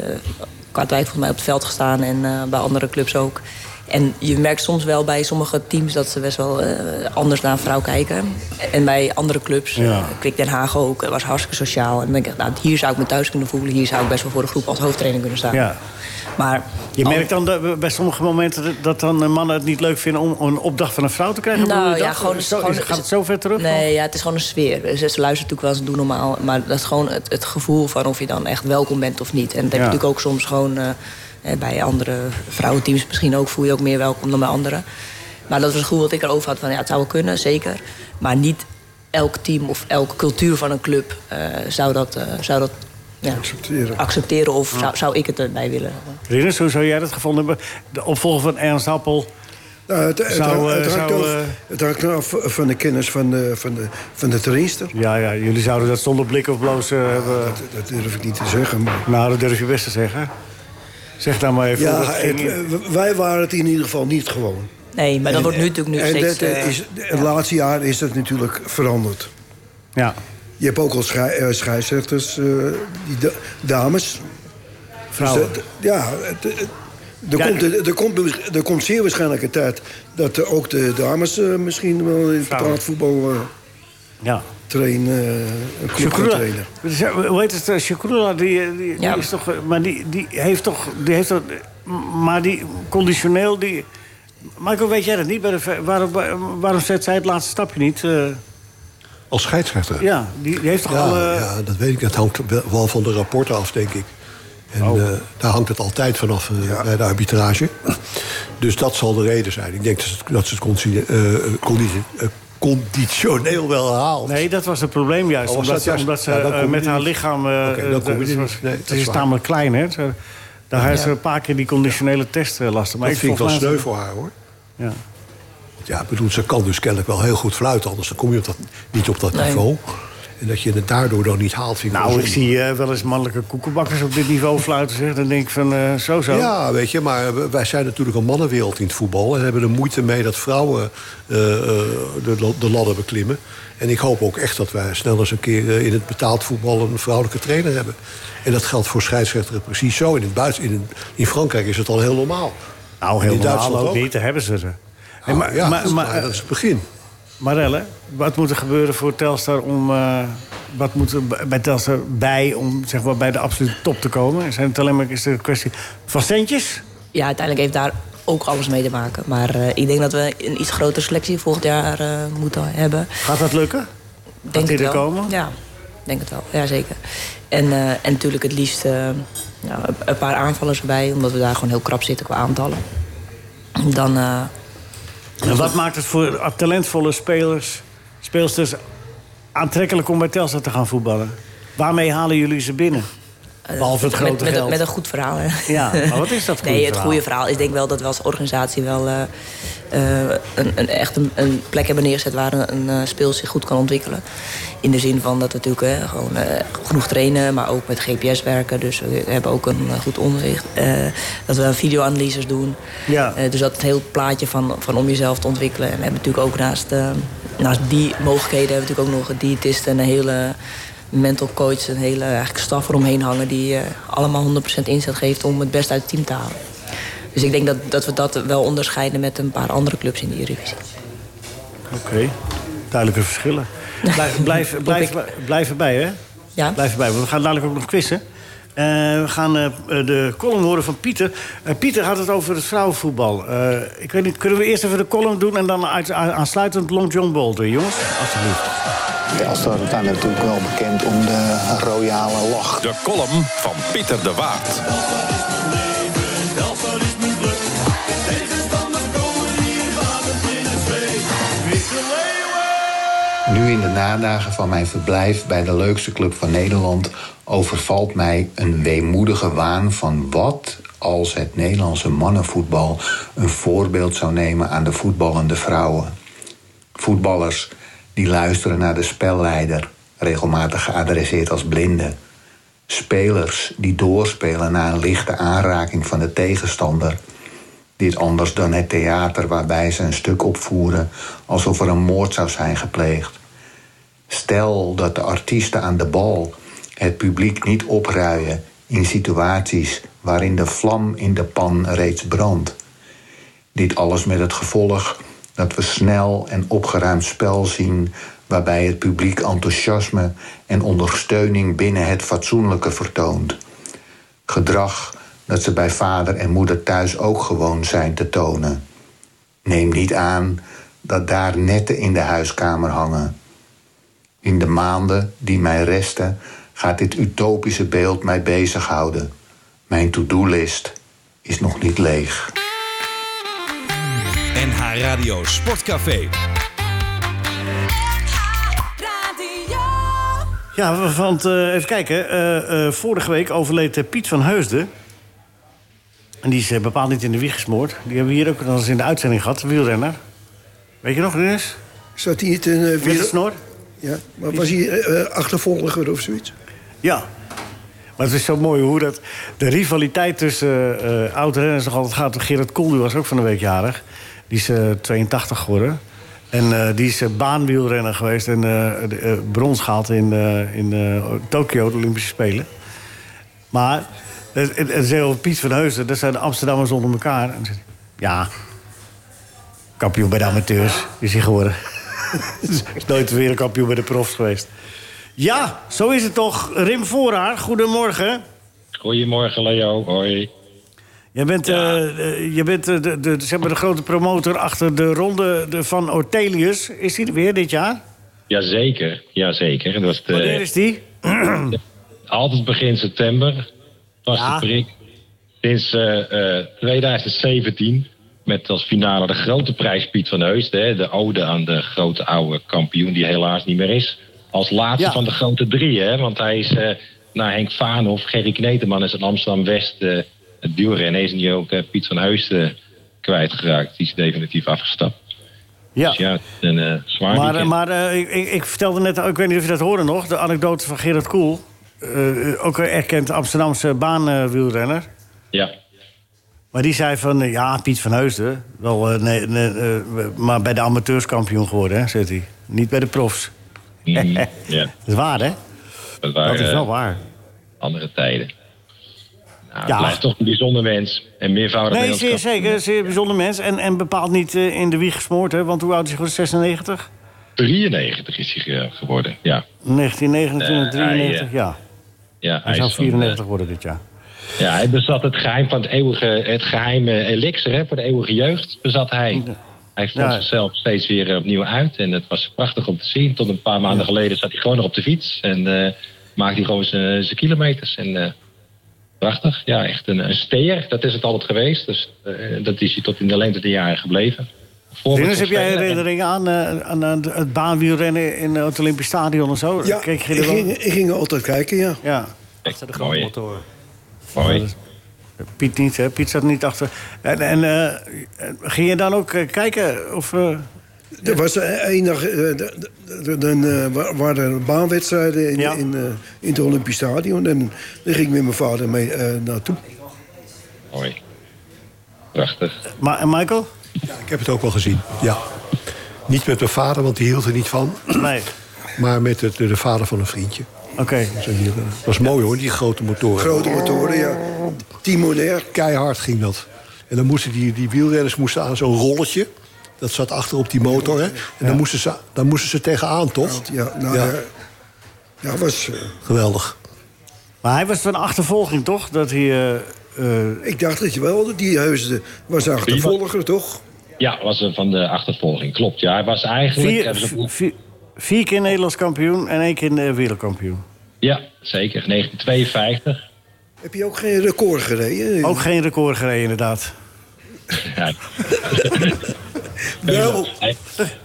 [SPEAKER 9] Kwartwijk volgens mij op het veld gestaan en eh, bij andere clubs ook. En je merkt soms wel bij sommige teams dat ze best wel eh, anders naar een vrouw kijken. En bij andere clubs,
[SPEAKER 3] Ja.
[SPEAKER 9] eh, Kwik Den Haag ook, eh, was hartstikke sociaal. En dan denk ik, nou, hier zou ik me thuis kunnen voelen. Hier zou ik best wel voor de groep als hoofdtrainer kunnen staan.
[SPEAKER 3] Ja.
[SPEAKER 9] Maar
[SPEAKER 3] Je
[SPEAKER 9] oh.
[SPEAKER 3] merkt dan dat, bij sommige momenten dat- dat dan eh, mannen het niet leuk vinden om een opdracht van een vrouw te krijgen? Bedoel je
[SPEAKER 9] Nou ja,
[SPEAKER 3] dat?
[SPEAKER 9] gewoon,
[SPEAKER 3] Zo-
[SPEAKER 9] gewoon-
[SPEAKER 3] gaat het zo ver terug?
[SPEAKER 9] Nee, ja, het is gewoon een sfeer. Ze, ze luisteren natuurlijk wel eens en doen normaal. Maar dat is gewoon het, het gevoel van of je dan echt welkom bent of niet. En dat heb
[SPEAKER 3] Ja.
[SPEAKER 9] je natuurlijk ook soms gewoon eh, eh, bij andere vrouwenteams misschien ook. Voel je ook meer welkom dan bij anderen. Maar dat was het gevoel wat ik erover had. Van, ja, het zou wel kunnen, zeker. Maar niet elk team of elke cultuur van een club eh, zou dat, eh, zou dat ja,
[SPEAKER 5] Accepteren.
[SPEAKER 9] accepteren. Of zou, zou ik het erbij willen.
[SPEAKER 3] Rinus, hoe zou jij dat gevonden hebben? De opvolger van Ernst Appel.
[SPEAKER 5] Nou, het, het,
[SPEAKER 3] Zou, eh,
[SPEAKER 5] het hangt
[SPEAKER 3] zou,
[SPEAKER 5] af-
[SPEAKER 3] eh,
[SPEAKER 5] het hangt af van de kennis van de, van de, van de trainster.
[SPEAKER 3] Ja, ja, jullie zouden dat zonder blik of bloos eh, hebben...
[SPEAKER 5] Dat, dat durf ik niet te zeggen. Maar...
[SPEAKER 3] Nou, dat durf je best te zeggen. Zeg nou maar even. hoe
[SPEAKER 5] Ja,
[SPEAKER 3] dat ging.
[SPEAKER 5] het, eh, wij waren het in ieder geval niet gewoon.
[SPEAKER 9] Nee, maar dat wordt nu natuurlijk nu
[SPEAKER 5] en
[SPEAKER 9] steeds...
[SPEAKER 5] dat, eh,
[SPEAKER 9] eh,
[SPEAKER 5] is, het laatste jaar is dat natuurlijk veranderd.
[SPEAKER 3] ja.
[SPEAKER 5] Je hebt ook al schrei- eh, scheidsrechters, eh, die da- dames.
[SPEAKER 3] Vrouwen.
[SPEAKER 5] Dus dat- ja, het- het- er,
[SPEAKER 3] Ja.
[SPEAKER 5] Komt, er, er komt, er komt zeer waarschijnlijk een tijd dat eh, ook de dames eh, misschien wel in betaald voetbal eh
[SPEAKER 3] ja.
[SPEAKER 5] trainen, eh, een club gaan
[SPEAKER 3] Shakurula.
[SPEAKER 5] trainen.
[SPEAKER 3] Hoe heet het? eh, Shakurula, die, eh, die, die
[SPEAKER 9] Ja.
[SPEAKER 3] is toch. eh, Maar die, die heeft toch. Die heeft toch eh, maar die conditioneel. Die, Michael, weet jij dat niet? Bij de ver- waarom, waarom zet zij het laatste stapje niet? Eh,
[SPEAKER 4] Als scheidsrechter.
[SPEAKER 3] ja, die, die heeft toch
[SPEAKER 4] Ja,
[SPEAKER 3] al. eh,
[SPEAKER 4] ja, dat weet ik. Dat hangt wel- wel van de rapporten af, denk ik. En
[SPEAKER 3] Oh.
[SPEAKER 4] eh, daar hangt het altijd vanaf eh, bij de arbitrage. Dus dat zal de reden zijn. Ik denk dat ze het, dat ze het condi- eh, condi- eh, conditioneel wel haalt.
[SPEAKER 3] Nee, dat was het probleem juist.
[SPEAKER 4] Oh, was
[SPEAKER 3] omdat,
[SPEAKER 4] dat
[SPEAKER 3] ze,
[SPEAKER 4] juist?
[SPEAKER 3] omdat ze
[SPEAKER 4] Ja, dan kom
[SPEAKER 3] eh,
[SPEAKER 4] je
[SPEAKER 3] met
[SPEAKER 4] niet.
[SPEAKER 3] haar lichaam... eh,
[SPEAKER 4] Oké, dan
[SPEAKER 3] eh,
[SPEAKER 4] kom je
[SPEAKER 3] ze
[SPEAKER 4] niet.
[SPEAKER 3] was-
[SPEAKER 4] Nee,
[SPEAKER 3] het
[SPEAKER 4] dat is
[SPEAKER 3] is
[SPEAKER 4] waar.
[SPEAKER 3] tamelijk klein, hè. Ze- Daar heeft ze een paar keer die conditionele test eh, last van. Maar
[SPEAKER 4] dat vind ik wel
[SPEAKER 3] volgens mij-
[SPEAKER 4] sneu voor haar, hoor.
[SPEAKER 3] Ja.
[SPEAKER 4] Ja, ik bedoel, ze kan dus kennelijk wel heel goed fluiten. Anders dan kom je op dat, niet op dat niveau. En dat je het daardoor dan niet haalt, vind ik wel
[SPEAKER 3] Nou, ik
[SPEAKER 4] zonde.
[SPEAKER 3] zie eh, wel eens mannelijke koekenbakkers op dit niveau fluiten. Zeg. Dan denk ik van, eh, zo zo.
[SPEAKER 4] Ja, weet je, maar we- wij zijn natuurlijk een mannenwereld in het voetbal. En hebben er moeite mee dat vrouwen eh, eh, de, la- de ladder beklimmen. En ik hoop ook echt dat wij snel eens een keer eh, in het betaald voetbal een vrouwelijke trainer hebben. En dat geldt voor scheidsrechters precies zo. In, het buiten, in, het- in Frankrijk is het al heel normaal.
[SPEAKER 3] nou,
[SPEAKER 4] in
[SPEAKER 3] helemaal
[SPEAKER 4] Duitsland
[SPEAKER 3] ook Oh,
[SPEAKER 4] ook.
[SPEAKER 3] niet. Daar hebben ze ze. Nee,
[SPEAKER 4] Ah,
[SPEAKER 3] maar,
[SPEAKER 4] ja,
[SPEAKER 3] maar, maar,
[SPEAKER 4] maar dat is het begin.
[SPEAKER 3] Marelle, wat moet er gebeuren voor Telstar om... eh, wat moet er b- bij Telstar bij om zeg maar, bij de absolute top te komen? Zijn het alleen maar, is het een kwestie van centjes?
[SPEAKER 9] ja, uiteindelijk heeft daar ook alles mee te maken. Maar eh, ik denk dat we een iets grotere selectie volgend jaar eh, moeten hebben.
[SPEAKER 3] Gaat dat lukken?
[SPEAKER 9] Denk
[SPEAKER 3] die
[SPEAKER 9] het
[SPEAKER 3] er
[SPEAKER 9] wel.
[SPEAKER 3] komen?
[SPEAKER 9] Ja, denk het wel. Ja, zeker. En, eh, en natuurlijk het liefst eh, ja, een paar aanvallers erbij. Omdat we daar gewoon heel krap zitten qua aantallen. Dan, eh,
[SPEAKER 3] En wat maakt het voor talentvolle spelers, speelsters aantrekkelijk om bij Telstar te gaan voetballen? Waarmee halen jullie ze binnen?
[SPEAKER 9] eh,
[SPEAKER 3] Behalve het
[SPEAKER 9] met-
[SPEAKER 3] grote
[SPEAKER 9] met, met,
[SPEAKER 3] geld.
[SPEAKER 9] Met een goed verhaal. hè.
[SPEAKER 3] Ja, maar wat is dat goede
[SPEAKER 9] nee, het
[SPEAKER 3] verhaal?
[SPEAKER 9] goede verhaal is denk ik wel dat we als organisatie wel eh, eh, een, een, echt een, een plek hebben neergezet waar een, een eh, speel zich goed kan ontwikkelen. In de zin van dat we natuurlijk eh, gewoon eh, genoeg trainen, maar ook met GPS werken. Dus we hebben ook een eh, goed onderricht. eh, dat we videoanalyses doen.
[SPEAKER 3] Ja.
[SPEAKER 9] Eh, dus dat het heel plaatje van, van om jezelf te ontwikkelen. En we hebben natuurlijk ook naast, eh, naast die mogelijkheden... hebben we natuurlijk ook nog een diëtist en een hele mental coach... een hele eigenlijk staf eromheen hangen... die eh, allemaal 100% inzet geeft om het best uit het team te halen. Dus ik denk dat, dat we dat wel onderscheiden met een paar andere clubs in de Eredivisie.
[SPEAKER 3] Oké, duidelijke verschillen. Blijf, blijf, blijf, blijf erbij, hè?
[SPEAKER 9] Ja?
[SPEAKER 3] Blijf erbij, want we gaan dadelijk ook nog quizzen. Eh, we gaan eh, de column horen van Pieter. Eh, Pieter had het over het vrouwenvoetbal. Eh, ik weet niet, kunnen we eerst even de column doen... en dan uits- a- aansluitend Long John Bolter, jongens? Alsjeblieft.
[SPEAKER 4] Als we zijn natuurlijk wel bekend om de royale lach.
[SPEAKER 2] De column van Pieter de Waard.
[SPEAKER 4] Nu in de nadagen van mijn verblijf bij de leukste club van Nederland overvalt mij een weemoedige waan van wat als het Nederlandse mannenvoetbal een voorbeeld zou nemen aan de voetballende vrouwen. Voetballers die luisteren naar de spelleider, regelmatig geadresseerd als blinden. Spelers die doorspelen na een lichte aanraking van de tegenstander. Dit anders dan het theater waarbij ze een stuk opvoeren alsof er een moord zou zijn gepleegd. Stel dat de artiesten aan de bal het publiek niet opruien in situaties waarin de vlam in de pan reeds brandt. Dit alles met het gevolg dat we snel en opgeruimd spel zien waarbij het publiek enthousiasme en ondersteuning binnen het fatsoenlijke vertoont gedrag dat ze bij vader en moeder thuis ook gewoon zijn te tonen. Neem niet aan dat daar netten in de huiskamer hangen. In de maanden die mij resten gaat dit utopische beeld mij bezighouden. Mijn to-do-list is nog niet leeg.
[SPEAKER 2] NH Radio Sportcafé.
[SPEAKER 3] Ja, want eh, even kijken. Eh, eh, vorige week overleed eh, Piet van Heusden. En die is eh, bepaald niet in de wieg gesmoord. Die hebben we hier ook nog eens in de uitzending gehad. Wielrenner. Weet je nog, Rinus?
[SPEAKER 5] Zat hij niet een
[SPEAKER 3] Met de
[SPEAKER 5] weer...
[SPEAKER 3] snor?
[SPEAKER 5] Ja, maar was hij eh, eh, achtervolger of zoiets?
[SPEAKER 3] Ja. Maar het is zo mooi hoe dat de rivaliteit tussen eh eh, oud-renners nog altijd gaat. Gerard Kool die was ook van de week jarig. Die is eh, 82 geworden. En eh, die is eh, baanwielrenner geweest en eh, de, eh, brons gehaald in, eh, in eh, Tokio, de Olympische Spelen. Maar het, het, het is heel Piet van Heusden, dat zijn de Amsterdammers onder elkaar. En ze- ja, kampioen bij de amateurs is hij geworden. is nooit weer een kampioen bij de profs geweest. Ja, zo is het toch. Rim Voorhaar, goedemorgen.
[SPEAKER 7] Goedemorgen Leo, hoi.
[SPEAKER 3] Jij bent, eh, eh, je bent eh, de, de, zeg maar de grote promotor achter de ronde de van Ortelius. Is die er weer dit jaar?
[SPEAKER 7] Jazeker, jazeker. Dat was de,
[SPEAKER 3] Wanneer is die?
[SPEAKER 7] Altijd begin september was
[SPEAKER 3] Ja.
[SPEAKER 7] de prik. Sinds eh, eh, 2017 met als finale de grote prijs Piet van Heusden. Hè, de ode aan de grote oude kampioen die helaas niet meer is. Als laatste
[SPEAKER 3] Ja.
[SPEAKER 7] van de grote drie, hè, want hij is eh na Henk Vaanhoff, Gerry Kneteman is in Amsterdam-West eh het duurrennen. Is niet ook eh, Piet van Heusden kwijtgeraakt. Die is definitief afgestapt.
[SPEAKER 3] Ja.
[SPEAKER 7] Dus ja, het is een eh, zwaar
[SPEAKER 3] Maar, eh,
[SPEAKER 7] weekend.
[SPEAKER 3] maar eh, ik- ik, ik vertelde net, ik weet niet of je dat hoorde nog, de anekdote van Gerard Koel. Eh, ook een erkend Amsterdamse baanwielrenner.
[SPEAKER 7] Ja.
[SPEAKER 3] Maar die zei van, eh, ja, Piet van Heusden. Wel, eh, nee, nee, eh, maar bij de amateurs kampioen geworden, hè, zegt hij. Niet bij de profs.
[SPEAKER 7] Mhm. ja,
[SPEAKER 3] Dat is waar, hè?
[SPEAKER 7] dat waren
[SPEAKER 3] Dat is
[SPEAKER 7] eh,
[SPEAKER 3] wel waar.
[SPEAKER 7] andere tijden. Nou, het
[SPEAKER 3] Ja.
[SPEAKER 7] blijft toch nou een bijzonder mens. En meervoudig
[SPEAKER 3] Nee,
[SPEAKER 7] Nederlands
[SPEAKER 3] zeer
[SPEAKER 7] kampioen.
[SPEAKER 3] zeker. Zeer bijzonder mens. En, en bepaald niet eh, in de wieg gesmoord, hè? Want hoe oud is hij geworden? 96?
[SPEAKER 7] 93 is hij ge- geworden. Ja,
[SPEAKER 3] 1929,
[SPEAKER 7] Eh, hij,
[SPEAKER 3] 93,
[SPEAKER 7] eh,
[SPEAKER 3] ja.
[SPEAKER 7] ja
[SPEAKER 3] Hij zou
[SPEAKER 7] is van,
[SPEAKER 3] 94 worden dit jaar.
[SPEAKER 7] eh, ja, hij bezat het geheim van het eeuwige, het geheime elixir hè, voor de eeuwige jeugd. Bezat hij. Hij vond
[SPEAKER 3] Ja.
[SPEAKER 7] zichzelf steeds weer eh, opnieuw uit. En het was prachtig om te zien. Tot een paar maanden geleden zat hij gewoon nog op de fiets. En eh, maakte hij gewoon zijn zijn kilometers. En eh, prachtig. Ja, echt een, een steer. Dat is het altijd geweest. Dus eh, dat is hij tot in de lengte der jaren gebleven. Voorbeeld
[SPEAKER 3] Dennis,
[SPEAKER 7] van
[SPEAKER 3] heb jij
[SPEAKER 7] stelen. En-
[SPEAKER 3] herinneringen aan, eh, aan, aan het baanwielrennen in het Olympisch Stadion en zo?
[SPEAKER 5] Ja,
[SPEAKER 3] Keek je
[SPEAKER 5] ik,
[SPEAKER 3] er wel?
[SPEAKER 5] ging, ik ging altijd kijken, ja.
[SPEAKER 3] Ja.
[SPEAKER 6] Achter de grote
[SPEAKER 10] Mooi.
[SPEAKER 6] motoren.
[SPEAKER 10] Mooi.
[SPEAKER 3] Piet niet, hè? Piet zat niet achter. En, en eh, ging je dan ook eh, kijken? Of, eh,
[SPEAKER 5] Er was één dag, eh, d- d- d- dan eh, wa- waren er baanwedstrijden in, in, eh, in het Olympisch Stadion. En daar ging ik met mijn vader mee eh, naartoe.
[SPEAKER 10] Mooi. Prachtig.
[SPEAKER 3] Maar, en Michael?
[SPEAKER 4] Ja, ik heb het ook wel gezien. Ja. Niet met mijn vader, want die hield er niet van.
[SPEAKER 3] Nee.
[SPEAKER 4] Maar met het, de vader van een vriendje.
[SPEAKER 3] Oké.
[SPEAKER 4] eh. Dat was mooi hoor, die grote motoren.
[SPEAKER 5] Grote motoren, ja. Timonair.
[SPEAKER 4] Keihard ging dat. En dan moesten die, die wielrenners moesten aan zo'n rolletje. Dat zat achter op die motor. Hè? En dan, moesten ze, dan moesten ze tegenaan, toch?
[SPEAKER 5] Ja, nou, ja. ja, was... eh,
[SPEAKER 4] Geweldig.
[SPEAKER 3] Maar hij was van achtervolging, toch? Dat hij... eh, eh,
[SPEAKER 5] ik dacht dat je wel, die heusde was een achtervolger, toch?
[SPEAKER 10] Ja, was er van de achtervolging. Klopt, ja. Hij was eigenlijk... eh,
[SPEAKER 3] vier,
[SPEAKER 10] hebben ze-
[SPEAKER 3] vi- vi- vier keer Nederlands kampioen en één keer eh, wereldkampioen.
[SPEAKER 10] Ja, zeker. 1952.
[SPEAKER 5] Heb je ook geen record gereden?
[SPEAKER 3] Ook geen record gereden, inderdaad.
[SPEAKER 10] Ja.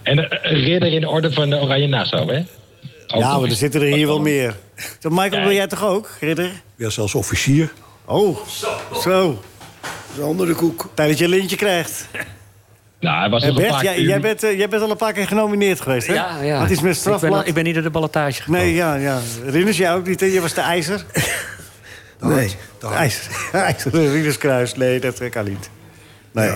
[SPEAKER 10] En eh, ridder in de orde van de Oranje Nassau, hè? Ook
[SPEAKER 3] ja,
[SPEAKER 10] nog
[SPEAKER 3] maar er
[SPEAKER 10] eens.
[SPEAKER 3] zitten er hier wel meer. Oh. Zo, Michael,
[SPEAKER 10] Ja.
[SPEAKER 3] wil jij toch ook, ridder?
[SPEAKER 4] Ja, zelfs officier.
[SPEAKER 3] Oh, zo.
[SPEAKER 5] De andere koek.
[SPEAKER 3] Tijd dat je een lintje krijgt.
[SPEAKER 10] Nou, hij was
[SPEAKER 3] En
[SPEAKER 10] nog een
[SPEAKER 3] Bert,
[SPEAKER 10] paar
[SPEAKER 3] jij,
[SPEAKER 10] keer-
[SPEAKER 3] jij, bent, eh, jij bent al een paar keer genomineerd geweest, hè?
[SPEAKER 6] Ja, ja.
[SPEAKER 3] Wat is met
[SPEAKER 6] ik ben,
[SPEAKER 3] strafblad?
[SPEAKER 6] al- ik ben niet door de ballotage gekomen.
[SPEAKER 3] Nee, ja, ja. Rinus, jij ook niet, hè? Jij was de ijzer.
[SPEAKER 5] Nee.
[SPEAKER 3] De ijzer. IJzeren Rinnuskruis. Nee, dat kan niet. Nee.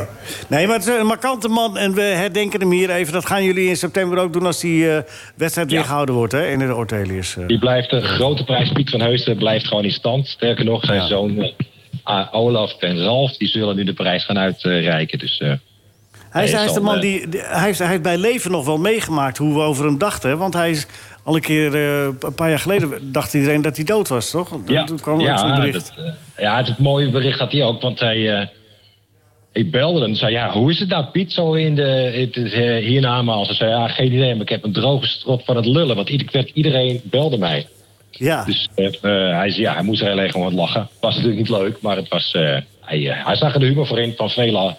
[SPEAKER 3] nee, maar het is een markante man en we herdenken hem hier even. Dat gaan jullie in september ook doen als die eh, wedstrijd weer gehouden wordt, hè? In de Ortelius. eh.
[SPEAKER 10] Die blijft de grote prijs. Piet van Heusden blijft gewoon in stand. Sterker nog, zijn zoon eh, A- Olaf en Ralf... die zullen nu de prijs gaan uitreiken. Dus eh,
[SPEAKER 3] Hij is,
[SPEAKER 10] Hij
[SPEAKER 3] hij
[SPEAKER 10] is
[SPEAKER 3] is de
[SPEAKER 10] al,
[SPEAKER 3] man
[SPEAKER 10] eh,
[SPEAKER 3] die. die- Hij heeft, hij heeft bij leven nog wel meegemaakt hoe we over hem dachten. hè? Want hij is al een keer. eh, een paar jaar geleden dacht iedereen dat hij dood was, toch?
[SPEAKER 10] Ja,
[SPEAKER 3] Toen kwam er
[SPEAKER 10] ja,
[SPEAKER 3] zo'n bericht.
[SPEAKER 10] Dat, eh, ja, het, het mooie bericht had hij ook, want hij... eh, ik belde hem en zei, ja, hoe is het nou, Piet, zo in de, het, het, eh, hierna als Ze zei, ja, geen idee, maar ik heb een droge strot van het lullen. Want ieder, ik werd- iedereen belde mij.
[SPEAKER 3] Ja.
[SPEAKER 10] Dus eh, eh, hij zei, ja, hij moest er heel erg om wat lachen. Was natuurlijk niet leuk, maar het was, eh, hij, eh, hij zag er de humor voor in van vele...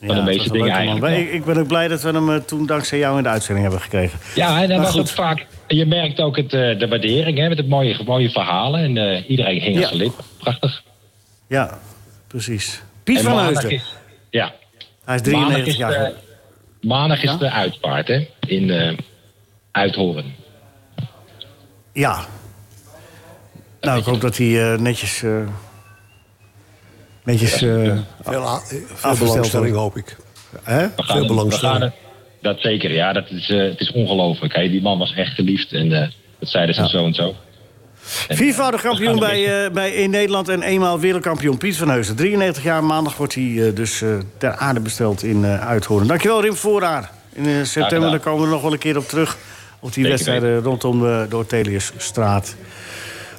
[SPEAKER 10] Van de meeste
[SPEAKER 3] Ja, het was
[SPEAKER 10] dingen
[SPEAKER 3] een leuke man.
[SPEAKER 10] eigenlijk. wel.
[SPEAKER 3] Ik, ik ben ook blij dat we hem eh, toen dankzij jou in de uitzending hebben gekregen.
[SPEAKER 10] Ja, en dan
[SPEAKER 3] Maar
[SPEAKER 10] was
[SPEAKER 3] goed.
[SPEAKER 10] het vaak. Je merkt ook het, eh, de waardering hè, met het mooie, mooie verhalen. En eh, iedereen hing aan
[SPEAKER 3] Ja.
[SPEAKER 10] zijn lip. Prachtig.
[SPEAKER 3] Ja, precies. Piet
[SPEAKER 10] En
[SPEAKER 3] van
[SPEAKER 10] maandag
[SPEAKER 3] Heusden.
[SPEAKER 10] is- Ja.
[SPEAKER 3] Hij
[SPEAKER 10] Maandag
[SPEAKER 3] is 93
[SPEAKER 10] is, eh,
[SPEAKER 3] jaar.
[SPEAKER 10] de,
[SPEAKER 3] oud.
[SPEAKER 10] maandag is de uitvaart, hè? In eh, Uithoren.
[SPEAKER 3] Ja. Nou, ik hoop dat hij eh, netjes. eh, netjes. eh,
[SPEAKER 4] Veel, a- eh, veel
[SPEAKER 3] Afgesteld
[SPEAKER 4] belangstelling,
[SPEAKER 3] worden.
[SPEAKER 4] hoop ik.
[SPEAKER 3] hè?
[SPEAKER 10] We
[SPEAKER 4] Veel
[SPEAKER 10] we
[SPEAKER 4] belangstelling.
[SPEAKER 10] gaan er- dat zeker, ja. Dat is, eh, het is ongelooflijk. hè. Die man was echt geliefd. En eh, dat zeiden ze zo en zo. En,
[SPEAKER 3] Viervoudig
[SPEAKER 10] eh, we gaan
[SPEAKER 3] kampioen
[SPEAKER 10] een
[SPEAKER 3] bij, eh, bij in Nederland en eenmaal wereldkampioen Piet van Heusden. 93 jaar maandag wordt hij eh, dus eh, ter aarde besteld in eh Uithoorn. Dankjewel Rim Voorraar. In eh, september
[SPEAKER 10] gedaan.
[SPEAKER 3] daar komen we nog wel een keer op terug. Op die
[SPEAKER 10] Zeker
[SPEAKER 3] wedstrijden rondom eh, de Orteliusstraat.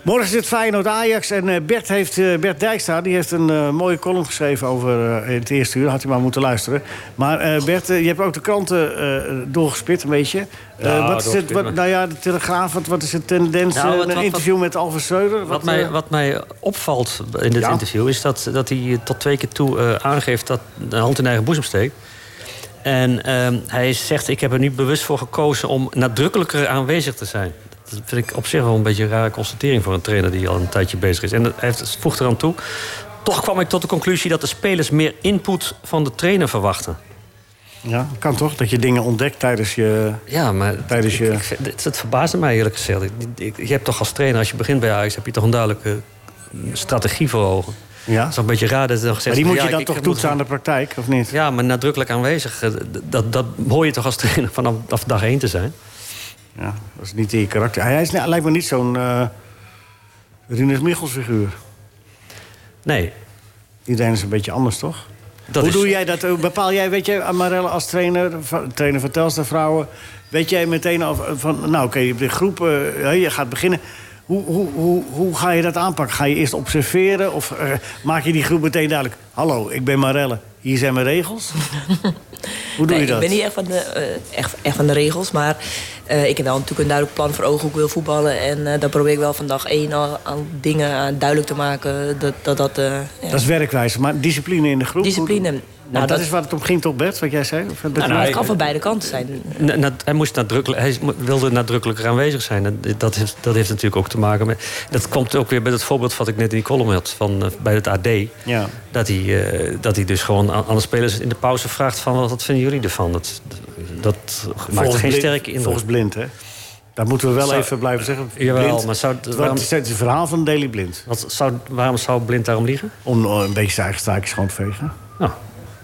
[SPEAKER 3] Morgen is het Feyenoord-Ajax en eh, Bert, heeft, eh, Bert Dijkstra die heeft een eh, mooie column geschreven over eh, het eerste uur. Had hij maar moeten luisteren. Maar eh, Bert, eh, je hebt ook de kranten eh, doorgespit een beetje. Eh,
[SPEAKER 6] Nou,
[SPEAKER 3] wat is het,
[SPEAKER 6] doorgespit,
[SPEAKER 3] wat,
[SPEAKER 6] maar-
[SPEAKER 3] nou ja, de Telegraaf, wat, wat is de tendens?
[SPEAKER 6] Nou,
[SPEAKER 3] Eh,
[SPEAKER 6] wat-
[SPEAKER 3] een
[SPEAKER 6] wat-
[SPEAKER 3] interview met Alves Schreuder.
[SPEAKER 6] Wat mij,
[SPEAKER 3] eh,
[SPEAKER 6] wat mij opvalt in dit
[SPEAKER 3] Ja.
[SPEAKER 6] interview is dat, dat hij tot twee keer toe eh, aangeeft dat de hand in eigen boezem steekt. En ehm, hij zegt: Ik heb er nu bewust voor gekozen om nadrukkelijker aanwezig te zijn. Dat vind ik op zich wel een beetje een rare constatering voor een trainer die al een tijdje bezig is. En hij heeft- voegt eraan toe: Toch kwam ik tot de conclusie dat de spelers meer input van de trainer verwachten.
[SPEAKER 3] Ja, kan toch? Dat je dingen ontdekt tijdens je...
[SPEAKER 6] Ja, maar
[SPEAKER 3] Tijdens je-
[SPEAKER 6] ik, ik, vind- het, het verbaasde mij eerlijk gezegd. Ik, ik- je hebt toch als trainer, als je begint bij Ajax, heb je toch een duidelijke mm, strategie voor ogen.
[SPEAKER 3] Ja.
[SPEAKER 6] Het Ah, is wel een beetje raar dat ze dan
[SPEAKER 3] Maar
[SPEAKER 6] gezegd
[SPEAKER 3] die moet
[SPEAKER 6] hebben,
[SPEAKER 3] je
[SPEAKER 6] ja,
[SPEAKER 3] dan
[SPEAKER 6] ik-
[SPEAKER 3] toch
[SPEAKER 6] ik
[SPEAKER 3] toetsen aan
[SPEAKER 6] moet-
[SPEAKER 3] de praktijk, of niet?
[SPEAKER 6] Ja, maar nadrukkelijk aanwezig, eh, d- dat, dat hoor je toch als trainer vanaf vanaf dag één te zijn.
[SPEAKER 3] Ja, dat is niet in je karakter. Hij is, hij lijkt me niet zo'n eh Rinus Michels figuur.
[SPEAKER 6] Nee,
[SPEAKER 3] Iedereen is een beetje anders, toch?
[SPEAKER 6] dat
[SPEAKER 3] Hoe
[SPEAKER 6] is...
[SPEAKER 3] doe jij dat? Hoe Bepaal jij, weet jij, Amarelle als trainer, va- trainer van Telstra Vrouwen... weet jij meteen of, van, nou oké, je hebt de groep, eh, hè, je gaat beginnen... Hoe, hoe, hoe, hoe ga je dat aanpakken? Ga je eerst observeren of eh, maak je die groep meteen duidelijk... hallo, ik ben Marelle, hier zijn mijn regels? hoe doe
[SPEAKER 9] Nee,
[SPEAKER 3] je dat?
[SPEAKER 9] Ik ben niet echt van de, eh, echt, echt van de regels, maar eh, ik heb wel natuurlijk een duidelijk plan voor ogen hoe ik wil voetballen. En eh, daar probeer ik wel van dag één al, al dingen aan duidelijk te maken. Dat dat, dat eh, ja.
[SPEAKER 3] Dat is werkwijze, maar discipline in de groep. Nou,
[SPEAKER 9] discipline. Nou,
[SPEAKER 3] dat,
[SPEAKER 9] dat-
[SPEAKER 3] is waar het om ging toch, Bert, wat jij zei? Of,
[SPEAKER 9] Nou, nou, het
[SPEAKER 6] hij-
[SPEAKER 9] kan van beide kanten zijn.
[SPEAKER 6] Na- na- hij, moest nadrukkelijk, hij wilde nadrukkelijker aanwezig zijn. Dat, dat, heeft, dat heeft natuurlijk ook te maken met... Dat komt ook weer bij het voorbeeld wat ik net in die column had... Van, eh, bij het AD.
[SPEAKER 3] Ja.
[SPEAKER 6] Dat hij, eh, dat hij dus gewoon aan, aan de spelers in de pauze vraagt... van wat, wat vinden jullie ervan? Dat, dat maakt geen
[SPEAKER 3] Blind-
[SPEAKER 6] sterke indruk.
[SPEAKER 3] Volgens Blind, hè? Daar moeten we wel
[SPEAKER 6] Zou-
[SPEAKER 3] even blijven zeggen.
[SPEAKER 6] Jawel,
[SPEAKER 3] Blind,
[SPEAKER 6] maar zou-
[SPEAKER 3] het wordt-
[SPEAKER 6] waarom-
[SPEAKER 3] het is een verhaal van Daily Blind.
[SPEAKER 6] Wat zou, waarom zou Blind daarom liegen?
[SPEAKER 3] Om eh, een beetje zijn eigen staakjes schoon te vegen.
[SPEAKER 6] Nou,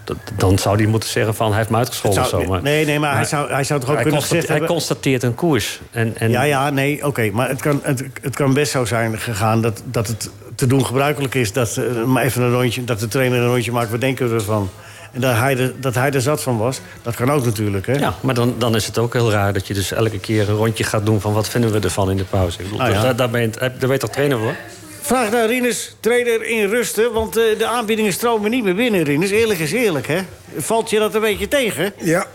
[SPEAKER 6] dat, dan zou hij moeten zeggen van... hij heeft me uitgescholden
[SPEAKER 3] Het zou-
[SPEAKER 6] of zo. Maar,
[SPEAKER 3] nee, nee, maar hij zou- hij zou toch ook
[SPEAKER 6] hij
[SPEAKER 3] kunnen
[SPEAKER 6] constate-
[SPEAKER 3] gezegd
[SPEAKER 6] Hij
[SPEAKER 3] hebben-
[SPEAKER 6] constateert een koers. En, en,
[SPEAKER 3] Ja, ja, nee, oké. maar het kan, het, het kan best zo zijn gegaan dat, dat het te doen gebruikelijk is... Dat, eh, maar even een rondje, dat de trainer een rondje maakt, wat denken we ervan? En dat hij, er, dat hij er zat van was, dat kan ook natuurlijk, hè?
[SPEAKER 6] Ja, maar dan, dan is het ook heel raar dat je dus elke keer een rondje gaat doen van wat vinden we ervan in de pauze. Ik bedoel,
[SPEAKER 3] Ah, ja.
[SPEAKER 6] daar, daar, ben je, daar ben je toch trainer voor?
[SPEAKER 3] Vraag naar Rinus, trainer in rusten, want eh, de aanbiedingen stromen niet meer binnen, Rinus. Eerlijk is eerlijk, hè? Valt je dat een beetje tegen?
[SPEAKER 5] Ja,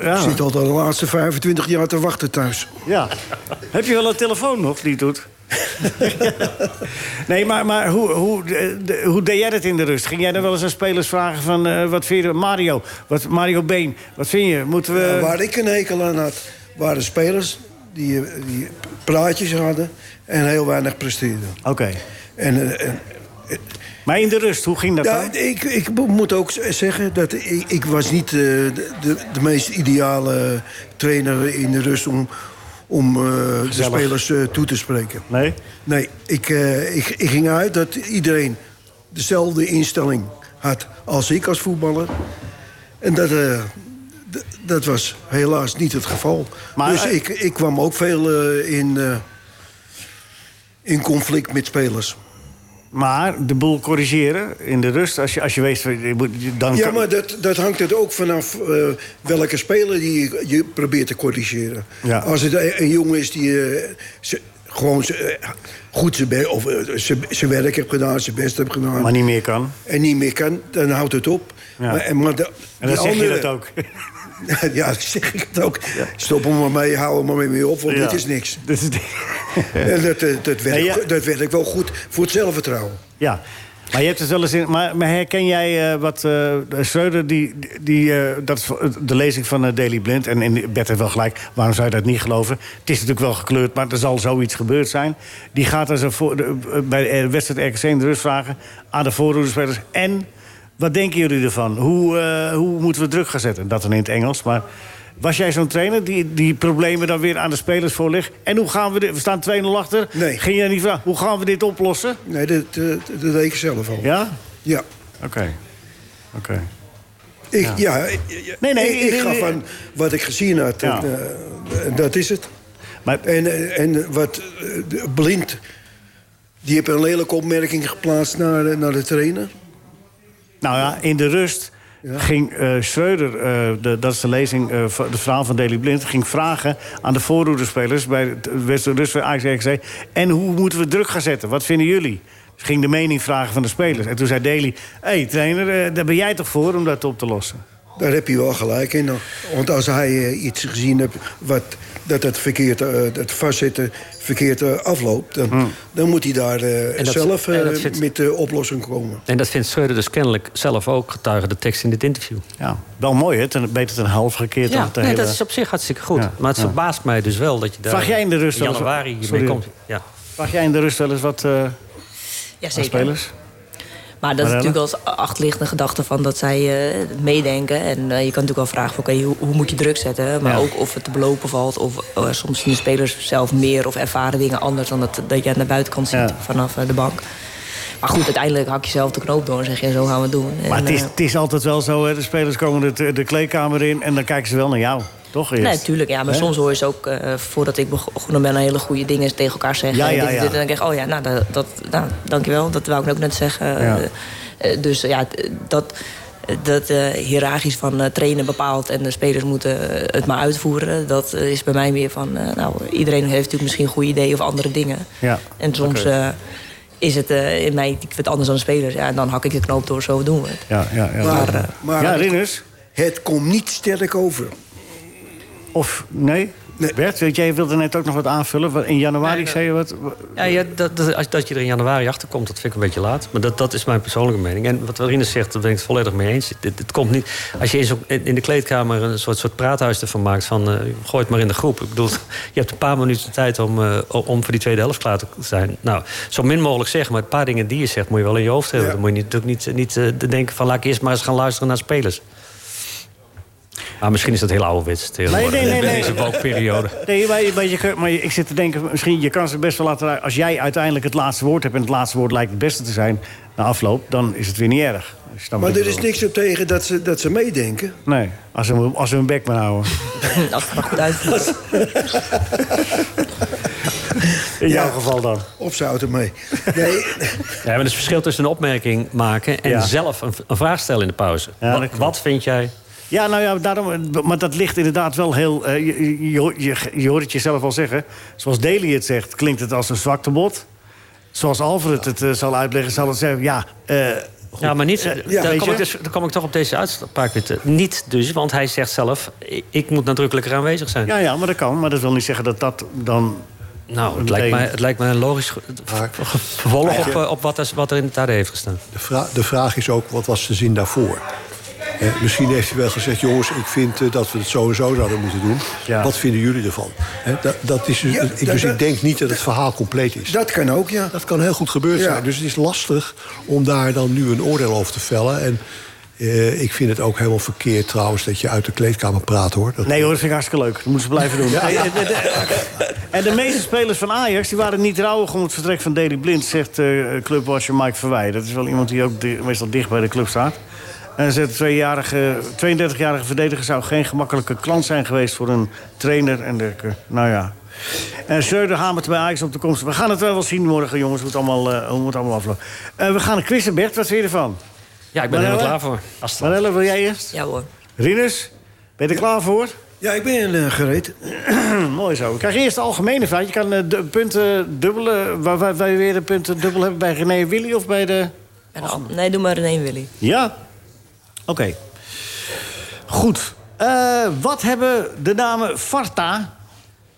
[SPEAKER 3] Ja.
[SPEAKER 5] ik zit al de laatste 25 jaar te wachten thuis.
[SPEAKER 3] Ja. Heb je wel een telefoon nog die het doet? nee, maar, maar hoe, hoe, de- de- hoe deed jij dat in de rust? Ging jij dan wel eens aan spelers vragen van... eh, wat vind je, Mario, wat, Mario Been, wat vind je? Moeten we...
[SPEAKER 5] Ja, Nou, waar ik een hekel aan had, waren spelers die, eh, die praatjes hadden en heel weinig presteerden.
[SPEAKER 3] Oké.
[SPEAKER 5] En, eh, en-
[SPEAKER 3] Maar in de rust, hoe ging dat
[SPEAKER 5] ja,
[SPEAKER 3] dan?
[SPEAKER 5] ik, ik moet ook zeggen dat ik, ik was niet eh, de, de, de meest ideale trainer in de rust om, om eh, de
[SPEAKER 3] Gezellig.
[SPEAKER 5] spelers eh, toe te spreken.
[SPEAKER 3] Nee?
[SPEAKER 5] Nee, ik, eh, ik, ik ging uit dat iedereen dezelfde instelling had als ik als voetballer. En dat, eh, d- dat was helaas niet het geval.
[SPEAKER 3] Maar,
[SPEAKER 5] dus
[SPEAKER 3] eh,
[SPEAKER 5] ik, ik kwam ook veel eh, in, eh, in conflict met spelers.
[SPEAKER 3] Maar de boel corrigeren in de rust, als je, als je weet... van, je moet- je- Dan
[SPEAKER 5] Ja,
[SPEAKER 3] kan-
[SPEAKER 5] maar dat, dat hangt het ook vanaf eh, welke speler die je, je probeert te corrigeren.
[SPEAKER 3] Ja.
[SPEAKER 5] Als het een, een jongen is die eh, ze- gewoon ze- eh, goed zijn be- of, eh, ze- zijn werk heeft gedaan, zijn best heeft gedaan...
[SPEAKER 3] maar niet meer kan.
[SPEAKER 5] en niet meer kan, dan houdt het op.
[SPEAKER 3] Ja.
[SPEAKER 5] Maar, en, maar de-
[SPEAKER 3] En
[SPEAKER 5] die
[SPEAKER 3] dan zeg je
[SPEAKER 5] andere-
[SPEAKER 3] dat ook.
[SPEAKER 5] ja, dat zeg ik het ook. Stop hem maar mee, hou hem maar mee op, want
[SPEAKER 3] Ja.
[SPEAKER 5] dit is niks.
[SPEAKER 3] Dit is-
[SPEAKER 5] En dat, eh, dat, werkt,
[SPEAKER 3] Nee, ja.
[SPEAKER 5] dat werkt wel goed voor het zelfvertrouwen.
[SPEAKER 3] Ja, maar je hebt het wel eens in. Maar, maar herken jij eh, wat eh Schreuder, die, die, eh, dat is de lezing van eh, Daily Blind. En in Bert heeft wel gelijk, waarom zou je dat niet geloven? Het is natuurlijk wel gekleurd, maar er zal zoiets gebeurd zijn. Die gaat dan zo voor, de- eh, bij de wedstrijd RKC in de rust vragen aan de voorroederspelers. En wat denken jullie ervan? Hoe, eh, hoe moeten we druk gaan zetten? Dat dan in het Engels, maar. Was jij zo'n trainer die die problemen dan weer aan de spelers voorlegt? En hoe gaan we dit... We staan 2-0 achter.
[SPEAKER 5] Nee.
[SPEAKER 3] Ging jij niet vragen, hoe gaan we dit oplossen?
[SPEAKER 5] Nee, dat, eh, dat, dat deed ik zelf al.
[SPEAKER 3] Ja?
[SPEAKER 5] Ja.
[SPEAKER 3] Oké. Oké.
[SPEAKER 5] Ik, ja. ik-
[SPEAKER 3] Nee, nee,
[SPEAKER 5] ik, ik
[SPEAKER 3] nee,
[SPEAKER 5] gaf
[SPEAKER 3] nee.
[SPEAKER 5] aan wat ik gezien had.
[SPEAKER 3] Ja.
[SPEAKER 5] En, eh, dat is het.
[SPEAKER 3] Maar
[SPEAKER 5] En, eh, en wat eh, de- blind, die heeft een lelijke opmerking geplaatst naar, eh, naar de trainer.
[SPEAKER 3] nou ja, in de rust ging eh Schreuder, eh, de, dat is de lezing, eh, van de verhaal van Daily Blind... ging vragen aan de voorroederspelers bij het eh, West Rust bij Ajax RKC... en hoe moeten we druk gaan zetten? Wat vinden jullie? Dus ging de mening vragen van de spelers. En toen zei Daly, hé hey, trainer, eh, daar ben jij toch voor om dat op te lossen?
[SPEAKER 5] Daar heb je wel gelijk in. Want als hij eh, iets gezien hebt wat, dat het, verkeerd, eh, dat vastzitten verkeerd eh, afloopt... Dan, dan moet hij daar eh,
[SPEAKER 6] Hmm. En dat-
[SPEAKER 5] zelf eh,
[SPEAKER 6] en dat vindt-
[SPEAKER 5] met de oplossing komen.
[SPEAKER 6] En dat vindt Schreuder dus kennelijk zelf ook getuige de tekst in dit interview.
[SPEAKER 3] Ja, wel mooi, hè? Ten- beter ten half gekeerd dan
[SPEAKER 6] Ja,
[SPEAKER 3] het
[SPEAKER 6] nee,
[SPEAKER 3] hele...
[SPEAKER 6] dat is op zich hartstikke goed.
[SPEAKER 3] Ja,
[SPEAKER 6] maar het
[SPEAKER 3] ja.
[SPEAKER 6] verbaast mij dus wel dat je daar
[SPEAKER 3] Vraag jij in de rust wel eens-
[SPEAKER 6] januari
[SPEAKER 3] Sorry.
[SPEAKER 6] hiermee komt. Ja.
[SPEAKER 3] Vraag jij in de rust wel eens wat eh,
[SPEAKER 9] Ja,
[SPEAKER 3] aan
[SPEAKER 9] zeker.
[SPEAKER 3] spelers?
[SPEAKER 9] Maar dat is
[SPEAKER 3] Marelle?
[SPEAKER 9] natuurlijk als achterliggende gedachte van dat zij eh, meedenken. En eh, je kan natuurlijk wel vragen van oké, hoe, hoe moet je druk zetten? Maar
[SPEAKER 3] Ja.
[SPEAKER 9] ook of het te belopen valt. Of eh, soms zien de spelers zelf meer of ervaren dingen anders dan dat, dat je aan de buitenkant ziet
[SPEAKER 3] Ja.
[SPEAKER 9] vanaf eh, de bank. Maar goed, uiteindelijk hak je zelf de knoop door en zeg je zo gaan we het doen. En,
[SPEAKER 3] Maar het is,
[SPEAKER 9] eh,
[SPEAKER 3] het is altijd wel zo, hè? de spelers komen de, de kleedkamer in... en dan kijken ze wel naar jou, toch? Eerst?
[SPEAKER 9] Nee, natuurlijk. Ja, maar
[SPEAKER 3] Hè?
[SPEAKER 9] soms hoor je ze ook, eh, voordat ik begonnen ben, hele goede dingen tegen elkaar zeggen.
[SPEAKER 3] Ja, ja,
[SPEAKER 9] Dit en
[SPEAKER 3] ja.
[SPEAKER 9] dit. En dan denk ik, oh ja, nou, dat, dat, nou, dankjewel. Dat wou ik ook net zeggen.
[SPEAKER 3] Ja.
[SPEAKER 9] Eh, eh, dus ja, t- dat, dat eh hiërarchisch van eh, trainen bepaalt en de spelers moeten eh, het maar uitvoeren. Dat eh, is bij mij meer van, eh, nou, iedereen heeft natuurlijk misschien goede ideeën of andere dingen.
[SPEAKER 3] Ja.
[SPEAKER 9] En soms
[SPEAKER 3] Oké.
[SPEAKER 9] eh, is het eh, in mij, ik vind het anders dan de spelers. Ja, en dan hak ik de knoop door, zo doen we het.
[SPEAKER 3] Ja, ja, ja.
[SPEAKER 5] Maar,
[SPEAKER 9] eh,
[SPEAKER 3] ja.
[SPEAKER 5] maar-
[SPEAKER 3] ja, Rinus?
[SPEAKER 5] Het komt niet sterk over.
[SPEAKER 3] Of nee? Bert, weet jij wilde net ook nog wat aanvullen. Wat- In januari zei je wat.
[SPEAKER 6] Ja, ja dat, dat, als, dat je er in januari achter komt, dat vind ik een beetje laat. Maar dat, dat is mijn persoonlijke mening. En wat Rinus zegt, daar ben ik het volledig mee eens. Dit, dit komt niet. Als je in, zo'n- in de kleedkamer een soort, soort praathuis ervan maakt, van eh, gooi het maar in de groep. Ik bedoel, je hebt een paar minuten tijd om, eh, om voor die tweede helft klaar te zijn. Nou, zo min mogelijk zeggen, maar het paar dingen die je zegt, moet je wel in je hoofd hebben. Dan moet je niet- natuurlijk niet, niet eh, denken van laat ik eerst maar eens gaan luisteren naar spelers. Maar misschien is dat heel ouderwets tegenwoordig.
[SPEAKER 3] Nee, nee, nee, nee.
[SPEAKER 6] In deze woke-periode.
[SPEAKER 3] Nee, maar, maar, je, kan- maar je- ik zit te denken, misschien je kan ze best wel laten raken. Als jij uiteindelijk het laatste woord hebt en het laatste woord lijkt het beste te zijn na afloop, dan is het weer niet erg. Als je dan
[SPEAKER 5] Maar
[SPEAKER 3] weer-
[SPEAKER 5] er is niks op tegen dat ze, dat ze meedenken.
[SPEAKER 3] Nee, als we, als we hun bek maar houden.
[SPEAKER 9] Als het maar goed uitvoert.
[SPEAKER 3] In jouw geval dan.
[SPEAKER 5] Of ze houden mee. Nee,
[SPEAKER 6] Ja, maar het is verschil tussen een opmerking maken en
[SPEAKER 3] Ja.
[SPEAKER 6] zelf een, een vraag stellen in de pauze. wat, wat vind jij?
[SPEAKER 3] Ja, nou ja, daarom, maar dat ligt inderdaad wel heel... eh, je, je, je, je hoort het jezelf al zeggen. Zoals Deli het zegt, klinkt het als een zwaktebod. Zoals Alfred het eh, zal uitleggen, zal het zeggen... Ja, eh, goed.
[SPEAKER 6] Ja, maar niet.
[SPEAKER 3] Eh,
[SPEAKER 6] dan,
[SPEAKER 3] weet
[SPEAKER 6] kom
[SPEAKER 3] je?
[SPEAKER 6] ik dus, dan kom ik toch op deze uitspraak weer te- Niet dus, want hij zegt zelf: ik, ik moet nadrukkelijker aanwezig zijn.
[SPEAKER 3] Ja, ja, maar dat kan. Maar dat wil niet zeggen dat dat dan...
[SPEAKER 6] Nou, het lijkt,
[SPEAKER 3] Nee.
[SPEAKER 6] mij, het lijkt mij een logisch ge- vervolg op, eh, op wat, er- wat er in het AD heeft gestaan.
[SPEAKER 4] De, vra- de vraag is ook, wat was de zin daarvoor? Eh, misschien heeft hij wel gezegd, jongens, ik vind eh, dat we het zo en zo zouden moeten doen. Wat vinden jullie ervan? Hè, dat, dat is dus
[SPEAKER 5] Ja,
[SPEAKER 4] ik,
[SPEAKER 5] dat-
[SPEAKER 4] dus
[SPEAKER 5] dat-
[SPEAKER 4] ik denk niet dat het verhaal compleet is.
[SPEAKER 5] dat kan ook, ja.
[SPEAKER 4] Dat kan heel goed gebeurd
[SPEAKER 5] Ja.
[SPEAKER 4] zijn. Dus het is lastig om daar dan nu een oordeel over te vellen. En eh, ik vind het ook helemaal verkeerd trouwens dat je uit de kleedkamer praat hoor. Dat-
[SPEAKER 3] Nee hoor, dat vind ik hartstikke leuk. Dat moeten ze blijven doen. Eh, eh, de- de- En de meeste spelers van Ajax die waren niet rouwig om het vertrek van Deli Blind... zegt eh clubwasser Mike Verwij. Dat is wel iemand die ook di- meestal dicht bij de club staat. En hij zegt, de 32-jarige verdediger zou geen gemakkelijke klant zijn geweest... voor een trainer en dergelijke. Nou ja. En Schreuder hamert bij Ajax op de komst. We gaan het wel wel zien morgen, jongens, hoe het allemaal, eh, hoe het allemaal afloopt. Eh, we gaan een quiz, Bert. Wat vind je ervan?
[SPEAKER 6] Ja, ik ben er helemaal
[SPEAKER 3] Marelle?
[SPEAKER 6] klaar voor. Als het-
[SPEAKER 3] Marelle, wil jij eerst?
[SPEAKER 9] Ja hoor.
[SPEAKER 3] Rinus, ben je er klaar voor?
[SPEAKER 5] Ja, ik ben eh, gereed.
[SPEAKER 3] Mooi zo. Ik krijg eerst de algemene vraag. Je kan eh, de punten dubbelen. Waar, waar wij weer de punten dubbel hebben bij René Willy of bij de...
[SPEAKER 9] En al- nee, doe maar René en Willy.
[SPEAKER 3] Ja? Oké. Goed. Eh, wat hebben de namen Varta,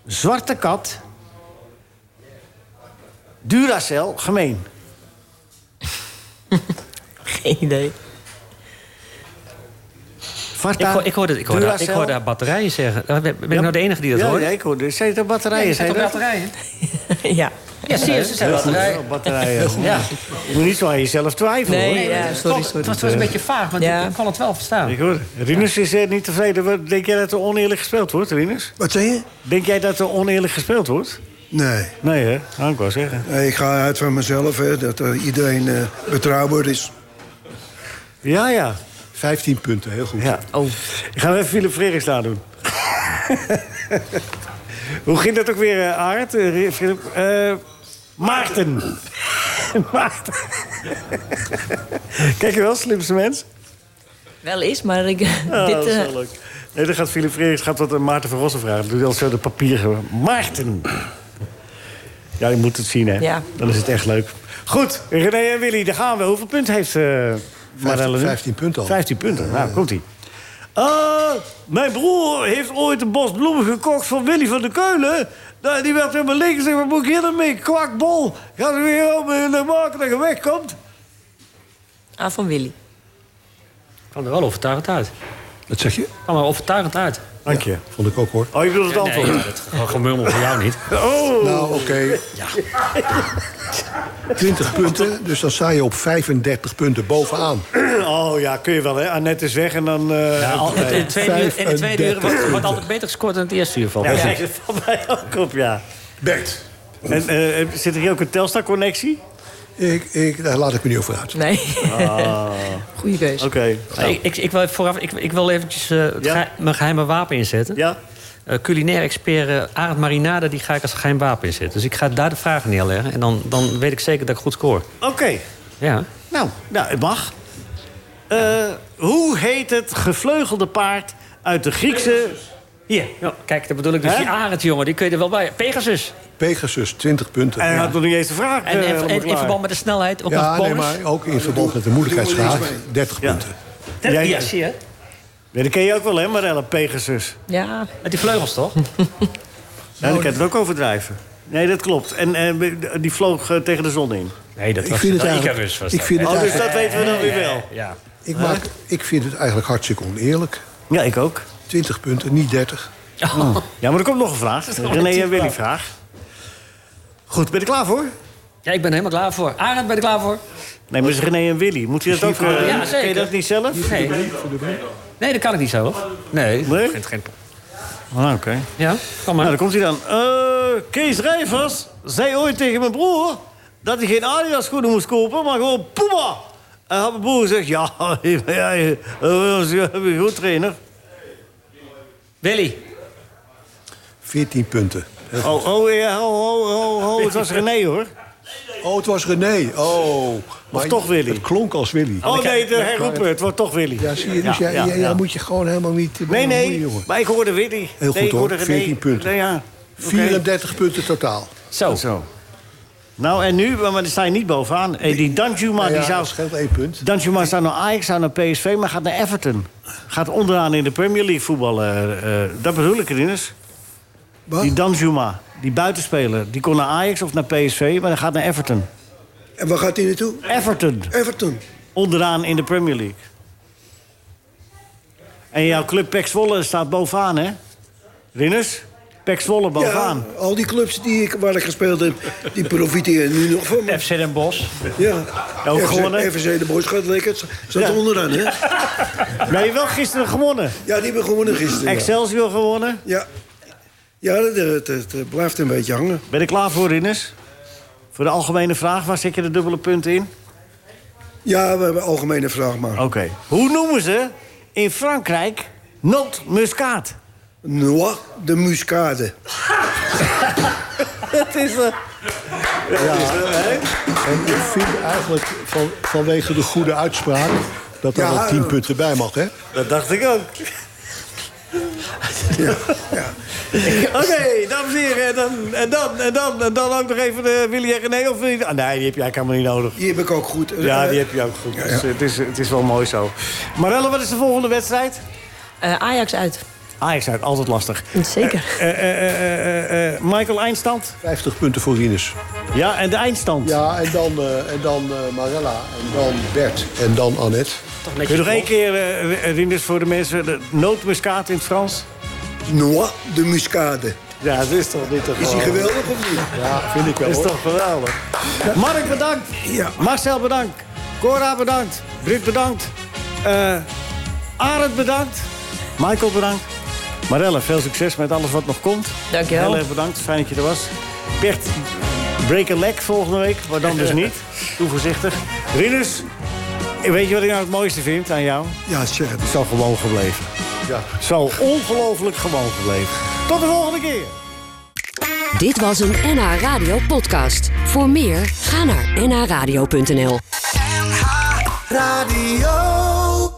[SPEAKER 3] Zwarte Kat, Duracell gemeen?
[SPEAKER 9] Geen idee.
[SPEAKER 6] Ik,
[SPEAKER 3] Varta,
[SPEAKER 6] hoor- ik hoorde, ik hoorde, ik
[SPEAKER 3] Duracell.
[SPEAKER 6] hoorde haar batterijen zeggen. Ben ik nou de enige die dat
[SPEAKER 3] ja,
[SPEAKER 6] hoort?
[SPEAKER 3] ja, ik hoorde. Zijn het ook batterijen? zei je dat?
[SPEAKER 6] batterijen?
[SPEAKER 9] ja.
[SPEAKER 6] Ja, zie je, ze zijn
[SPEAKER 3] Heel goed,
[SPEAKER 6] batterijen.
[SPEAKER 3] heel batterijen. Ja. Je moet niet zo aan jezelf twijfelen, hoor.
[SPEAKER 9] Nee, ja, sorry, sorry.
[SPEAKER 6] Het was een beetje vaag, want
[SPEAKER 9] Ja.
[SPEAKER 6] ik kon het wel verstaan.
[SPEAKER 3] Ik hoor. Rinus is eh, niet tevreden. Wat- Denk jij dat er oneerlijk gespeeld wordt, Rinus?
[SPEAKER 5] Wat zei je?
[SPEAKER 3] Denk jij dat er oneerlijk gespeeld wordt?
[SPEAKER 5] Nee.
[SPEAKER 3] Nee, hè? Nou, ik wou zeggen.
[SPEAKER 5] Nee, Ik ga uit van mezelf, hè, dat eh, iedereen eh, betrouwbaar is.
[SPEAKER 3] Ja, ja.
[SPEAKER 4] 15 punten, heel goed.
[SPEAKER 3] ja. Oh. Ik ga even Philip Frerichs nadoen. Hoe ging dat ook weer, eh, Arend? Eh, Philip, eh, Maarten. Maarten. Kijk je wel, slimste mens?
[SPEAKER 9] Wel is, maar ik...
[SPEAKER 3] Oh,
[SPEAKER 9] dit,
[SPEAKER 3] dat is
[SPEAKER 9] eh,
[SPEAKER 3] wel leuk. Nee, dan gaat Philip Frerichs gaat dat aan Maarten van Rossen vragen. Dat doet hij al zo de papieren. Maarten. Ja, je moet het zien, hè?
[SPEAKER 9] Ja.
[SPEAKER 3] Dan is het echt leuk. Goed, René en Willy, daar gaan we. Hoeveel punten heeft eh Marelle nu?
[SPEAKER 4] 15 punten al.
[SPEAKER 3] 15 punten, nou, komt-ie. Eh, mijn broer heeft ooit een bos bloemen gekocht van Willy van de Keulen. Nou, die werd helemaal links en zei, wat moet ik hier dan mee? Kwakbol. Gaat er weer om in de markt dat je wegkomt?
[SPEAKER 9] ah, van Willy.
[SPEAKER 6] Ik kwam er wel overtuigend uit.
[SPEAKER 4] Dat zeg je?
[SPEAKER 6] Ik kwam er overtuigend uit.
[SPEAKER 3] Dank je.
[SPEAKER 4] Vond ik ook hoor.
[SPEAKER 3] Oh, je bedoelt het Oh. antwoord?
[SPEAKER 6] Nee, dat gemurmel van jou niet.
[SPEAKER 4] Nou, oké. 20 punten, dus dan sta je op 35 punten bovenaan.
[SPEAKER 3] Oh ja, kun je wel, hè? Annette is weg en dan... eh,
[SPEAKER 6] Ja, al- het- in de tweede uur- in de tweede uur wordt,
[SPEAKER 4] 35
[SPEAKER 6] wordt altijd beter gescoord dan het eerste uur. valt
[SPEAKER 3] Ja,
[SPEAKER 6] mij.
[SPEAKER 3] kijk, dat valt mij ook op, ja.
[SPEAKER 4] Bert.
[SPEAKER 3] En eh, zit er hier ook een Telstar-connectie?
[SPEAKER 4] Ik, ik, daar laat ik me niet over uit.
[SPEAKER 9] Nee. Goeie keus.
[SPEAKER 3] Oké.
[SPEAKER 6] Hey, Nou, ik, ik, wil vooraf, ik, ik wil eventjes eh, het
[SPEAKER 3] Ja.
[SPEAKER 6] ge- mijn geheime wapen inzetten.
[SPEAKER 3] Ja?
[SPEAKER 6] Eh, culinair expert eh, Arend Marinade, die ga ik als geheim wapen inzetten. Dus ik ga daar de vragen neerleggen. En dan, dan weet ik zeker dat ik goed scoor.
[SPEAKER 3] Oké.
[SPEAKER 6] Ja.
[SPEAKER 3] Nou, nou, het mag. Eh, hoe heet het gevleugelde paard uit de Griekse...
[SPEAKER 6] Hier, ja, kijk, dat bedoel ik dus.
[SPEAKER 3] Hè?
[SPEAKER 6] Die Arend, jongen, die kun je er wel bij. Pegasus.
[SPEAKER 4] Pegasus, 20 punten.
[SPEAKER 3] En hij had nog niet eens de vraag.
[SPEAKER 6] En,
[SPEAKER 3] eh,
[SPEAKER 6] en- en
[SPEAKER 3] helemaal
[SPEAKER 6] in
[SPEAKER 3] klaar.
[SPEAKER 6] verband met de snelheid, ook
[SPEAKER 4] ja,
[SPEAKER 6] nog bonus.
[SPEAKER 4] nee, maar ook in verband met de moeilijkheidsgraad. 30
[SPEAKER 3] Ja.
[SPEAKER 4] punten.
[SPEAKER 6] Dat-
[SPEAKER 3] Jij-
[SPEAKER 6] ja, zie je.
[SPEAKER 3] Ja, dat ken je ook wel, hè, Marelle, Pegasus.
[SPEAKER 9] Ja,
[SPEAKER 4] Hm.
[SPEAKER 6] Met die vleugels, toch?
[SPEAKER 3] Ja, die kan het ook overdrijven. Nee, dat klopt. En eh, die vloog eh, tegen de zon in.
[SPEAKER 6] Nee, dat
[SPEAKER 4] Ik was- vind het
[SPEAKER 3] eigenlijk.
[SPEAKER 4] eigenlijk- Icarus was ik dat. vind het
[SPEAKER 3] oh, dus dat
[SPEAKER 4] eigenlijk-
[SPEAKER 3] weten we dan weer wel.
[SPEAKER 6] Ja.
[SPEAKER 4] Ik, maak, ik vind het eigenlijk hartstikke oneerlijk.
[SPEAKER 3] Ja, ik ook.
[SPEAKER 4] 20 punten, niet 30.
[SPEAKER 3] Ja, maar er komt nog een vraag. René en Willy vraag. Goed, ben je er klaar voor?
[SPEAKER 6] Ja, ik ben er helemaal klaar voor. Arend, ben je er klaar voor?
[SPEAKER 3] Nee, maar het is René en Willy. Moet je dat ook... eh,
[SPEAKER 6] ja,
[SPEAKER 3] Kun
[SPEAKER 6] zeker.
[SPEAKER 3] je dat niet zelf?
[SPEAKER 6] Nee. nee, dat kan ik niet zelf. Nee, ik vind het geen...
[SPEAKER 3] Ah, oké.
[SPEAKER 6] Ja, kom maar.
[SPEAKER 3] Nou, dan komt hij dan. Eh, Kees Rijvers zei ooit tegen mijn broer dat hij geen Adidas schoenen moest kopen, maar gewoon Puma. En had mijn broer gezegd, ja, ja, je bent een goed trainer.
[SPEAKER 6] Willy.
[SPEAKER 4] 14 punten.
[SPEAKER 3] Oh, oh, ja, oh, oh, oh, oh, het was René hoor.
[SPEAKER 4] Oh, het was René. Oh.
[SPEAKER 3] Was toch Willy.
[SPEAKER 4] Het klonk als Willy.
[SPEAKER 3] Oh nee, de herroepen, het wordt toch Willy.
[SPEAKER 4] Ja, zie je, dus jij, jij- jij moet je gewoon helemaal niet...
[SPEAKER 3] Nee,
[SPEAKER 4] bemoeien,
[SPEAKER 3] nee,
[SPEAKER 4] jongen.
[SPEAKER 3] maar ik hoorde Willy.
[SPEAKER 4] Heel
[SPEAKER 3] nee,
[SPEAKER 4] goed
[SPEAKER 3] ik
[SPEAKER 4] hoor,
[SPEAKER 3] hoorde René.
[SPEAKER 4] 14 punten.
[SPEAKER 3] Nee, ja. Oké.
[SPEAKER 4] 34 punten totaal.
[SPEAKER 6] Zo.
[SPEAKER 3] Zo. Nou, en nu, maar dan sta je niet bovenaan. Eh, Die Danjuma,
[SPEAKER 4] Nou ja,
[SPEAKER 3] die zou...
[SPEAKER 4] dat scheelt één punt.
[SPEAKER 3] Danjuma staat naar Ajax, staat naar PSV, maar gaat naar Everton. Gaat onderaan in de Premier League voetballen. eh, eh, dat bedoel ik, Rinus.
[SPEAKER 4] Wat?
[SPEAKER 3] Die Danjuma, die buitenspeler, die kon naar Ajax of naar PSV, maar dan gaat naar Everton.
[SPEAKER 5] En waar gaat hij naartoe?
[SPEAKER 3] Everton,
[SPEAKER 5] Everton.
[SPEAKER 3] onderaan in de Premier League. En jouw club Pek Zwolle staat bovenaan, hè? Rinus? Pek Zwolle bovenaan.
[SPEAKER 5] Ja, al die clubs die ik, waar ik gespeeld heb, die profiteren nu nog van me.
[SPEAKER 6] FC Den Bosch.
[SPEAKER 5] Ja.
[SPEAKER 3] Ook
[SPEAKER 5] FC
[SPEAKER 3] gewonnen?
[SPEAKER 5] FVC de Boys gaat lekker. Zat
[SPEAKER 3] Ja.
[SPEAKER 5] onderaan, hè?
[SPEAKER 3] Maar je hebt wel gisteren gewonnen.
[SPEAKER 5] Ja, die hebben gewonnen gisteren. ja.
[SPEAKER 3] Excelsior gewonnen.
[SPEAKER 5] Ja, ja het, het- het- het blijft een beetje hangen.
[SPEAKER 3] Ben je klaar voor, Rinus? Voor de algemene vraag, waar zet je de dubbele punten in?
[SPEAKER 5] Ja, we hebben een algemene vraag maar.
[SPEAKER 3] Oké. Hoe noemen ze in Frankrijk nootmuskaat?
[SPEAKER 5] Noah de Muscade.
[SPEAKER 3] Het is eh,
[SPEAKER 4] En ik vind eigenlijk van, vanwege de goede uitspraak... dat daar
[SPEAKER 5] Ja,
[SPEAKER 4] wel 10
[SPEAKER 5] eh,
[SPEAKER 4] punten bij mag, hè?
[SPEAKER 3] Dat dacht ik ook. Oké, dames en heren. En dan, en, dan, en, dan, en dan ook nog even de Willy en René. Of niet? Ah, nee, die heb jij helemaal niet nodig.
[SPEAKER 5] Die heb ik ook goed.
[SPEAKER 3] Ja,
[SPEAKER 5] Eh,
[SPEAKER 3] die heb je ook goed. Dus, eh, het, is, het is wel mooi zo. Marelle, wat is de volgende wedstrijd?
[SPEAKER 9] Eh, Ajax uit.
[SPEAKER 3] Ajax uit, altijd lastig.
[SPEAKER 9] Zeker.
[SPEAKER 3] Eh, eh, eh, eh, eh, Michael, eindstand?
[SPEAKER 4] 50 punten voor Rinus.
[SPEAKER 3] Ja, en de eindstand?
[SPEAKER 4] Ja, en dan, eh, en dan eh, Marella. En dan Bert. En dan Annette.
[SPEAKER 3] Kun je nog één keer, eh, Rinus, voor de mensen... De nootmuskaat in het Frans?
[SPEAKER 5] Noah de Muscade.
[SPEAKER 3] Ja, dat is toch niet te
[SPEAKER 5] Is die
[SPEAKER 3] geloven.
[SPEAKER 5] geweldig of niet?
[SPEAKER 4] Ja, vind ik wel,
[SPEAKER 3] Dat is
[SPEAKER 4] hoor.
[SPEAKER 3] toch geweldig. Mark, bedankt.
[SPEAKER 5] Ja.
[SPEAKER 3] Marcel, bedankt. Cora, bedankt. Britt, bedankt. Eh Arend, bedankt. Michael, bedankt. Marelle, veel succes met alles wat nog komt.
[SPEAKER 9] Dankjewel.
[SPEAKER 3] Marelle, bedankt. Fijn dat je er was. Bert, break a leg volgende week. Maar dan dus niet. Doe voorzichtig. Rinus, weet je wat ik nou het mooiste vind aan jou?
[SPEAKER 5] Ja, zeg het.
[SPEAKER 3] Het is al gewoon gebleven.
[SPEAKER 4] Ja.
[SPEAKER 3] Zo ongelooflijk gewoon gebleven. Tot de volgende keer.
[SPEAKER 1] Dit was een NH Radio podcast. Voor meer, ga naar nhradio.nl.
[SPEAKER 2] Radio.